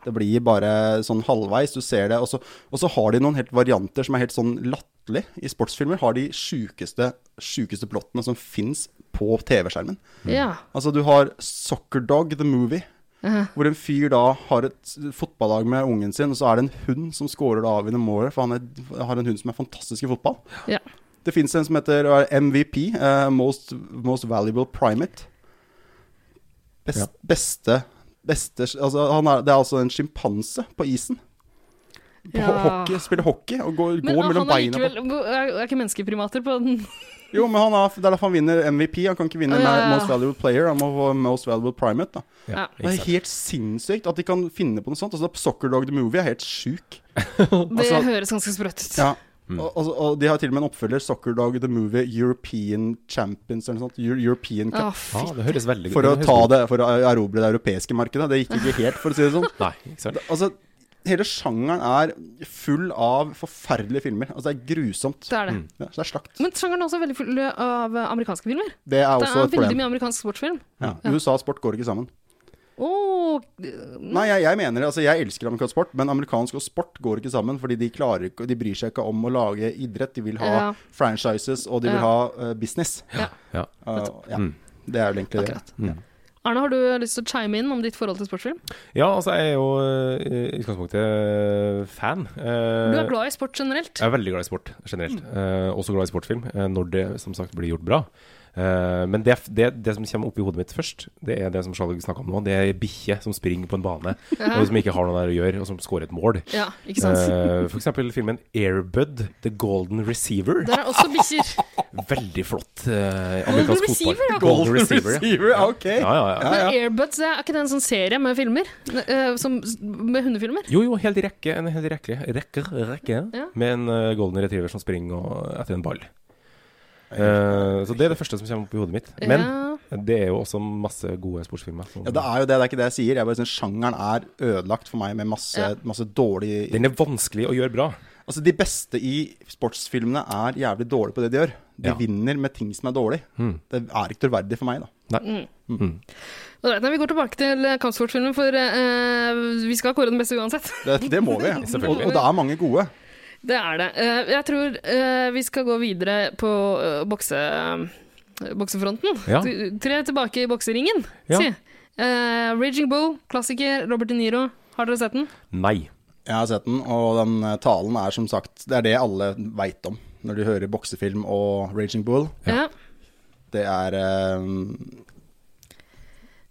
[SPEAKER 1] Det blir bare sånn halvveis, du ser det. Og så, og så har de noen helt varianter som er helt sånn latterlig. I sportsfilmer har de sjukeste, sjukeste plottene som fins på TV-skjermen.
[SPEAKER 2] ja.
[SPEAKER 1] Altså, du har Soccer Dog the Movie. Hvor en fyr da har et fotballag med ungen sin, og så er det en hund som scorer det avgjørende målet, for han er, har en hund som er fantastisk i fotball.
[SPEAKER 2] ja.
[SPEAKER 1] Det fins en som heter hva er det, MVP, eh, Most, Most Valuable Primate. Best,
[SPEAKER 3] Ja.
[SPEAKER 1] Beste Beste altså, han er, Det er altså en sjimpanse på isen. På
[SPEAKER 2] Ja.
[SPEAKER 1] hockey, spiller hockey og går,
[SPEAKER 2] Men
[SPEAKER 1] går
[SPEAKER 2] ah,
[SPEAKER 1] mellom
[SPEAKER 2] han er
[SPEAKER 1] beina
[SPEAKER 2] likevel Er er ikke menneskeprimater på den?
[SPEAKER 1] på Jo, men han er, det er derfor han vinner MVP. Han kan ikke vinne
[SPEAKER 2] Å, ja, ja, ja.
[SPEAKER 1] Most Valuable Player, han må få Most Valuable Primate. da
[SPEAKER 2] Ja.
[SPEAKER 1] Det
[SPEAKER 3] Ikke
[SPEAKER 1] er
[SPEAKER 3] sant.
[SPEAKER 1] helt sinnssykt at de kan finne på noe sånt. Altså, Soccer Dog The Movie er helt sjuk.
[SPEAKER 2] Det
[SPEAKER 1] Altså-
[SPEAKER 2] høres ganske sprøtt ut.
[SPEAKER 1] Ja. Og, og, og de har til og med en oppfølger, Soccer Dog The Movie European Champions eller noe sånt. Eu- European Cup.
[SPEAKER 2] Å, fy.
[SPEAKER 3] Ah, det høres veldig
[SPEAKER 1] For å
[SPEAKER 3] høres
[SPEAKER 1] ta
[SPEAKER 3] godt.
[SPEAKER 1] det, for å erobre det europeiske markedet. Det gikk ikke helt, for å si det sånn.
[SPEAKER 3] Nei, ikke sant.
[SPEAKER 1] Altså, hele sjangeren er full av forferdelige filmer. Altså, det er grusomt.
[SPEAKER 2] Det er det.
[SPEAKER 1] Ja, så det er slakt.
[SPEAKER 2] Men sjangeren er også veldig full av eh, amerikanske filmer.
[SPEAKER 1] Det er
[SPEAKER 2] Det
[SPEAKER 1] også
[SPEAKER 2] er
[SPEAKER 1] et
[SPEAKER 2] veldig
[SPEAKER 1] problem.
[SPEAKER 2] mye amerikansk sportsfilm.
[SPEAKER 1] Ja. USA og sport går ikke sammen.
[SPEAKER 2] Åh, d-
[SPEAKER 1] Nei, jeg, jeg mener det. Altså, jeg elsker amerikansk sport, men amerikansk og sport går ikke sammen. Fordi de, klarer ikke, de bryr seg ikke om å lage idrett. De vil ha
[SPEAKER 2] Ja.
[SPEAKER 1] franchises, og de vil
[SPEAKER 2] Ja.
[SPEAKER 1] ha eh, business.
[SPEAKER 3] Ja.
[SPEAKER 1] Uh, ja.
[SPEAKER 3] Mm.
[SPEAKER 1] Det er vel egentlig det.
[SPEAKER 2] Akkurat. Arne, har du lyst til å chime inn om ditt forhold til sportsfilm?
[SPEAKER 3] ja, altså, jeg er jo eh, i utgangspunktet eh, fan. Eh,
[SPEAKER 2] Du er glad i sport generelt.
[SPEAKER 3] Jeg er veldig glad i sport generelt. Eh, også glad i sportfilm, eh, når det som sagt blir gjort bra. Eh, men det, det, det som kommer opp i hodet mitt først, det er det som Charlotte snakka om nå. Det er ei bikkje som springer på en bane, og som ikke har noe der å gjøre, og som scorer et mål.
[SPEAKER 2] Ja, ikke sant?
[SPEAKER 3] Eh, for eksempel filmen Airbud, The Golden Receiver.
[SPEAKER 2] Der er også bikkjer.
[SPEAKER 3] Veldig flott eh, amerikansk
[SPEAKER 2] Golden
[SPEAKER 3] fotball.
[SPEAKER 2] Receiver, ja.
[SPEAKER 3] Golden Receiver, ja.
[SPEAKER 1] receiver, ja, ok.
[SPEAKER 3] Ja, ja, ja.
[SPEAKER 2] Men Airbuds det er ikke det en sånn serie med filmer? Eh, Som, med hundefilmer?
[SPEAKER 3] Jo, jo, helt i rekke. En hel rekke, rekke, rekke
[SPEAKER 2] Ja.
[SPEAKER 3] med en eh, golden retriever som springer og, etter en ball. Eh, så det er det første som kommer opp i hodet mitt. Men
[SPEAKER 2] Ja.
[SPEAKER 3] det er jo også masse gode sportsfilmer. som-
[SPEAKER 1] Ja, det er jo det. Det er ikke det jeg sier. Jeg bare synes Sjangeren er ødelagt for meg med masse,
[SPEAKER 2] Ja.
[SPEAKER 1] masse dårlig
[SPEAKER 3] Den er vanskelig å gjøre bra.
[SPEAKER 1] Altså, de beste i sportsfilmene er jævlig dårlige på det de gjør. De
[SPEAKER 3] Ja. Hmm.
[SPEAKER 1] vinner med ting som er dårlig. Det er ikke troverdig for meg, da.
[SPEAKER 2] Mm. Alright, nei, vi går tilbake til eh, kampsportfilmen, for eh, vi skal kåre den beste uansett. (laughs)
[SPEAKER 1] Det, det må
[SPEAKER 3] (laughs)
[SPEAKER 1] vi. Og,
[SPEAKER 3] Selvfølgelig.
[SPEAKER 1] og det er mange gode.
[SPEAKER 2] Det er det. Eh, Jeg tror eh, vi skal gå videre på eh, bokse, eh, boksefronten.
[SPEAKER 3] Ja.
[SPEAKER 2] Du- Tre tilbake i bokseringen,
[SPEAKER 3] Ja.
[SPEAKER 2] si. Eh, Raging Bull, klassiker, Robert De Niro. Har dere sett den?
[SPEAKER 3] Nei.
[SPEAKER 1] Jeg har sett den, og den eh, talen er som sagt Det er det alle veit om når de hører boksefilm og Raging Bull.
[SPEAKER 2] Ja.
[SPEAKER 1] Det er eh,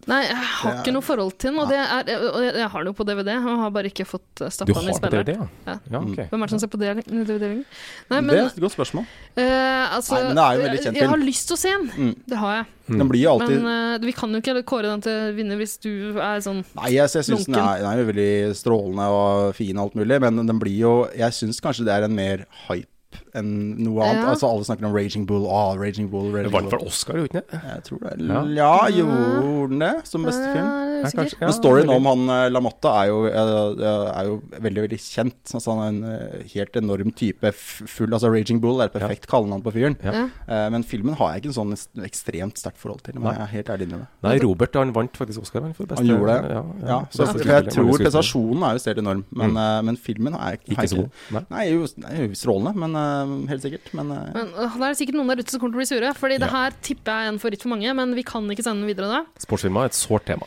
[SPEAKER 2] Nei, jeg har
[SPEAKER 1] Det er-
[SPEAKER 2] ikke noe forhold til den. Og, det er, eh, og jeg jeg har den jo på DVD, og har bare ikke fått eh,
[SPEAKER 3] Du
[SPEAKER 2] stappa
[SPEAKER 3] har
[SPEAKER 2] den i
[SPEAKER 3] det på DVD,
[SPEAKER 2] spilleren.
[SPEAKER 3] ja?
[SPEAKER 2] Ja. Mm.
[SPEAKER 3] Ja, ok.
[SPEAKER 2] Hvem er det som ser på DVD? -ling? Nei,
[SPEAKER 1] Det
[SPEAKER 2] men,
[SPEAKER 1] er et godt spørsmål.
[SPEAKER 2] eh, altså,
[SPEAKER 1] Nei, men det er jo en veldig kjent
[SPEAKER 2] Jeg har
[SPEAKER 1] film. Mm.
[SPEAKER 2] lyst til å se den. Det har jeg.
[SPEAKER 3] Hmm.
[SPEAKER 1] Den blir jo alltid
[SPEAKER 2] Men eh, vi kan jo ikke kåre den til vinner hvis du er sånn
[SPEAKER 1] Nei, jeg, jeg syns den
[SPEAKER 2] lunken.
[SPEAKER 1] er, den er jo veldig strålende og fin og alt mulig, men den blir jo Jeg syns kanskje det er en mer hype enn noe annet.
[SPEAKER 2] Ja.
[SPEAKER 1] Altså Alle snakker om Raging Bull. Ah, Raging Bull, Raging
[SPEAKER 3] Den vant vel
[SPEAKER 1] Bull.
[SPEAKER 3] Oscar, gjorde den ikke?
[SPEAKER 1] Jeg tror det.
[SPEAKER 3] Ja.
[SPEAKER 1] Ja, gjorde den det? Som beste film?
[SPEAKER 2] Ja, det er usikker.
[SPEAKER 3] kanskje- ja,
[SPEAKER 1] Men storyen
[SPEAKER 3] veldig.
[SPEAKER 1] om han eh, Lamotta er jo, eh, eh, er jo veldig veldig kjent. Altså, han er en eh, helt enorm type f- full Altså Raging Bull er et perfekt kallenavn på fyren.
[SPEAKER 3] Ja.
[SPEAKER 2] Ja.
[SPEAKER 1] Eh, Men filmen har jeg ikke en sånn est- ekstremt sterkt forhold til. Men
[SPEAKER 3] Nei.
[SPEAKER 1] jeg er helt ærlig med det.
[SPEAKER 2] Altså-
[SPEAKER 3] Nei, Robert han vant faktisk Oscar han, for beste
[SPEAKER 1] Han gjorde det.
[SPEAKER 3] Ja,
[SPEAKER 1] Ja, så
[SPEAKER 3] Beste
[SPEAKER 1] for
[SPEAKER 3] skuespiller,
[SPEAKER 1] jeg tror
[SPEAKER 3] mannlig skuespiller.
[SPEAKER 1] prestasjonen er jo helt enorm, men, eh, men filmen er
[SPEAKER 3] Mm. Ikke så god. Nei.
[SPEAKER 1] Nei, er jo, er jo strålende, men eh, helt sikkert. Men eh,
[SPEAKER 2] Men øh, det er sikkert noen der ute som kommer til å bli sure, Fordi det
[SPEAKER 3] Ja.
[SPEAKER 2] her tipper jeg er en favoritt for mange, men vi kan ikke sende den videre da.
[SPEAKER 3] Sportsfilmer er et sårt tema.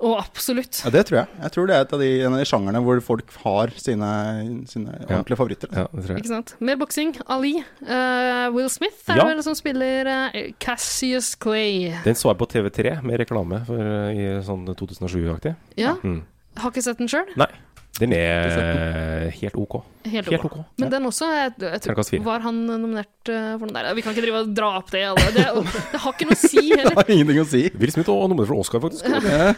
[SPEAKER 2] Og absolutt.
[SPEAKER 1] ja, det tror jeg. Jeg tror det er et av de, en av de sjangerne hvor folk har sine, sine
[SPEAKER 3] Ja.
[SPEAKER 1] ordentlige favoritter.
[SPEAKER 3] Ja, det tror jeg.
[SPEAKER 2] Ikke sant? Mer boksing. Ali. eh, Will Smith er
[SPEAKER 3] Ja.
[SPEAKER 2] det vel som spiller eh, Cassius Clay.
[SPEAKER 3] Den så jeg på TV3 med reklame for, eh, i sånn 2007-aktig.
[SPEAKER 2] Ja.
[SPEAKER 3] Mm.
[SPEAKER 2] Har ikke sett den sjøl.
[SPEAKER 3] Nei, den er helt ok.
[SPEAKER 2] Helt,
[SPEAKER 3] Helt
[SPEAKER 2] ok.
[SPEAKER 3] ok.
[SPEAKER 2] Men den også jeg, jeg,
[SPEAKER 3] Terningkast
[SPEAKER 2] tror-
[SPEAKER 3] fire.
[SPEAKER 2] Var han nominert eh, for den der? Vi kan ikke drive og dra opp det. Alle. Det, det har ikke noe å si heller.
[SPEAKER 1] Det (laughs) har ingenting å si.
[SPEAKER 3] Will Smith og nominert for Oscar, faktisk. Ja.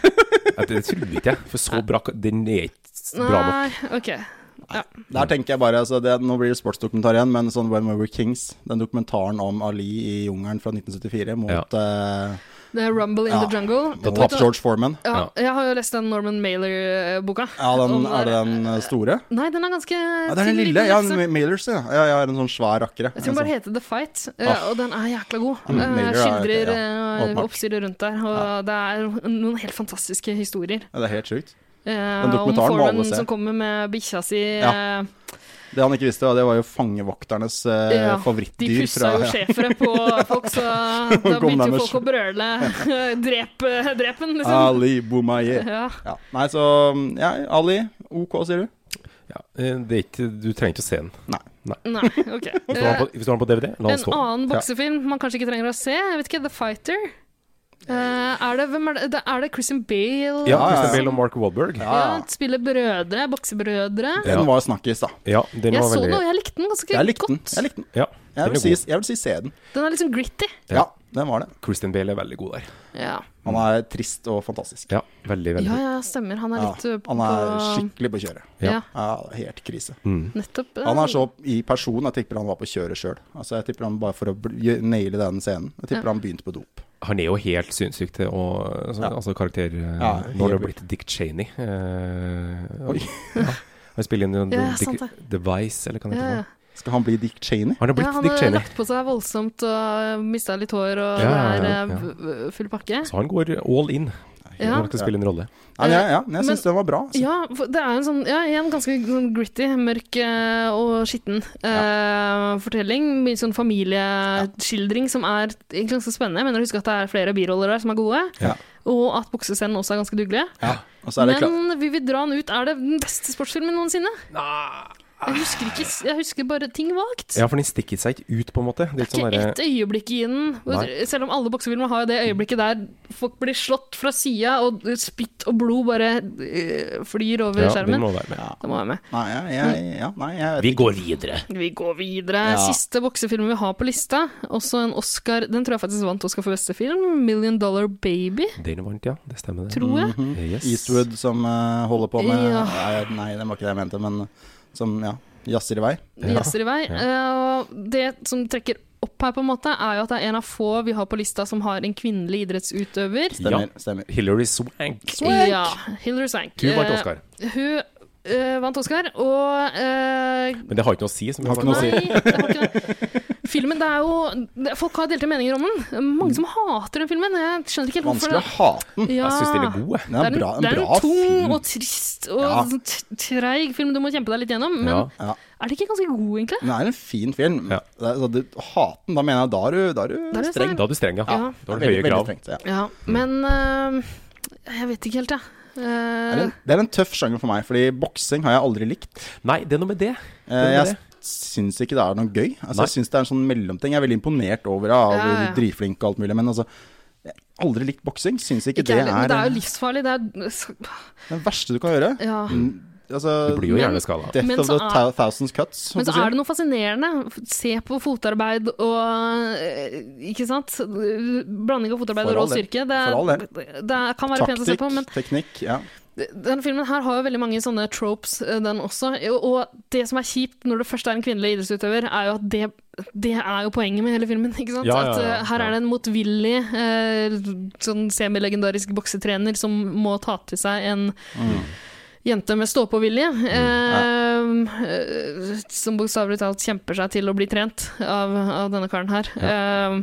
[SPEAKER 3] Det trodde ikke jeg, for så bra Den er ikke (laughs) bra nok.
[SPEAKER 2] Nei, ok.
[SPEAKER 1] Der tenker jeg bare, altså det, Nå blir det sportsdokumentar igjen, men sånn When We Were Kings, den dokumentaren om Ali i jungelen fra 1974 mot
[SPEAKER 3] Ja.
[SPEAKER 1] eh,
[SPEAKER 2] Det er Rumble in
[SPEAKER 1] Ja.
[SPEAKER 2] the Jungle.
[SPEAKER 1] mot
[SPEAKER 2] Vet du-
[SPEAKER 1] George Foreman.
[SPEAKER 2] ja, jeg har jo lest den Norman Mailer-boka.
[SPEAKER 1] Ja, den, Er det den eh, store?
[SPEAKER 2] Nei, den er ganske
[SPEAKER 1] Ja, det er den
[SPEAKER 2] tynn,
[SPEAKER 1] lille.
[SPEAKER 2] liten
[SPEAKER 1] Ja,
[SPEAKER 2] lefse.
[SPEAKER 1] Ma- Mailers, ja. ja. Jeg har en sånn svær rakkere.
[SPEAKER 2] Jeg tror den bare heter The Fight, eh,
[SPEAKER 1] Ah.
[SPEAKER 2] og den er jækla god.
[SPEAKER 1] Mm,
[SPEAKER 2] Eh,
[SPEAKER 1] Mailer er-
[SPEAKER 2] Skildrer
[SPEAKER 1] ja,
[SPEAKER 2] eh,
[SPEAKER 1] åpenbart.
[SPEAKER 2] oppstyret rundt der, og det er noen helt fantastiske historier.
[SPEAKER 1] ja, det er helt sjukt.
[SPEAKER 2] Eh,
[SPEAKER 1] Den
[SPEAKER 2] om
[SPEAKER 1] dokumentaren må alle
[SPEAKER 2] Foreman
[SPEAKER 1] se.
[SPEAKER 2] som kommer med bikkja si.
[SPEAKER 1] Ja.
[SPEAKER 2] eh,
[SPEAKER 1] Det han ikke visste, var- det var jo fangevokternes eh,
[SPEAKER 2] Ja, De
[SPEAKER 1] favorittdyr.
[SPEAKER 2] pussa jo schæfere på
[SPEAKER 1] (laughs)
[SPEAKER 2] folk, så da
[SPEAKER 1] Kom
[SPEAKER 2] begynte
[SPEAKER 1] der med
[SPEAKER 2] jo folk å brøle. (laughs) Drep, drep
[SPEAKER 1] ja.
[SPEAKER 2] den,
[SPEAKER 1] (laughs)
[SPEAKER 2] liksom.
[SPEAKER 1] Ali Boumaye.
[SPEAKER 2] Ja.
[SPEAKER 1] Ja. Nei, så ja, Ali. OK, sier du?
[SPEAKER 3] Ja, eh, det er ikke, du trenger ikke å se den.
[SPEAKER 2] Nei,
[SPEAKER 1] (laughs)
[SPEAKER 2] ok.
[SPEAKER 3] Hvis du har
[SPEAKER 2] Eh,
[SPEAKER 3] den på, hvis du har den på DVD, la den
[SPEAKER 2] en
[SPEAKER 3] stå.
[SPEAKER 2] annen boksefilm man kanskje ikke trenger å se, jeg vet ikke, The Fighter. Eh, er, det, hvem er, det, det- er det Christian Bale?
[SPEAKER 1] Ja,
[SPEAKER 3] Ja,
[SPEAKER 1] ja, ja.
[SPEAKER 3] Christian Bale og Mark Wahlberg. Ja,
[SPEAKER 2] Ja, spiller brødre, boksebrødre.
[SPEAKER 1] Den var snakkis, da.
[SPEAKER 3] den
[SPEAKER 2] Jeg
[SPEAKER 3] var
[SPEAKER 2] så den,
[SPEAKER 3] veldig
[SPEAKER 2] og jeg likte den ganske
[SPEAKER 1] Jeg likte den.
[SPEAKER 2] godt.
[SPEAKER 1] Jeg, likte den.
[SPEAKER 3] Ja,
[SPEAKER 1] jeg,
[SPEAKER 3] den
[SPEAKER 1] vil,
[SPEAKER 3] er
[SPEAKER 1] si,
[SPEAKER 3] god.
[SPEAKER 1] jeg vil si se den.
[SPEAKER 2] Den er liksom gritty.
[SPEAKER 3] Ja.
[SPEAKER 1] Ja, den var det.
[SPEAKER 3] Christian Bale er veldig god der.
[SPEAKER 2] Ja,
[SPEAKER 1] Han er trist og fantastisk.
[SPEAKER 3] Ja, veldig, veldig
[SPEAKER 2] ja, ja stemmer. Han er
[SPEAKER 1] Ja,
[SPEAKER 2] litt uh, på
[SPEAKER 1] han er skikkelig på kjøret.
[SPEAKER 3] ja.
[SPEAKER 2] ja,
[SPEAKER 1] Ja, det er helt krise.
[SPEAKER 3] Mm.
[SPEAKER 2] nettopp. eh,
[SPEAKER 1] Han er så i person, jeg tipper han var på kjøret sjøl. Altså, jeg tipper han bare for å bl- gjø- naile den scenen. Jeg tipper han begynte på dop.
[SPEAKER 3] Han er jo helt sinnssyk til å altså,
[SPEAKER 1] Ja.
[SPEAKER 3] altså karakter eh,
[SPEAKER 1] Ja,
[SPEAKER 3] Når det har
[SPEAKER 1] helt
[SPEAKER 3] blitt Dick Cheney. eh,
[SPEAKER 1] Oi.
[SPEAKER 3] ja. Han spiller inn i en
[SPEAKER 2] Ja, sant
[SPEAKER 3] Dick Device, eller hva det
[SPEAKER 2] Ja,
[SPEAKER 3] heter.
[SPEAKER 2] ja.
[SPEAKER 3] for noe.
[SPEAKER 1] Skal han bli Dick Cheney?
[SPEAKER 3] Han har blitt
[SPEAKER 2] Ja, han
[SPEAKER 3] Dick
[SPEAKER 2] har
[SPEAKER 3] Cheney.
[SPEAKER 2] lagt på seg voldsomt og mista litt hår, og
[SPEAKER 3] Ja, ja,
[SPEAKER 2] det er eh,
[SPEAKER 3] ja,
[SPEAKER 2] v- v- full pakke.
[SPEAKER 3] Så han går all in
[SPEAKER 2] Ja.
[SPEAKER 3] når han skal spille en rolle.
[SPEAKER 1] Nei, men jeg, ja, men jeg syns den
[SPEAKER 2] Men-
[SPEAKER 1] var bra. Altså.
[SPEAKER 2] Ja, for det er en sånn ja, igjen ganske sånn gritty, mørk eh, og skitten eh, fortelling. Mye sånn familieskildring som er egentlig ganske spennende. Jeg mener å huske at det er flere biroller der som er gode,
[SPEAKER 1] Ja.
[SPEAKER 2] og at boksescenen også er ganske duggelig.
[SPEAKER 1] Og så er det klart
[SPEAKER 2] Men vi vil dra den ut. Er det den beste sportsfilmen noensinne? Jeg husker, ikke, jeg husker bare ting vagt.
[SPEAKER 3] Ja, for den stikker seg ikke ut, på en måte. Det er ikke
[SPEAKER 2] Ikke
[SPEAKER 3] sånn derre
[SPEAKER 2] ett øyeblikk i den.
[SPEAKER 3] Nei.
[SPEAKER 2] Selv om alle boksefilmer har jo det øyeblikket der folk blir slått fra sida, og spytt og blod bare eh, flyr over
[SPEAKER 3] ja, den
[SPEAKER 2] skjermen.
[SPEAKER 3] må være med.
[SPEAKER 2] Det må være med.
[SPEAKER 1] Nei, jeg, jeg,
[SPEAKER 2] Mm.
[SPEAKER 1] ja, nei, jeg vet
[SPEAKER 3] Vi går videre.
[SPEAKER 2] Vi går videre.
[SPEAKER 1] Ja.
[SPEAKER 2] Siste boksefilmen vi har på lista, også en Oscar Den tror jeg faktisk vant Oscar for beste film. 'Million Dollar Baby',
[SPEAKER 3] Den vant, ja. Det stemmer, det.
[SPEAKER 2] tror jeg.
[SPEAKER 3] Yes.
[SPEAKER 1] Mhm. Eastwood som eh, holder på med
[SPEAKER 2] Ja.
[SPEAKER 1] nei, nei, det var ikke det jeg mente, men som ja, jazzer i vei.
[SPEAKER 2] Det
[SPEAKER 3] Mm.
[SPEAKER 2] Jazzer i vei. Eh, og det som trekker opp her, på en måte, er jo at det er en av få vi har på lista som har en kvinnelig idrettsutøver.
[SPEAKER 1] Stemmer. stemmer.
[SPEAKER 3] Hilary Swank.
[SPEAKER 2] Ja, Hilary Swank.
[SPEAKER 3] Hun vant
[SPEAKER 2] Eh,
[SPEAKER 3] Oscar.
[SPEAKER 2] hun eh, vant Oscar, og eh,
[SPEAKER 3] Men det har ikke noe å si. Som vi
[SPEAKER 1] Har ikke noe å si.
[SPEAKER 2] Nei, det var ikke det. Filmen, det er jo det- Folk har delte meninger om den. Mange som hater den filmen. Jeg skjønner ikke helt hvorfor.
[SPEAKER 1] Vanskelig å hate den.
[SPEAKER 2] Ja.
[SPEAKER 3] Jeg syns den er god, jeg.
[SPEAKER 1] Den er en
[SPEAKER 2] det
[SPEAKER 1] bra, en
[SPEAKER 2] det er
[SPEAKER 1] bra
[SPEAKER 2] en tung
[SPEAKER 1] film.
[SPEAKER 2] og trist og
[SPEAKER 1] Ja.
[SPEAKER 2] sånn t- treig film du må kjempe deg litt gjennom, men
[SPEAKER 3] Ja.
[SPEAKER 1] Ja.
[SPEAKER 2] er det ikke ganske god, egentlig?
[SPEAKER 1] Den er en fin film.
[SPEAKER 3] Ja.
[SPEAKER 1] Det er- så du- Hate den, da mener jeg da er du, da er
[SPEAKER 2] Da er
[SPEAKER 1] du
[SPEAKER 2] du
[SPEAKER 1] streng.
[SPEAKER 3] Da er du streng, ja.
[SPEAKER 2] Ja.
[SPEAKER 3] Da har du
[SPEAKER 1] Veldig-
[SPEAKER 3] høye
[SPEAKER 1] veldig
[SPEAKER 3] krav.
[SPEAKER 1] strengt, ja.
[SPEAKER 2] Ja, men eh, jeg vet ikke helt, jeg.
[SPEAKER 1] Det er,
[SPEAKER 2] Eh,
[SPEAKER 1] en, det er en tøff sjanger for meg, fordi boksing har jeg aldri likt.
[SPEAKER 3] Nei, det er noe med det.
[SPEAKER 1] Eh,
[SPEAKER 3] Det er noe med
[SPEAKER 1] jeg
[SPEAKER 3] det.
[SPEAKER 1] syns ikke det er noe gøy. Altså,
[SPEAKER 3] Nei.
[SPEAKER 1] jeg syns det er en sånn mellomting. Jeg er veldig imponert over ja,
[SPEAKER 2] Ja, ja, ja.
[SPEAKER 1] dritflink og alt mulig, men altså jeg har Aldri likt boksing. Syns ikke,
[SPEAKER 2] ikke
[SPEAKER 1] det eh?
[SPEAKER 2] heller, men
[SPEAKER 1] er
[SPEAKER 2] det er jo livsfarlig. Det er,
[SPEAKER 1] det verste du kan gjøre.
[SPEAKER 2] ja.
[SPEAKER 1] Altså,
[SPEAKER 3] Du blir jo
[SPEAKER 2] Men-
[SPEAKER 3] (laughs) hjerneskada.
[SPEAKER 1] Death
[SPEAKER 2] Men
[SPEAKER 1] of
[SPEAKER 2] så
[SPEAKER 1] the
[SPEAKER 2] er-
[SPEAKER 1] thou- Thousands Cuts.
[SPEAKER 2] Men så er det noe fascinerende. Se på fotarbeid og eh, Ikke sant? Blanding av fotarbeid
[SPEAKER 1] For
[SPEAKER 2] og rå
[SPEAKER 1] all del.
[SPEAKER 2] styrke. Det,
[SPEAKER 1] For all
[SPEAKER 2] er- det er- kan være pent å se
[SPEAKER 1] Taktikk,
[SPEAKER 2] på, men
[SPEAKER 1] teknikk, ja.
[SPEAKER 2] Denne filmen her har jo veldig mange sånne tropes, eh, den også. Og- Og det som er kjipt når det først er en kvinnelig idrettsutøver, er jo at det, det er jo poenget med hele filmen. (laughs) ikke sant?
[SPEAKER 3] Ja, ja, ja,
[SPEAKER 2] at eh, Her
[SPEAKER 3] ja.
[SPEAKER 2] er det en motvillig, eh, sånn semilegendarisk boksetrener som må ta til seg en
[SPEAKER 3] Mm.
[SPEAKER 2] jente med stå-på-vilje. eh, eh, Som bokstavelig talt kjemper seg til å bli trent av, av denne karen her. Eh,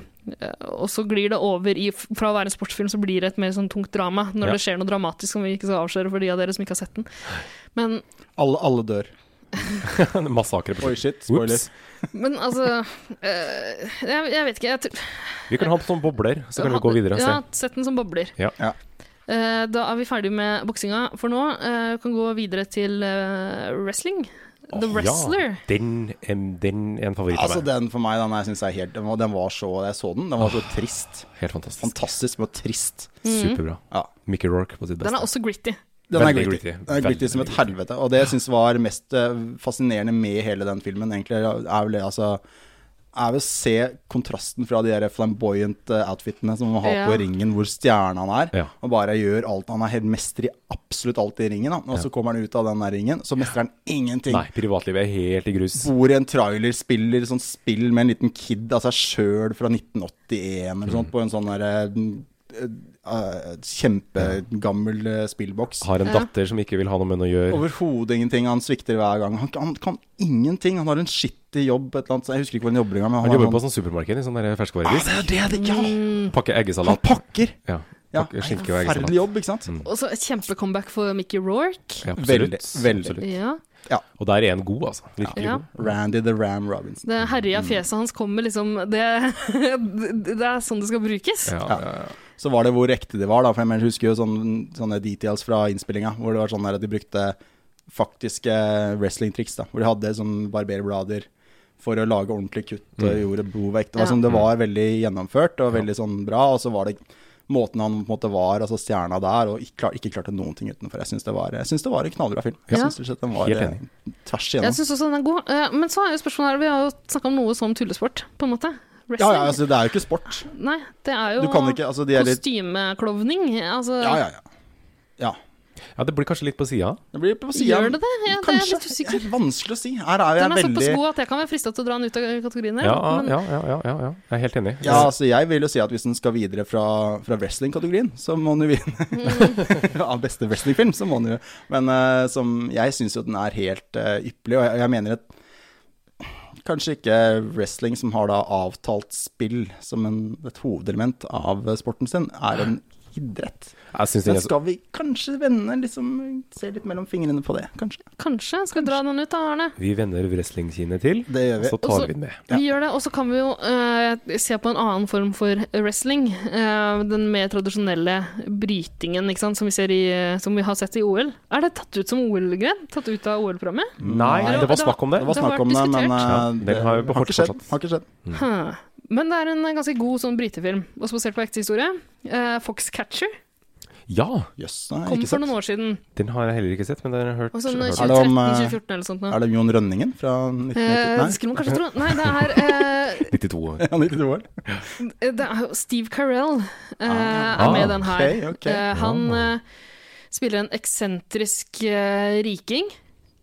[SPEAKER 2] og så glir det over i Fra å være en sportsfilm så blir det et mer sånn tungt drama når
[SPEAKER 3] Ja.
[SPEAKER 2] det skjer noe dramatisk som vi ikke skal avsløre for de av dere som ikke har sett den. Men,
[SPEAKER 1] Alle, alle dør.
[SPEAKER 3] Massakre på
[SPEAKER 1] Oi,
[SPEAKER 3] slutt.
[SPEAKER 1] shit. Spoiler.
[SPEAKER 3] Whoops.
[SPEAKER 2] men altså eh, jeg, jeg vet ikke. Jeg tr-
[SPEAKER 3] Vi kan ha den som bobler, så kan vi gå videre og
[SPEAKER 2] Ja,
[SPEAKER 3] se.
[SPEAKER 2] sett den som bobler.
[SPEAKER 3] Ja.
[SPEAKER 1] Ja.
[SPEAKER 2] Eh, da er vi ferdig med boksinga for nå. Eh, vi kan gå videre til eh, wrestling. The
[SPEAKER 3] Åh,
[SPEAKER 2] Wrestler.
[SPEAKER 3] Ja, den, em, den er en favoritt av
[SPEAKER 1] Altså,
[SPEAKER 3] meg.
[SPEAKER 1] den for meg, den, her synes jeg er helt, den, var, den var så Jeg så den, den var så trist.
[SPEAKER 3] Helt fantastisk.
[SPEAKER 1] Fantastisk, men trist.
[SPEAKER 3] Superbra.
[SPEAKER 1] Ja.
[SPEAKER 3] Mickey Rourke på sitt beste.
[SPEAKER 2] Mm. Den er også gritty.
[SPEAKER 1] Den er
[SPEAKER 3] Veldig
[SPEAKER 1] gritty.
[SPEAKER 3] gritty.
[SPEAKER 1] Den er gritty
[SPEAKER 3] Veldig
[SPEAKER 1] som et
[SPEAKER 3] gritty.
[SPEAKER 1] helvete. Og det jeg syns var mest eh, fascinerende med hele den filmen, egentlig, er vel det, altså er å se kontrasten fra de der flamboyant eh, outfitene som man har
[SPEAKER 2] Ja.
[SPEAKER 1] på ringen, hvor stjerna han er,
[SPEAKER 3] Ja.
[SPEAKER 1] og bare gjør alt. Han er helt mester i absolutt alt i ringen, da. og så kommer han ut av den der ringen, så mestrer han ingenting.
[SPEAKER 3] Nei, privatlivet er helt i grus.
[SPEAKER 1] Bor i en trailer, spiller sånn spill med en liten kid av seg sjøl fra 1981 eller
[SPEAKER 3] Mm.
[SPEAKER 1] sånt, på en sånn derre kjempegammel eh, spillboks.
[SPEAKER 3] Har en datter som ikke vil ha noe med den å gjøre.
[SPEAKER 1] Overhodet ingenting. Han svikter hver gang. Han, han kan ingenting. Han har en skittig jobb et eller annet. sted. Jeg husker ikke hvor han jobber engang. men
[SPEAKER 3] Han jobber
[SPEAKER 1] har
[SPEAKER 3] på Mm. sånn supermarked i sånn der
[SPEAKER 1] sånn- ah,
[SPEAKER 3] ferskvarevis.
[SPEAKER 1] det er det det ikke han!
[SPEAKER 3] Pakke
[SPEAKER 1] Han
[SPEAKER 3] eggesalat.
[SPEAKER 1] pakker!
[SPEAKER 3] Ja.
[SPEAKER 1] Ja,
[SPEAKER 3] Pakke skinke og eggesalat.
[SPEAKER 1] Forferdelig jobb, ikke sant?
[SPEAKER 2] Og så et kjempecomeback for Mickey Rourke.
[SPEAKER 3] Ja, absolutt.
[SPEAKER 1] Veldig, veldig.
[SPEAKER 3] Absolutt.
[SPEAKER 2] Ja.
[SPEAKER 3] Og der er en god, altså. Virkelig
[SPEAKER 2] Ja.
[SPEAKER 3] god.
[SPEAKER 1] Randy the Ram Robinson.
[SPEAKER 2] Det
[SPEAKER 3] Mm.
[SPEAKER 2] herja fjeset hans kommer liksom det, (laughs) det er sånn det skal brukes.
[SPEAKER 3] Ja,
[SPEAKER 1] Ja.
[SPEAKER 3] ja, ja.
[SPEAKER 1] Så var det hvor ekte de var, da. For jeg husker jo sånne, sånne details fra innspillinga hvor det var sånn der at de brukte faktiske wrestlingtriks. da Hvor de hadde sånn barberblader for å lage ordentlige kutt
[SPEAKER 3] Mm.
[SPEAKER 1] og gjorde bovekt. Det var,
[SPEAKER 2] Ja.
[SPEAKER 1] sånn, det var veldig gjennomført og veldig sånn bra. Og så var det måten han på en måte var, altså stjerna der, og ikke, klar, ikke klarte noen ting utenfor. Jeg syns det, var- jeg syns det var en knallbra film. Jeg
[SPEAKER 2] Ja.
[SPEAKER 1] syns rett og slett den var
[SPEAKER 3] Helt enig.
[SPEAKER 1] eh, tvers
[SPEAKER 2] Jeg
[SPEAKER 1] igjennom.
[SPEAKER 2] syns også den er god. Eh, Men så er jo spørsmålet her Vi har jo snakka om noe som tullesport, på en måte.
[SPEAKER 1] Ja,
[SPEAKER 2] Wrestling.
[SPEAKER 1] ja, altså, det er jo ikke sport.
[SPEAKER 2] Nei, det er jo
[SPEAKER 1] Du kan ikke Altså, de er litt
[SPEAKER 2] kostymeklovning. Altså,
[SPEAKER 1] Ja, ja, ja. ja.
[SPEAKER 3] ja, det blir kanskje litt på sida.
[SPEAKER 1] Det blir på siden.
[SPEAKER 2] Gjør det det? Ja, det er
[SPEAKER 1] Kanskje.
[SPEAKER 2] litt usikker.
[SPEAKER 1] Det er vanskelig å si. Her er jo jeg
[SPEAKER 2] Den er såpass
[SPEAKER 1] veldig
[SPEAKER 2] god at jeg kan være frista til å dra den ut av kategorien her.
[SPEAKER 3] Ja,
[SPEAKER 2] men
[SPEAKER 3] ja, ja, ja, ja, ja. Jeg er helt enig.
[SPEAKER 1] Ja, altså jeg vil jo si at hvis den skal videre fra, fra wrestling-kategorien, så må den jo vinne. (laughs)
[SPEAKER 2] Mm.
[SPEAKER 1] Av beste wrestlingfilm, så må den jo Men eh, som, jeg syns jo den er helt eh, ypperlig, og jeg, jeg mener at Kanskje ikke wrestling, som har da avtalt spill som en, et hovedelement av eh, sporten sin, er en idrett.
[SPEAKER 3] Jeg synes den
[SPEAKER 1] Men
[SPEAKER 3] er så-
[SPEAKER 1] skal vi kanskje vende liksom, Se litt mellom fingrene på det, kanskje?
[SPEAKER 2] kanskje skal vi dra den ut, da, Arne.
[SPEAKER 3] Vi vender wrestlingkinet til,
[SPEAKER 1] Det gjør vi.
[SPEAKER 3] så
[SPEAKER 2] Og
[SPEAKER 3] tar
[SPEAKER 2] så-
[SPEAKER 3] vi den med.
[SPEAKER 2] Vi gjør det, og så kan vi jo eh, se på en annen form for wrestling. Eh, den mer tradisjonelle brytingen ikke sant? Som, vi ser i, eh, som vi har sett i OL. Er det tatt ut som OL-gren? Tatt ut av OL-programmet?
[SPEAKER 3] Nei, det var snakk om det.
[SPEAKER 1] Det var
[SPEAKER 2] Det har
[SPEAKER 1] snakk om det, men
[SPEAKER 2] vært
[SPEAKER 3] diskutert.
[SPEAKER 1] eh,
[SPEAKER 3] Ja, den har jo
[SPEAKER 1] har
[SPEAKER 3] fortsatt-
[SPEAKER 1] ikke skjedd. Har ikke skjedd.
[SPEAKER 2] Huh. Men det er en ganske god sånn brytefilm, også basert på ekte historie. Eh, Foxcatcher
[SPEAKER 3] Ja!
[SPEAKER 1] Jøss, det har jeg
[SPEAKER 2] kom
[SPEAKER 1] ikke
[SPEAKER 2] for
[SPEAKER 1] sett.
[SPEAKER 2] noen år siden.
[SPEAKER 3] Den har jeg heller ikke sett, men den har jeg hørt.
[SPEAKER 2] Og sånn
[SPEAKER 3] hørt.
[SPEAKER 1] Er det om, eh,
[SPEAKER 2] 2013-2014 eller sånt noe.
[SPEAKER 1] Er det Jon Rønningen fra 1990?
[SPEAKER 2] Eh,
[SPEAKER 1] Nei,
[SPEAKER 2] det skulle man kanskje tro. Nei, det er eh,
[SPEAKER 3] 92
[SPEAKER 1] (laughs)
[SPEAKER 3] år.
[SPEAKER 1] han er 92 år.
[SPEAKER 2] Det er jo Steve Carell eh,
[SPEAKER 1] Ah,
[SPEAKER 2] er med i den her.
[SPEAKER 1] ok, ok. Ah.
[SPEAKER 2] Eh, han eh, spiller en eksentrisk eh, riking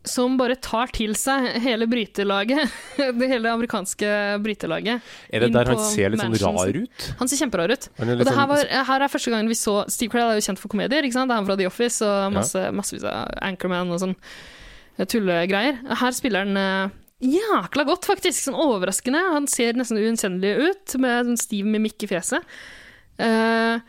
[SPEAKER 2] som bare tar til seg hele brytelaget. (laughs) det hele amerikanske brytelaget.
[SPEAKER 3] Er det
[SPEAKER 2] Inn
[SPEAKER 3] der han
[SPEAKER 2] på
[SPEAKER 3] ser litt sånn
[SPEAKER 2] mansion
[SPEAKER 3] rar
[SPEAKER 2] sin.
[SPEAKER 3] ut?
[SPEAKER 2] Han ser kjemperar ut.
[SPEAKER 3] Han er litt
[SPEAKER 2] Og det her,
[SPEAKER 3] sånn-
[SPEAKER 2] var, eh, her er første gangen vi så Steve Carell er jo kjent for komedier. ikke sant? Det er han fra The Office og masse, massevis av Anchorman og sånn eh, tullegreier. Her spiller han eh, jækla godt, faktisk. Sånn overraskende. Han ser nesten uunnkjennelig ut, med sånn stiv mimikk i fjeset. Uh,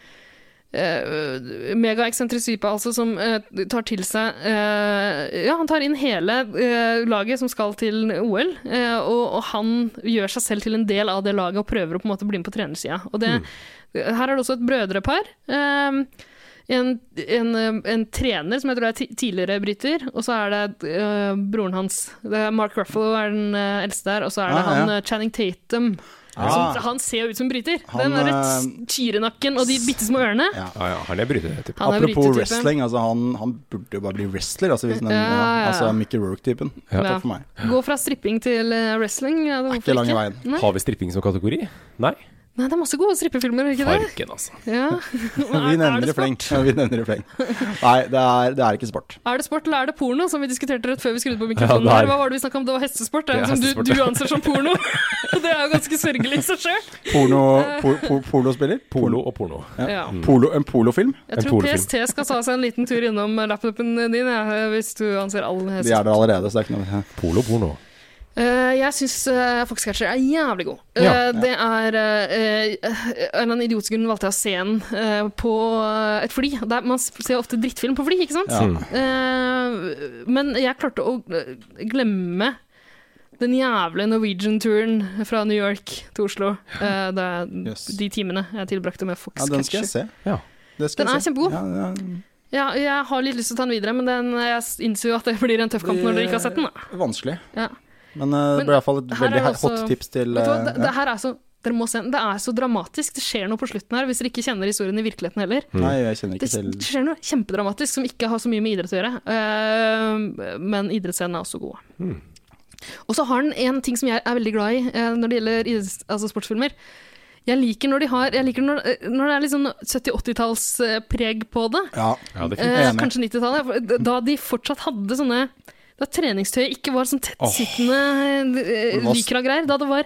[SPEAKER 2] Megaeksentrisk type, Eh, altså, som eh, tar til seg eh, Ja, han tar inn hele eh, laget som skal til OL, eh, og, og han gjør seg selv til en del av det laget og prøver å på en måte bli med på trenersida. Og det,
[SPEAKER 1] Mm.
[SPEAKER 2] Her er det også et brødrepar. eh, en, en, eh, en trener som jeg tror er ti- tidligere bryter, og så er det eh, broren hans. Det er Mark Ruffalo er den eh, eldste der, og så er det
[SPEAKER 1] Ah, ja.
[SPEAKER 2] han eh, Channing Tatum.
[SPEAKER 1] Ah.
[SPEAKER 2] Som, han ser jo ut som bryter.
[SPEAKER 1] Han,
[SPEAKER 2] den derre
[SPEAKER 1] eh,
[SPEAKER 2] tyrenakken og de bitte små ørene.
[SPEAKER 1] Ja.
[SPEAKER 3] Ja, ja, han er brytetype.
[SPEAKER 2] Han er
[SPEAKER 1] Apropos
[SPEAKER 2] brytetypen.
[SPEAKER 1] wrestling, altså han, han burde jo bare bli wrestler. Altså, hvis den,
[SPEAKER 2] Ja,
[SPEAKER 1] ja,
[SPEAKER 2] ja.
[SPEAKER 1] altså Mickey Rourke-typen.
[SPEAKER 3] Ja.
[SPEAKER 1] Takk for meg.
[SPEAKER 2] Gå fra stripping til eh, wrestling. Ja, det er
[SPEAKER 1] ikke lange veien.
[SPEAKER 2] Nei.
[SPEAKER 3] Har vi stripping som kategori? Nei.
[SPEAKER 2] Nei, det er masse gode strippefilmer, er det ikke det?
[SPEAKER 3] Farken, altså.
[SPEAKER 1] (laughs)
[SPEAKER 2] Ja.
[SPEAKER 1] Vi nevner
[SPEAKER 2] det
[SPEAKER 1] det fleng. Ja, vi nevner det fleng. Nei, det er, det er ikke sport.
[SPEAKER 2] Er det sport eller er det porno, som vi diskuterte rett før vi skrudde på
[SPEAKER 3] Ja,
[SPEAKER 2] mikrofonen?
[SPEAKER 3] det er-
[SPEAKER 2] her? Hva var det vi snakket om? Det var hestesport, det
[SPEAKER 3] Det er
[SPEAKER 2] som du,
[SPEAKER 3] hestesport,
[SPEAKER 2] du
[SPEAKER 3] ja.
[SPEAKER 2] anser som
[SPEAKER 1] (laughs)
[SPEAKER 2] porno. (laughs) det er jo ganske sørgelig i seg sjøl.
[SPEAKER 1] Porno, po, po, polospiller?
[SPEAKER 3] (laughs) Polo og porno.
[SPEAKER 2] Ja.
[SPEAKER 1] Polo, en polofilm?
[SPEAKER 2] Jeg
[SPEAKER 3] En
[SPEAKER 2] tror
[SPEAKER 3] pornofilm.
[SPEAKER 2] PST skal ta seg en liten tur innom laptopen din, ja, hvis du anser all
[SPEAKER 1] De er
[SPEAKER 2] hestesport.
[SPEAKER 1] der allerede, så det er ikke noe
[SPEAKER 3] Polo porno.
[SPEAKER 2] Eh, jeg syns uh, Foxcatcher er jævlig god. Eh,
[SPEAKER 3] Ja.
[SPEAKER 2] det er eh, eh, Av en eller annen idiotisk grunn valgte jeg å se den eh, på eh, et fly. Der, man ser ofte drittfilm på fly, ikke sant?
[SPEAKER 3] Mm.
[SPEAKER 1] Ja.
[SPEAKER 2] Eh, men jeg klarte å eh, glemme den jævle Norwegian-turen fra New York til Oslo. Eh, det er
[SPEAKER 1] Yes.
[SPEAKER 2] de timene jeg tilbrakte med
[SPEAKER 1] Ja, den skal jeg
[SPEAKER 2] Foxcatcher.
[SPEAKER 1] se.
[SPEAKER 3] Ja.
[SPEAKER 1] Det skal
[SPEAKER 2] Den
[SPEAKER 1] jeg
[SPEAKER 2] er kjempegod.
[SPEAKER 1] Ja, ja.
[SPEAKER 2] Ja, jeg har litt lyst til å ta den videre, men den, jeg innser jo at det blir en tøff kamp når dere ikke har sett den. Da.
[SPEAKER 1] Vanskelig.
[SPEAKER 2] Ja.
[SPEAKER 1] Men eh, det
[SPEAKER 2] Men
[SPEAKER 1] ble iallfall et
[SPEAKER 2] her er
[SPEAKER 1] veldig
[SPEAKER 2] det
[SPEAKER 1] hot
[SPEAKER 2] også-
[SPEAKER 1] tips til
[SPEAKER 2] Vet du hva,
[SPEAKER 1] eh,
[SPEAKER 2] det, det her er så dere må se den. Det er så dramatisk. Det skjer noe på slutten her, hvis dere ikke kjenner historien i virkeligheten heller.
[SPEAKER 1] ja. Nei, jeg kjenner
[SPEAKER 2] Det
[SPEAKER 1] ikke til
[SPEAKER 2] skjer noe kjempedramatisk som ikke har så mye med idrett å gjøre. Eh, men idrettsscenen er også god.
[SPEAKER 1] Hmm.
[SPEAKER 2] Og så har den en ting som jeg er veldig glad i eh, når det gjelder idretts, altså sportsfilmer. Jeg liker når de har Jeg liker når, eh, når det er litt sånn 70-80-tallspreg på det.
[SPEAKER 1] Ja.
[SPEAKER 3] Ja, det er fint.
[SPEAKER 2] Eh,
[SPEAKER 1] Enig.
[SPEAKER 2] kanskje 90-tallet. for eh, Da de fortsatt hadde sånne Da treningstøyet ikke var sånn tettsittende eh,
[SPEAKER 1] Det var s-
[SPEAKER 2] lycra greier. Da det var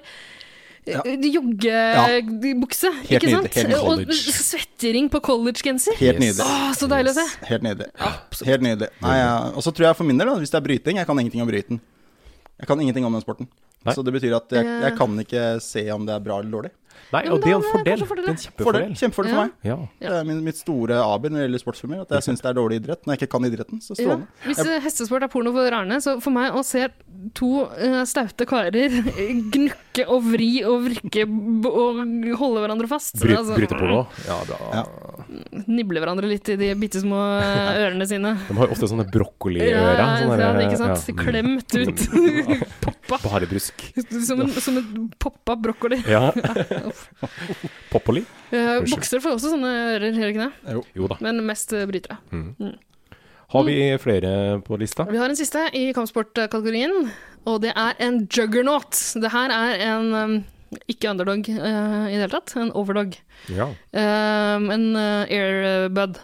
[SPEAKER 1] Ja.
[SPEAKER 2] eh, joggebukse,
[SPEAKER 1] Helt
[SPEAKER 2] ikke sant?
[SPEAKER 1] nydelig, helt
[SPEAKER 2] Og
[SPEAKER 3] college.
[SPEAKER 2] svettering på collegegenser.
[SPEAKER 1] Helt
[SPEAKER 3] Yes.
[SPEAKER 1] nydelig.
[SPEAKER 2] Å, så deilig å se.
[SPEAKER 1] Helt nydelig. Helt nydelig. Nei, ja. Og så tror jeg for min del, da, hvis det er bryting Jeg kan ingenting om bryten. Jeg kan ingenting om den sporten.
[SPEAKER 3] Nei.
[SPEAKER 1] Så det betyr at jeg,
[SPEAKER 2] Eh.
[SPEAKER 1] jeg kan ikke se om det er bra eller dårlig.
[SPEAKER 3] Nei,
[SPEAKER 2] Ja, men
[SPEAKER 3] og det er
[SPEAKER 2] da
[SPEAKER 3] en
[SPEAKER 2] er det kanskje fordel,
[SPEAKER 3] fordel. Det er en
[SPEAKER 1] Fordel.
[SPEAKER 3] kjempefordel.
[SPEAKER 1] Kjempefordel for
[SPEAKER 2] Ja.
[SPEAKER 1] meg.
[SPEAKER 3] Ja.
[SPEAKER 2] Ja.
[SPEAKER 1] Det er min, mitt store aber når det gjelder sportsfilmer, at jeg syns det er dårlig idrett når jeg ikke kan idretten. Så
[SPEAKER 2] Ja.
[SPEAKER 1] strålende.
[SPEAKER 2] Hvis eh, hestesport er porno for rarene, så for meg å se to eh, staute karer eh, gnukke og vri og vrikke b- og holde hverandre fast
[SPEAKER 3] Bry,
[SPEAKER 2] altså,
[SPEAKER 3] bryteporno. Ja, bra.
[SPEAKER 1] Ja.
[SPEAKER 2] Nible hverandre litt i de bitte små eh,
[SPEAKER 1] (laughs)
[SPEAKER 2] ørene sine.
[SPEAKER 3] De har jo ofte sånne brokkoliører.
[SPEAKER 2] Ja,
[SPEAKER 1] sånn
[SPEAKER 3] sånne
[SPEAKER 2] ja,
[SPEAKER 3] der-
[SPEAKER 2] ikke sant?
[SPEAKER 3] ja, mm.
[SPEAKER 1] (laughs)
[SPEAKER 2] Klemt ut. (laughs) Poppa.
[SPEAKER 3] Bare brusk.
[SPEAKER 2] Som en, som en poppa brokkoli. (laughs)
[SPEAKER 3] Ja.
[SPEAKER 2] uff.
[SPEAKER 3] Poppoli.
[SPEAKER 2] Eh,
[SPEAKER 3] Unnskyld.
[SPEAKER 2] boksere får også sånne ører, gjør de ikke det?
[SPEAKER 3] Jo da.
[SPEAKER 2] Men mest eh, brytere.
[SPEAKER 1] Mm.
[SPEAKER 3] Har vi flere på lista?
[SPEAKER 2] Vi har en siste i kampsportkategorien, og det er en juggernaut. Det her er en eh, ikke underdog eh, i det hele tatt, en overdog.
[SPEAKER 3] Ja.
[SPEAKER 2] Eh, en eh, airbud.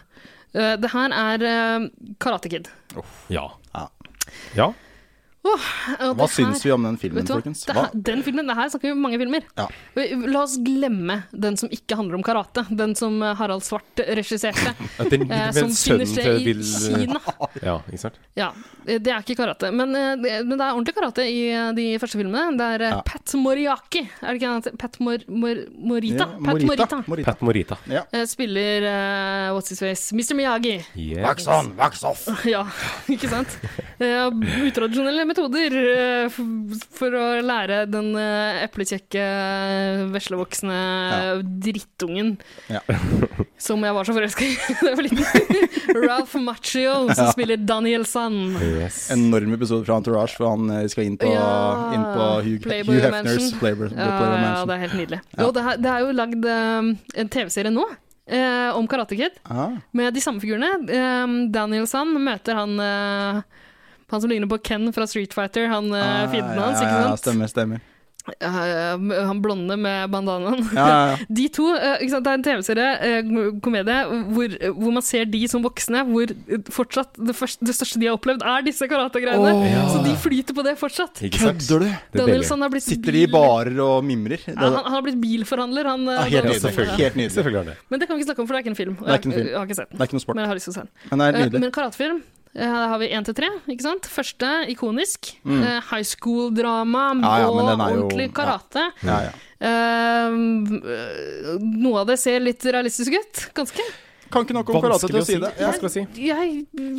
[SPEAKER 2] Eh, det her er eh, Karate Kid.
[SPEAKER 3] Ja.
[SPEAKER 1] Ja.
[SPEAKER 3] Ja.
[SPEAKER 1] Hva syns vi om den filmen,
[SPEAKER 2] Vet du hva?
[SPEAKER 1] folkens?
[SPEAKER 2] Det
[SPEAKER 1] Hva?
[SPEAKER 2] her, den filmen, det her snakker vi om mange filmer.
[SPEAKER 1] Ja.
[SPEAKER 2] Vi- La oss glemme den som ikke handler om karate. Den som eh, Harald Svart regisserte.
[SPEAKER 3] Den
[SPEAKER 2] eh,
[SPEAKER 3] med
[SPEAKER 2] som finner
[SPEAKER 3] sønnen til
[SPEAKER 2] sted i
[SPEAKER 3] Bill
[SPEAKER 2] Kina.
[SPEAKER 3] Ja, ikke sant?
[SPEAKER 2] Ja, eh, det er ikke karate. Men, eh, det, men det er ordentlig karate i eh, de første filmene. Det er eh,
[SPEAKER 1] Ja.
[SPEAKER 2] Pat Moriaki. Er det ikke han heter? Pat Mor Mor Morita?
[SPEAKER 1] Ja,
[SPEAKER 2] Pat Morita.
[SPEAKER 1] Morita.
[SPEAKER 3] Pat Morita.
[SPEAKER 2] Eh, Spiller eh, What's His Face? Mr. Miyagi.
[SPEAKER 3] Yeah.
[SPEAKER 1] on, wax off!
[SPEAKER 2] Ja, (laughs) ikke sant? Eh, utradisjonelle metoder eh, f- for å lære den eh, eplekjekke, veslevoksne drittungen
[SPEAKER 1] Ja.
[SPEAKER 2] (laughs) som jeg var så forelska i (laughs) da jeg var liten. (laughs) Ralph Macchio, som spiller Daniel Sand.
[SPEAKER 3] Yes.
[SPEAKER 1] Enorm episode fra Entourage, for han eh, skal inn på,
[SPEAKER 2] Ja,
[SPEAKER 1] inn på Hugh,
[SPEAKER 2] Playboy
[SPEAKER 1] Hugh Hefners
[SPEAKER 2] Mansion.
[SPEAKER 1] Playboy,
[SPEAKER 2] Ja,
[SPEAKER 1] Playboy
[SPEAKER 2] ja,
[SPEAKER 1] Mansion.
[SPEAKER 2] Eh, det er helt nydelig. Og det, er- det er jo lagd eh, en TV-serie nå eh, om Karate Kid.
[SPEAKER 1] Ah,
[SPEAKER 2] Med de samme figurene. Ehm, Daniel Sand møter han eh, Han som ligner på Ken fra Street Fighter, han eh,
[SPEAKER 1] ah,
[SPEAKER 2] fienden
[SPEAKER 1] ja,
[SPEAKER 2] hans,
[SPEAKER 1] ja,
[SPEAKER 2] ikke
[SPEAKER 1] Ja,
[SPEAKER 2] sant?
[SPEAKER 1] stemmer, stemmer.
[SPEAKER 2] Eh, han blonde med bandanaen.
[SPEAKER 1] Ja, ja, ja.
[SPEAKER 2] (laughs) De to, eh, ikke sant? Det er en TV-serie, eh, komedie, hvor, hvor man ser de som voksne, hvor eh, fortsatt det, første, det største de har opplevd, er disse karategreiene. Så de flyter på det fortsatt.
[SPEAKER 3] (laughs) Ikke sant?
[SPEAKER 1] Kødder du?
[SPEAKER 3] Det er
[SPEAKER 2] Daniel
[SPEAKER 3] deilig.
[SPEAKER 2] Sand har blitt
[SPEAKER 1] Sitter de i
[SPEAKER 2] bil-
[SPEAKER 1] barer og mimrer? Det,
[SPEAKER 2] Ja, han, han har blitt bilforhandler, han. eh,
[SPEAKER 1] Ja, helt
[SPEAKER 2] Daniel
[SPEAKER 1] nydelig.
[SPEAKER 2] Sand.
[SPEAKER 1] Selvfølgelig. Helt nydelig.
[SPEAKER 3] Selvfølgelig er det.
[SPEAKER 2] Men det kan vi ikke snakke om, for det er ikke en film. og
[SPEAKER 1] Det er ikke en
[SPEAKER 2] jeg-
[SPEAKER 1] film.
[SPEAKER 2] Jeg har ikke sett den.
[SPEAKER 1] det er ikke noe sport.
[SPEAKER 2] Men jeg har lyst til å se den.
[SPEAKER 1] Men det er
[SPEAKER 2] Eh,
[SPEAKER 1] nydelig.
[SPEAKER 2] Men karatefilm eh, her har vi én til tre. ikke sant? Første ikonisk. eh, high school-drama
[SPEAKER 1] Mm. Ja, ja, men den
[SPEAKER 2] og
[SPEAKER 1] er jo-
[SPEAKER 2] ordentlig karate.
[SPEAKER 1] Ja, ja.
[SPEAKER 2] Eh, noe av det ser litt realistisk ut. Ganske.
[SPEAKER 1] Kan ikke nok om karate til å si det. Ja.
[SPEAKER 3] Vanskelig å si.
[SPEAKER 2] Jeg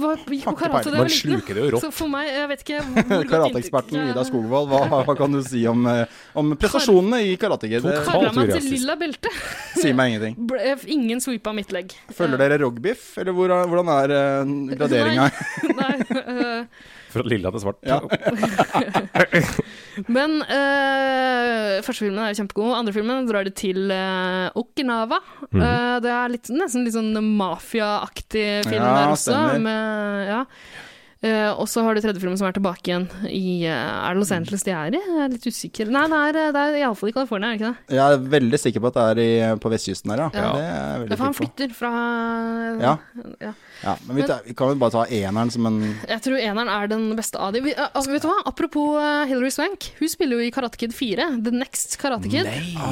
[SPEAKER 2] var,
[SPEAKER 1] Takk
[SPEAKER 2] gikk på
[SPEAKER 1] til
[SPEAKER 2] karate
[SPEAKER 1] Perle.
[SPEAKER 2] da
[SPEAKER 3] Man
[SPEAKER 2] jeg var liten.
[SPEAKER 3] sluker det jo rått.
[SPEAKER 2] Så for meg, jeg vet ikke hvor godt
[SPEAKER 1] Karateeksperten
[SPEAKER 2] inntrykk-
[SPEAKER 1] Ida Skogvold, hva, hva kan du si om, eh, om prestasjonene i karate? Kid?
[SPEAKER 3] Tok
[SPEAKER 1] Det
[SPEAKER 3] kar-
[SPEAKER 2] Karra meg til
[SPEAKER 3] Rasistisk.
[SPEAKER 2] lilla belte.
[SPEAKER 1] sier meg ingenting.
[SPEAKER 2] Ble, eh, ingen sweepa mitt legg. Eh,
[SPEAKER 1] Følger dere rogbiff, eller hvor, hvordan er uh, graderinga?
[SPEAKER 2] (laughs) Nei, eh,
[SPEAKER 3] Fra lilla til svart.
[SPEAKER 1] Ja.
[SPEAKER 2] Men eh, første filmen er jo kjempegod. Andre filmen drar de til eh, Okinawa.
[SPEAKER 1] Mhm.
[SPEAKER 2] Eh, det er litt, nesten litt sånn mafiaaktig film
[SPEAKER 1] Ja,
[SPEAKER 2] der også.
[SPEAKER 1] stemmer.
[SPEAKER 2] Med, ja. Eh, og så har du tredje filmen som er tilbake igjen i eh,
[SPEAKER 1] Mhm.
[SPEAKER 2] Er det Los Angeles de er i? Jeg er litt usikker. Nei, det er, eh, det er iallfall i California, er det ikke det?
[SPEAKER 1] Jeg er veldig sikker på at det er i, på vestkysten her, ja.
[SPEAKER 2] Ja.
[SPEAKER 1] Det er jeg
[SPEAKER 2] Det
[SPEAKER 1] veldig
[SPEAKER 2] er for han
[SPEAKER 1] sikker på.
[SPEAKER 2] flytter fra
[SPEAKER 1] Ja.
[SPEAKER 2] ja.
[SPEAKER 1] Ja, men vi, tar, vi kan jo bare ta eneren som en
[SPEAKER 2] Jeg tror eneren er den beste av de. Vi, eh, altså, vet du hva? Apropos eh, Hilary Swank. Hun spiller jo i Karate Kid 4. The Next Karate Kid.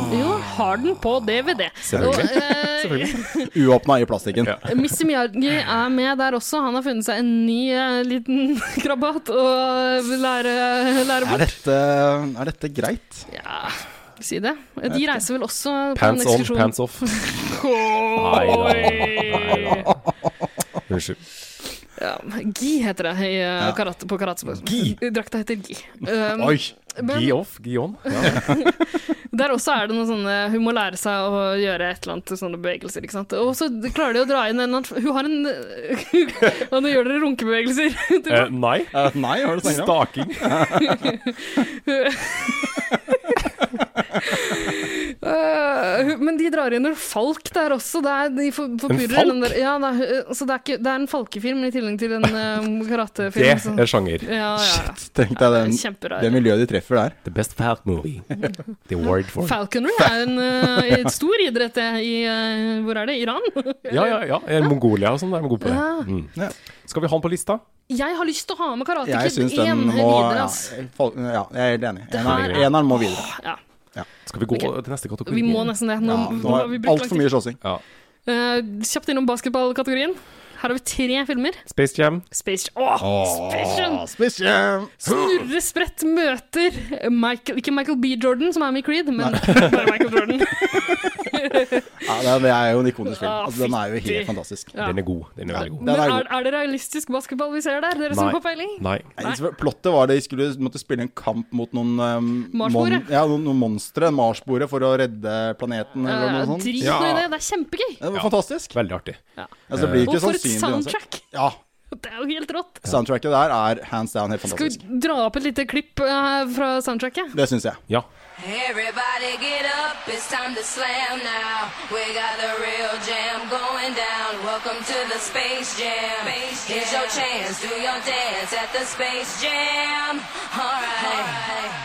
[SPEAKER 2] Jo, har den på DVD.
[SPEAKER 3] Selvfølgelig.
[SPEAKER 2] Og, eh,
[SPEAKER 1] uåpna i (laughs) plastikken.
[SPEAKER 3] Ja.
[SPEAKER 2] (laughs) Missy Miyagi er med der også. Han har funnet seg en ny eh, liten (laughs) krabat å lære, lære
[SPEAKER 1] Er,
[SPEAKER 2] bort.
[SPEAKER 1] dette, er dette greit?
[SPEAKER 2] Ja, si det. De reiser vel også på en
[SPEAKER 3] Pants on,
[SPEAKER 2] ekskursjon.
[SPEAKER 3] pants
[SPEAKER 2] (laughs)
[SPEAKER 3] off. Nei da. Nei da. Unnskyld.
[SPEAKER 2] Ja, Gi heter det i, eh, karate, på karatespråk.
[SPEAKER 1] Gi?
[SPEAKER 2] Drakta heter Gi. Um,
[SPEAKER 1] Oi!
[SPEAKER 2] Men-
[SPEAKER 3] Gi off, gi
[SPEAKER 2] (laughs)
[SPEAKER 3] on. Ja.
[SPEAKER 2] Der også er det noen sånne Hun må lære seg å gjøre et eller annet sånne bevegelser, ikke sant. Og så klarer de å dra inn en (laughs) eller annen Hun har en Ja, nå gjør dere runkebevegelser.
[SPEAKER 3] Eh, nei.
[SPEAKER 1] Eh, nei, hva er det du snakker om?
[SPEAKER 3] Staking.
[SPEAKER 1] Ah.
[SPEAKER 2] Øh, hun- men de drar inn en falk der også. Det er, de for, forpurrer
[SPEAKER 3] falk?
[SPEAKER 2] den Der. Ja, det er, øh, så det er, ikke, det er en falkefilm i tillegg til en øh, karatefilm.
[SPEAKER 3] Det
[SPEAKER 2] så-
[SPEAKER 3] er sjanger.
[SPEAKER 2] ja, ja, ja.
[SPEAKER 1] Shit, tenk deg den,
[SPEAKER 2] Kjemperar.
[SPEAKER 1] det miljøet de treffer der.
[SPEAKER 3] The best fat movie. The word for
[SPEAKER 2] Falconry er en øh, stor idrett det, i øh, Hvor er det? Iran?
[SPEAKER 3] Ja, ja, ja. Eh, Mongolia og sånn, der er de gode på det.
[SPEAKER 2] Ja.
[SPEAKER 3] Mm.
[SPEAKER 1] Ja.
[SPEAKER 3] Skal vi ha den på lista?
[SPEAKER 2] Jeg har lyst til å ha med Karate
[SPEAKER 1] Jeg
[SPEAKER 2] Kid
[SPEAKER 1] syns den må
[SPEAKER 2] videre.
[SPEAKER 1] ja,
[SPEAKER 2] ass.
[SPEAKER 1] folk, ja, jeg er helt enig.
[SPEAKER 2] her
[SPEAKER 1] Eneren,
[SPEAKER 2] er-
[SPEAKER 1] eneren må videre.
[SPEAKER 2] Ja,
[SPEAKER 3] Skal vi gå
[SPEAKER 2] Ok.
[SPEAKER 3] til neste kategori?
[SPEAKER 2] vi må nesten det. Nå,
[SPEAKER 1] Ja,
[SPEAKER 2] nå
[SPEAKER 1] nå
[SPEAKER 2] har
[SPEAKER 1] er
[SPEAKER 2] vi brukt lang
[SPEAKER 1] altfor
[SPEAKER 2] tid.
[SPEAKER 1] mye slåssing.
[SPEAKER 3] Ja.
[SPEAKER 2] Øh, kjapt innom basketballkategorien. Her har vi tre filmer.
[SPEAKER 3] Space Jam.
[SPEAKER 2] Space Åh, Space Jam!
[SPEAKER 1] Space Jam!
[SPEAKER 2] Snorre Sprett møter Michael, ikke Michael B. Jordan, som er med i Creed, men (laughs) bare Michael
[SPEAKER 1] (laughs)
[SPEAKER 2] Jordan.
[SPEAKER 1] Ja, det, er- det er jo en ikonisk film.
[SPEAKER 2] Ah,
[SPEAKER 1] Altså, den er jo
[SPEAKER 2] fytti.
[SPEAKER 1] helt fantastisk.
[SPEAKER 2] Ja.
[SPEAKER 3] Den er god. Den er veldig god.
[SPEAKER 1] Den
[SPEAKER 2] Men
[SPEAKER 1] er
[SPEAKER 2] er,
[SPEAKER 1] god.
[SPEAKER 2] er det realistisk basketball vi ser der? Dere som
[SPEAKER 3] Nei.
[SPEAKER 2] har peiling?
[SPEAKER 3] Nei.
[SPEAKER 1] Nei. Plottet var det de skulle måtte spille en kamp mot noen um,
[SPEAKER 2] Marsboere.
[SPEAKER 1] ja, noen, noen monstre. Marsboere for å redde planeten eller noe
[SPEAKER 2] Eh,
[SPEAKER 1] sånt.
[SPEAKER 2] Drit nå i det, det er kjempegøy.
[SPEAKER 1] Det var
[SPEAKER 3] Ja.
[SPEAKER 1] fantastisk.
[SPEAKER 3] Veldig artig.
[SPEAKER 1] Altså, det blir
[SPEAKER 2] Og
[SPEAKER 1] ikke
[SPEAKER 2] for et
[SPEAKER 1] sannsynlig uansett.
[SPEAKER 2] soundtrack! (laughs)
[SPEAKER 1] Ja,
[SPEAKER 2] Det er jo helt rått.
[SPEAKER 1] soundtracket der er hands down helt
[SPEAKER 2] Skal
[SPEAKER 1] fantastisk.
[SPEAKER 2] vi dra opp et lite klipp eh, fra soundtracket?
[SPEAKER 1] Det syns jeg.
[SPEAKER 3] Ja.
[SPEAKER 8] Everybody get up, it's time to slam now. We got a real jam going down. Welcome to the Space Jam. Here's your chance, do your dance at the Space Jam. Alright.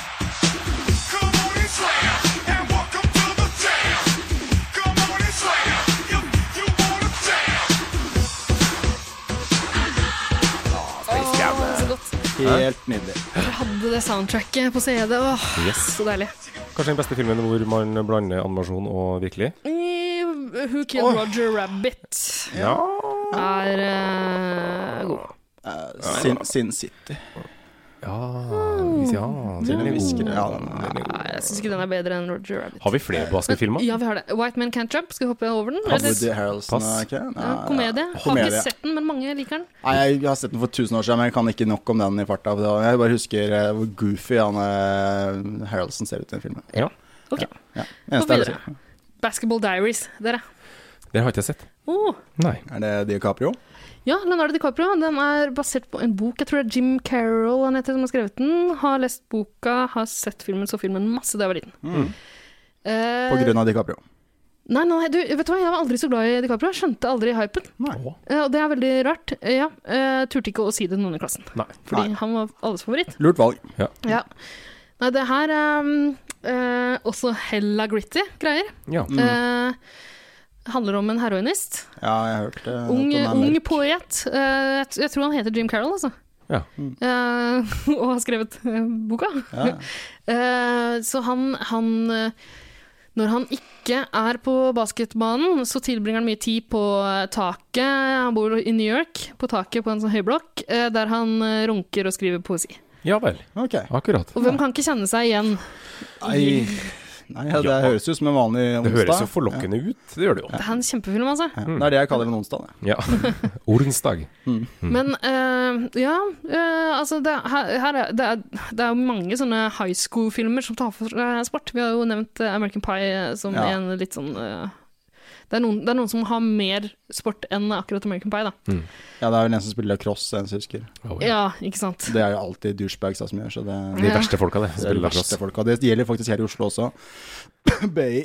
[SPEAKER 9] Come on and slam, and welcome to the jam. Come on and slam, you, you wanna jam.
[SPEAKER 2] Så godt.
[SPEAKER 1] Helt nydelig.
[SPEAKER 2] Jeg hadde det soundtracket på CD. Åh, så deilig.
[SPEAKER 3] Kanskje den beste filmen hvor man blander animasjon og virkelig.
[SPEAKER 2] Eh, Who Killed Roger Rabbit
[SPEAKER 3] Ja.
[SPEAKER 2] er eh, god.
[SPEAKER 1] Eh, Sin, Sin City.
[SPEAKER 3] Ja, hvis- ja den er
[SPEAKER 1] Hvisker
[SPEAKER 3] god.
[SPEAKER 1] det. Ja, den er-
[SPEAKER 3] Den er god.
[SPEAKER 2] Nei, Jeg syns ikke den er bedre enn Roger Rabbit.
[SPEAKER 3] Har vi flere basketfilmer?
[SPEAKER 2] Ja, vi har det. White Man Can't Jump, skal vi hoppe over den? Eller-
[SPEAKER 1] Woody Harrelson,
[SPEAKER 3] Pass.
[SPEAKER 1] er ikke det?
[SPEAKER 2] Ja,
[SPEAKER 1] Nei,
[SPEAKER 2] komedie. Har
[SPEAKER 1] komedie.
[SPEAKER 2] ikke sett den, men mange liker den.
[SPEAKER 1] Nei, jeg har sett den for tusen år siden, men jeg kan ikke nok om den i farta. Jeg bare husker eh, hvor goofy han eh, Harrelson ser ut i den filmen.
[SPEAKER 3] Ja.
[SPEAKER 2] Ok,
[SPEAKER 1] Ja. Eneste er,
[SPEAKER 2] videre. Basketball Diaries, dere.
[SPEAKER 3] Den har jeg ikke sett.
[SPEAKER 2] Oh.
[SPEAKER 3] Nei.
[SPEAKER 1] er det DiCaprio?
[SPEAKER 2] Ja, Leonardo DiCaprio. Den er basert på en bok. Jeg tror det er Jim Carroll han heter, som har skrevet den. Har lest boka, har sett filmen, så filmen masse da jeg var liten. Eh,
[SPEAKER 1] På grunn av DiCaprio.
[SPEAKER 2] Nei, nei, du, vet du hva? Jeg var aldri så glad i DiCaprio. Jeg skjønte aldri hypen.
[SPEAKER 3] Å,
[SPEAKER 2] Eh, og det er veldig rart. Eh, ja, eh, turte ikke å si det til noen i klassen.
[SPEAKER 3] Nei.
[SPEAKER 2] Fordi han var alles favoritt.
[SPEAKER 1] Lurt valg.
[SPEAKER 2] Ja. Nei, det her er eh, også hella gritty greier.
[SPEAKER 3] Ja.
[SPEAKER 2] Eh, handler om en heroinist.
[SPEAKER 1] Ja, jeg har hørt eh,
[SPEAKER 2] Ung,
[SPEAKER 1] at den er
[SPEAKER 2] ung
[SPEAKER 1] mørk.
[SPEAKER 2] poet. Eh, jeg, t- jeg tror han heter Jim Carroll, altså.
[SPEAKER 3] Ja.
[SPEAKER 1] Mm.
[SPEAKER 2] Eh, (laughs) og har skrevet eh, boka. (laughs) Eh, så han, han eh, Når han ikke er på basketbanen, så tilbringer han mye tid på eh, taket. Han bor i New York, på taket på en sånn høyblokk, eh, der han eh, runker og skriver poesi.
[SPEAKER 3] ja vel.
[SPEAKER 1] Ok.
[SPEAKER 3] Akkurat.
[SPEAKER 2] Og hvem kan ikke kjenne seg igjen?
[SPEAKER 1] Nei, Nei ja, det
[SPEAKER 3] Ja.
[SPEAKER 1] høres ut som en vanlig onsdag.
[SPEAKER 3] Det høres jo forlokkende ut. Det gjør det jo.
[SPEAKER 2] Det er en kjempefilm, altså.
[SPEAKER 1] Ja. Det er det jeg kaller en onsdag. jeg.
[SPEAKER 3] Ja. Ordensdag.
[SPEAKER 2] Men eh, ja, eh, altså det, her, her er, det, er, det er jo mange sånne high school-filmer som tar for seg sport. Vi har jo nevnt eh, American Pie eh, som
[SPEAKER 1] Ja.
[SPEAKER 2] en litt sånn eh, Det er noen, det er noen som har mer sport enn akkurat American Pie, da.
[SPEAKER 1] Ja, det er vel en som spiller lacrosse, en som husker.
[SPEAKER 2] Ja, ikke sant.
[SPEAKER 1] Det er jo alltid douchebags da, som gjør, så det
[SPEAKER 3] De
[SPEAKER 2] Ja.
[SPEAKER 3] verste folka, det.
[SPEAKER 1] det er de
[SPEAKER 3] Spiller lacrosse.
[SPEAKER 1] verste folka. Det gjelder faktisk her i Oslo også. (coughs) Bay.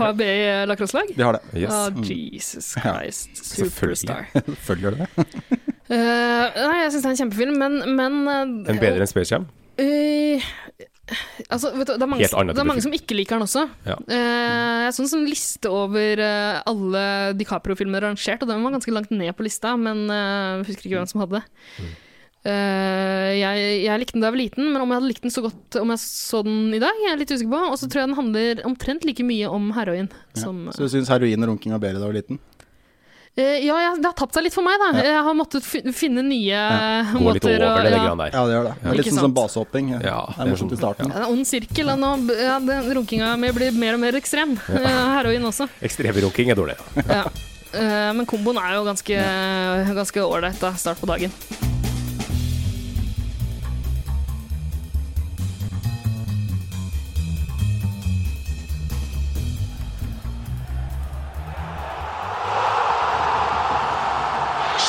[SPEAKER 2] HB lacrosselag?
[SPEAKER 1] De har det.
[SPEAKER 3] Yes.
[SPEAKER 2] Å, Jesus Christ, superstar.
[SPEAKER 1] Selvfølgelig gjør de det.
[SPEAKER 2] Eh, nei, jeg syns det er en kjempefilm, men, men eh,
[SPEAKER 3] En bedre enn Space Jam?
[SPEAKER 2] Eh, altså, vet du, det er mange,
[SPEAKER 3] Helt annen
[SPEAKER 2] det er mange
[SPEAKER 3] type
[SPEAKER 2] som ikke liker den også.
[SPEAKER 3] Ja.
[SPEAKER 2] Eh, jeg så en sånn liste over eh, alle DiCaprio-filmer rangert, og den var ganske langt ned på lista, men eh, jeg husker ikke hvem som hadde det.
[SPEAKER 3] Mm.
[SPEAKER 2] Eh, jeg, jeg likte den da jeg var liten, men om jeg hadde likt den så godt om jeg så den i dag, jeg er litt usikker på. Og så tror jeg den handler omtrent like mye om heroin som
[SPEAKER 1] Så du syns heroin og runking var bedre da du var liten?
[SPEAKER 2] Eh, Ja, jeg, det har tapt seg litt for meg, da. Jeg har måttet fi- finne nye
[SPEAKER 3] Gå litt
[SPEAKER 2] måter å-
[SPEAKER 3] over det, det
[SPEAKER 2] ja.
[SPEAKER 3] greiene der.
[SPEAKER 1] Ja, det gjør det. Det er Litt
[SPEAKER 2] Ikke
[SPEAKER 1] sånn som
[SPEAKER 2] sant?
[SPEAKER 1] basehopping. det
[SPEAKER 3] Ja,
[SPEAKER 1] er sånn. morsomt i starten.
[SPEAKER 2] Ja, det er en ond sirkel. og Nå, ja, den runkinga mi blir mer og mer ekstrem. Eh, Heroin også.
[SPEAKER 3] Ekstremrunking er dårlig.
[SPEAKER 2] Ja. Eh, Men komboen er jo ganske ganske ålreit da, start på dagen.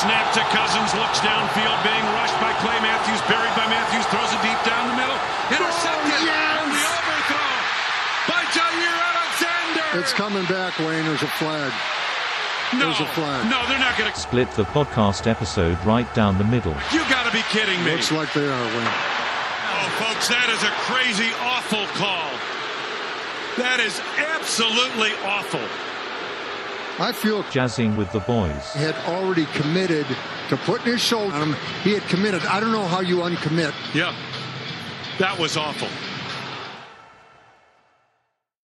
[SPEAKER 7] Snap to Cousins, looks downfield, being rushed by Clay Matthews, buried by Matthews, throws it deep down the middle. Intercepted! And the overthrow by Jair Alexander!
[SPEAKER 10] It's coming back, Wayne. There's a flag.
[SPEAKER 7] no,
[SPEAKER 10] there's a flag.
[SPEAKER 7] no, they're not going to.
[SPEAKER 11] Split the podcast episode right down the middle.
[SPEAKER 7] You got to be kidding me.
[SPEAKER 10] Looks like they are, Wayne.
[SPEAKER 7] Oh, folks, that is a crazy, awful call. That is absolutely awful.
[SPEAKER 10] I feel
[SPEAKER 11] Jazzing with the boys.
[SPEAKER 10] had already committed to putting his shoulder on him. He had committed. I don't know how you uncommit.
[SPEAKER 7] Yeah. That was awful.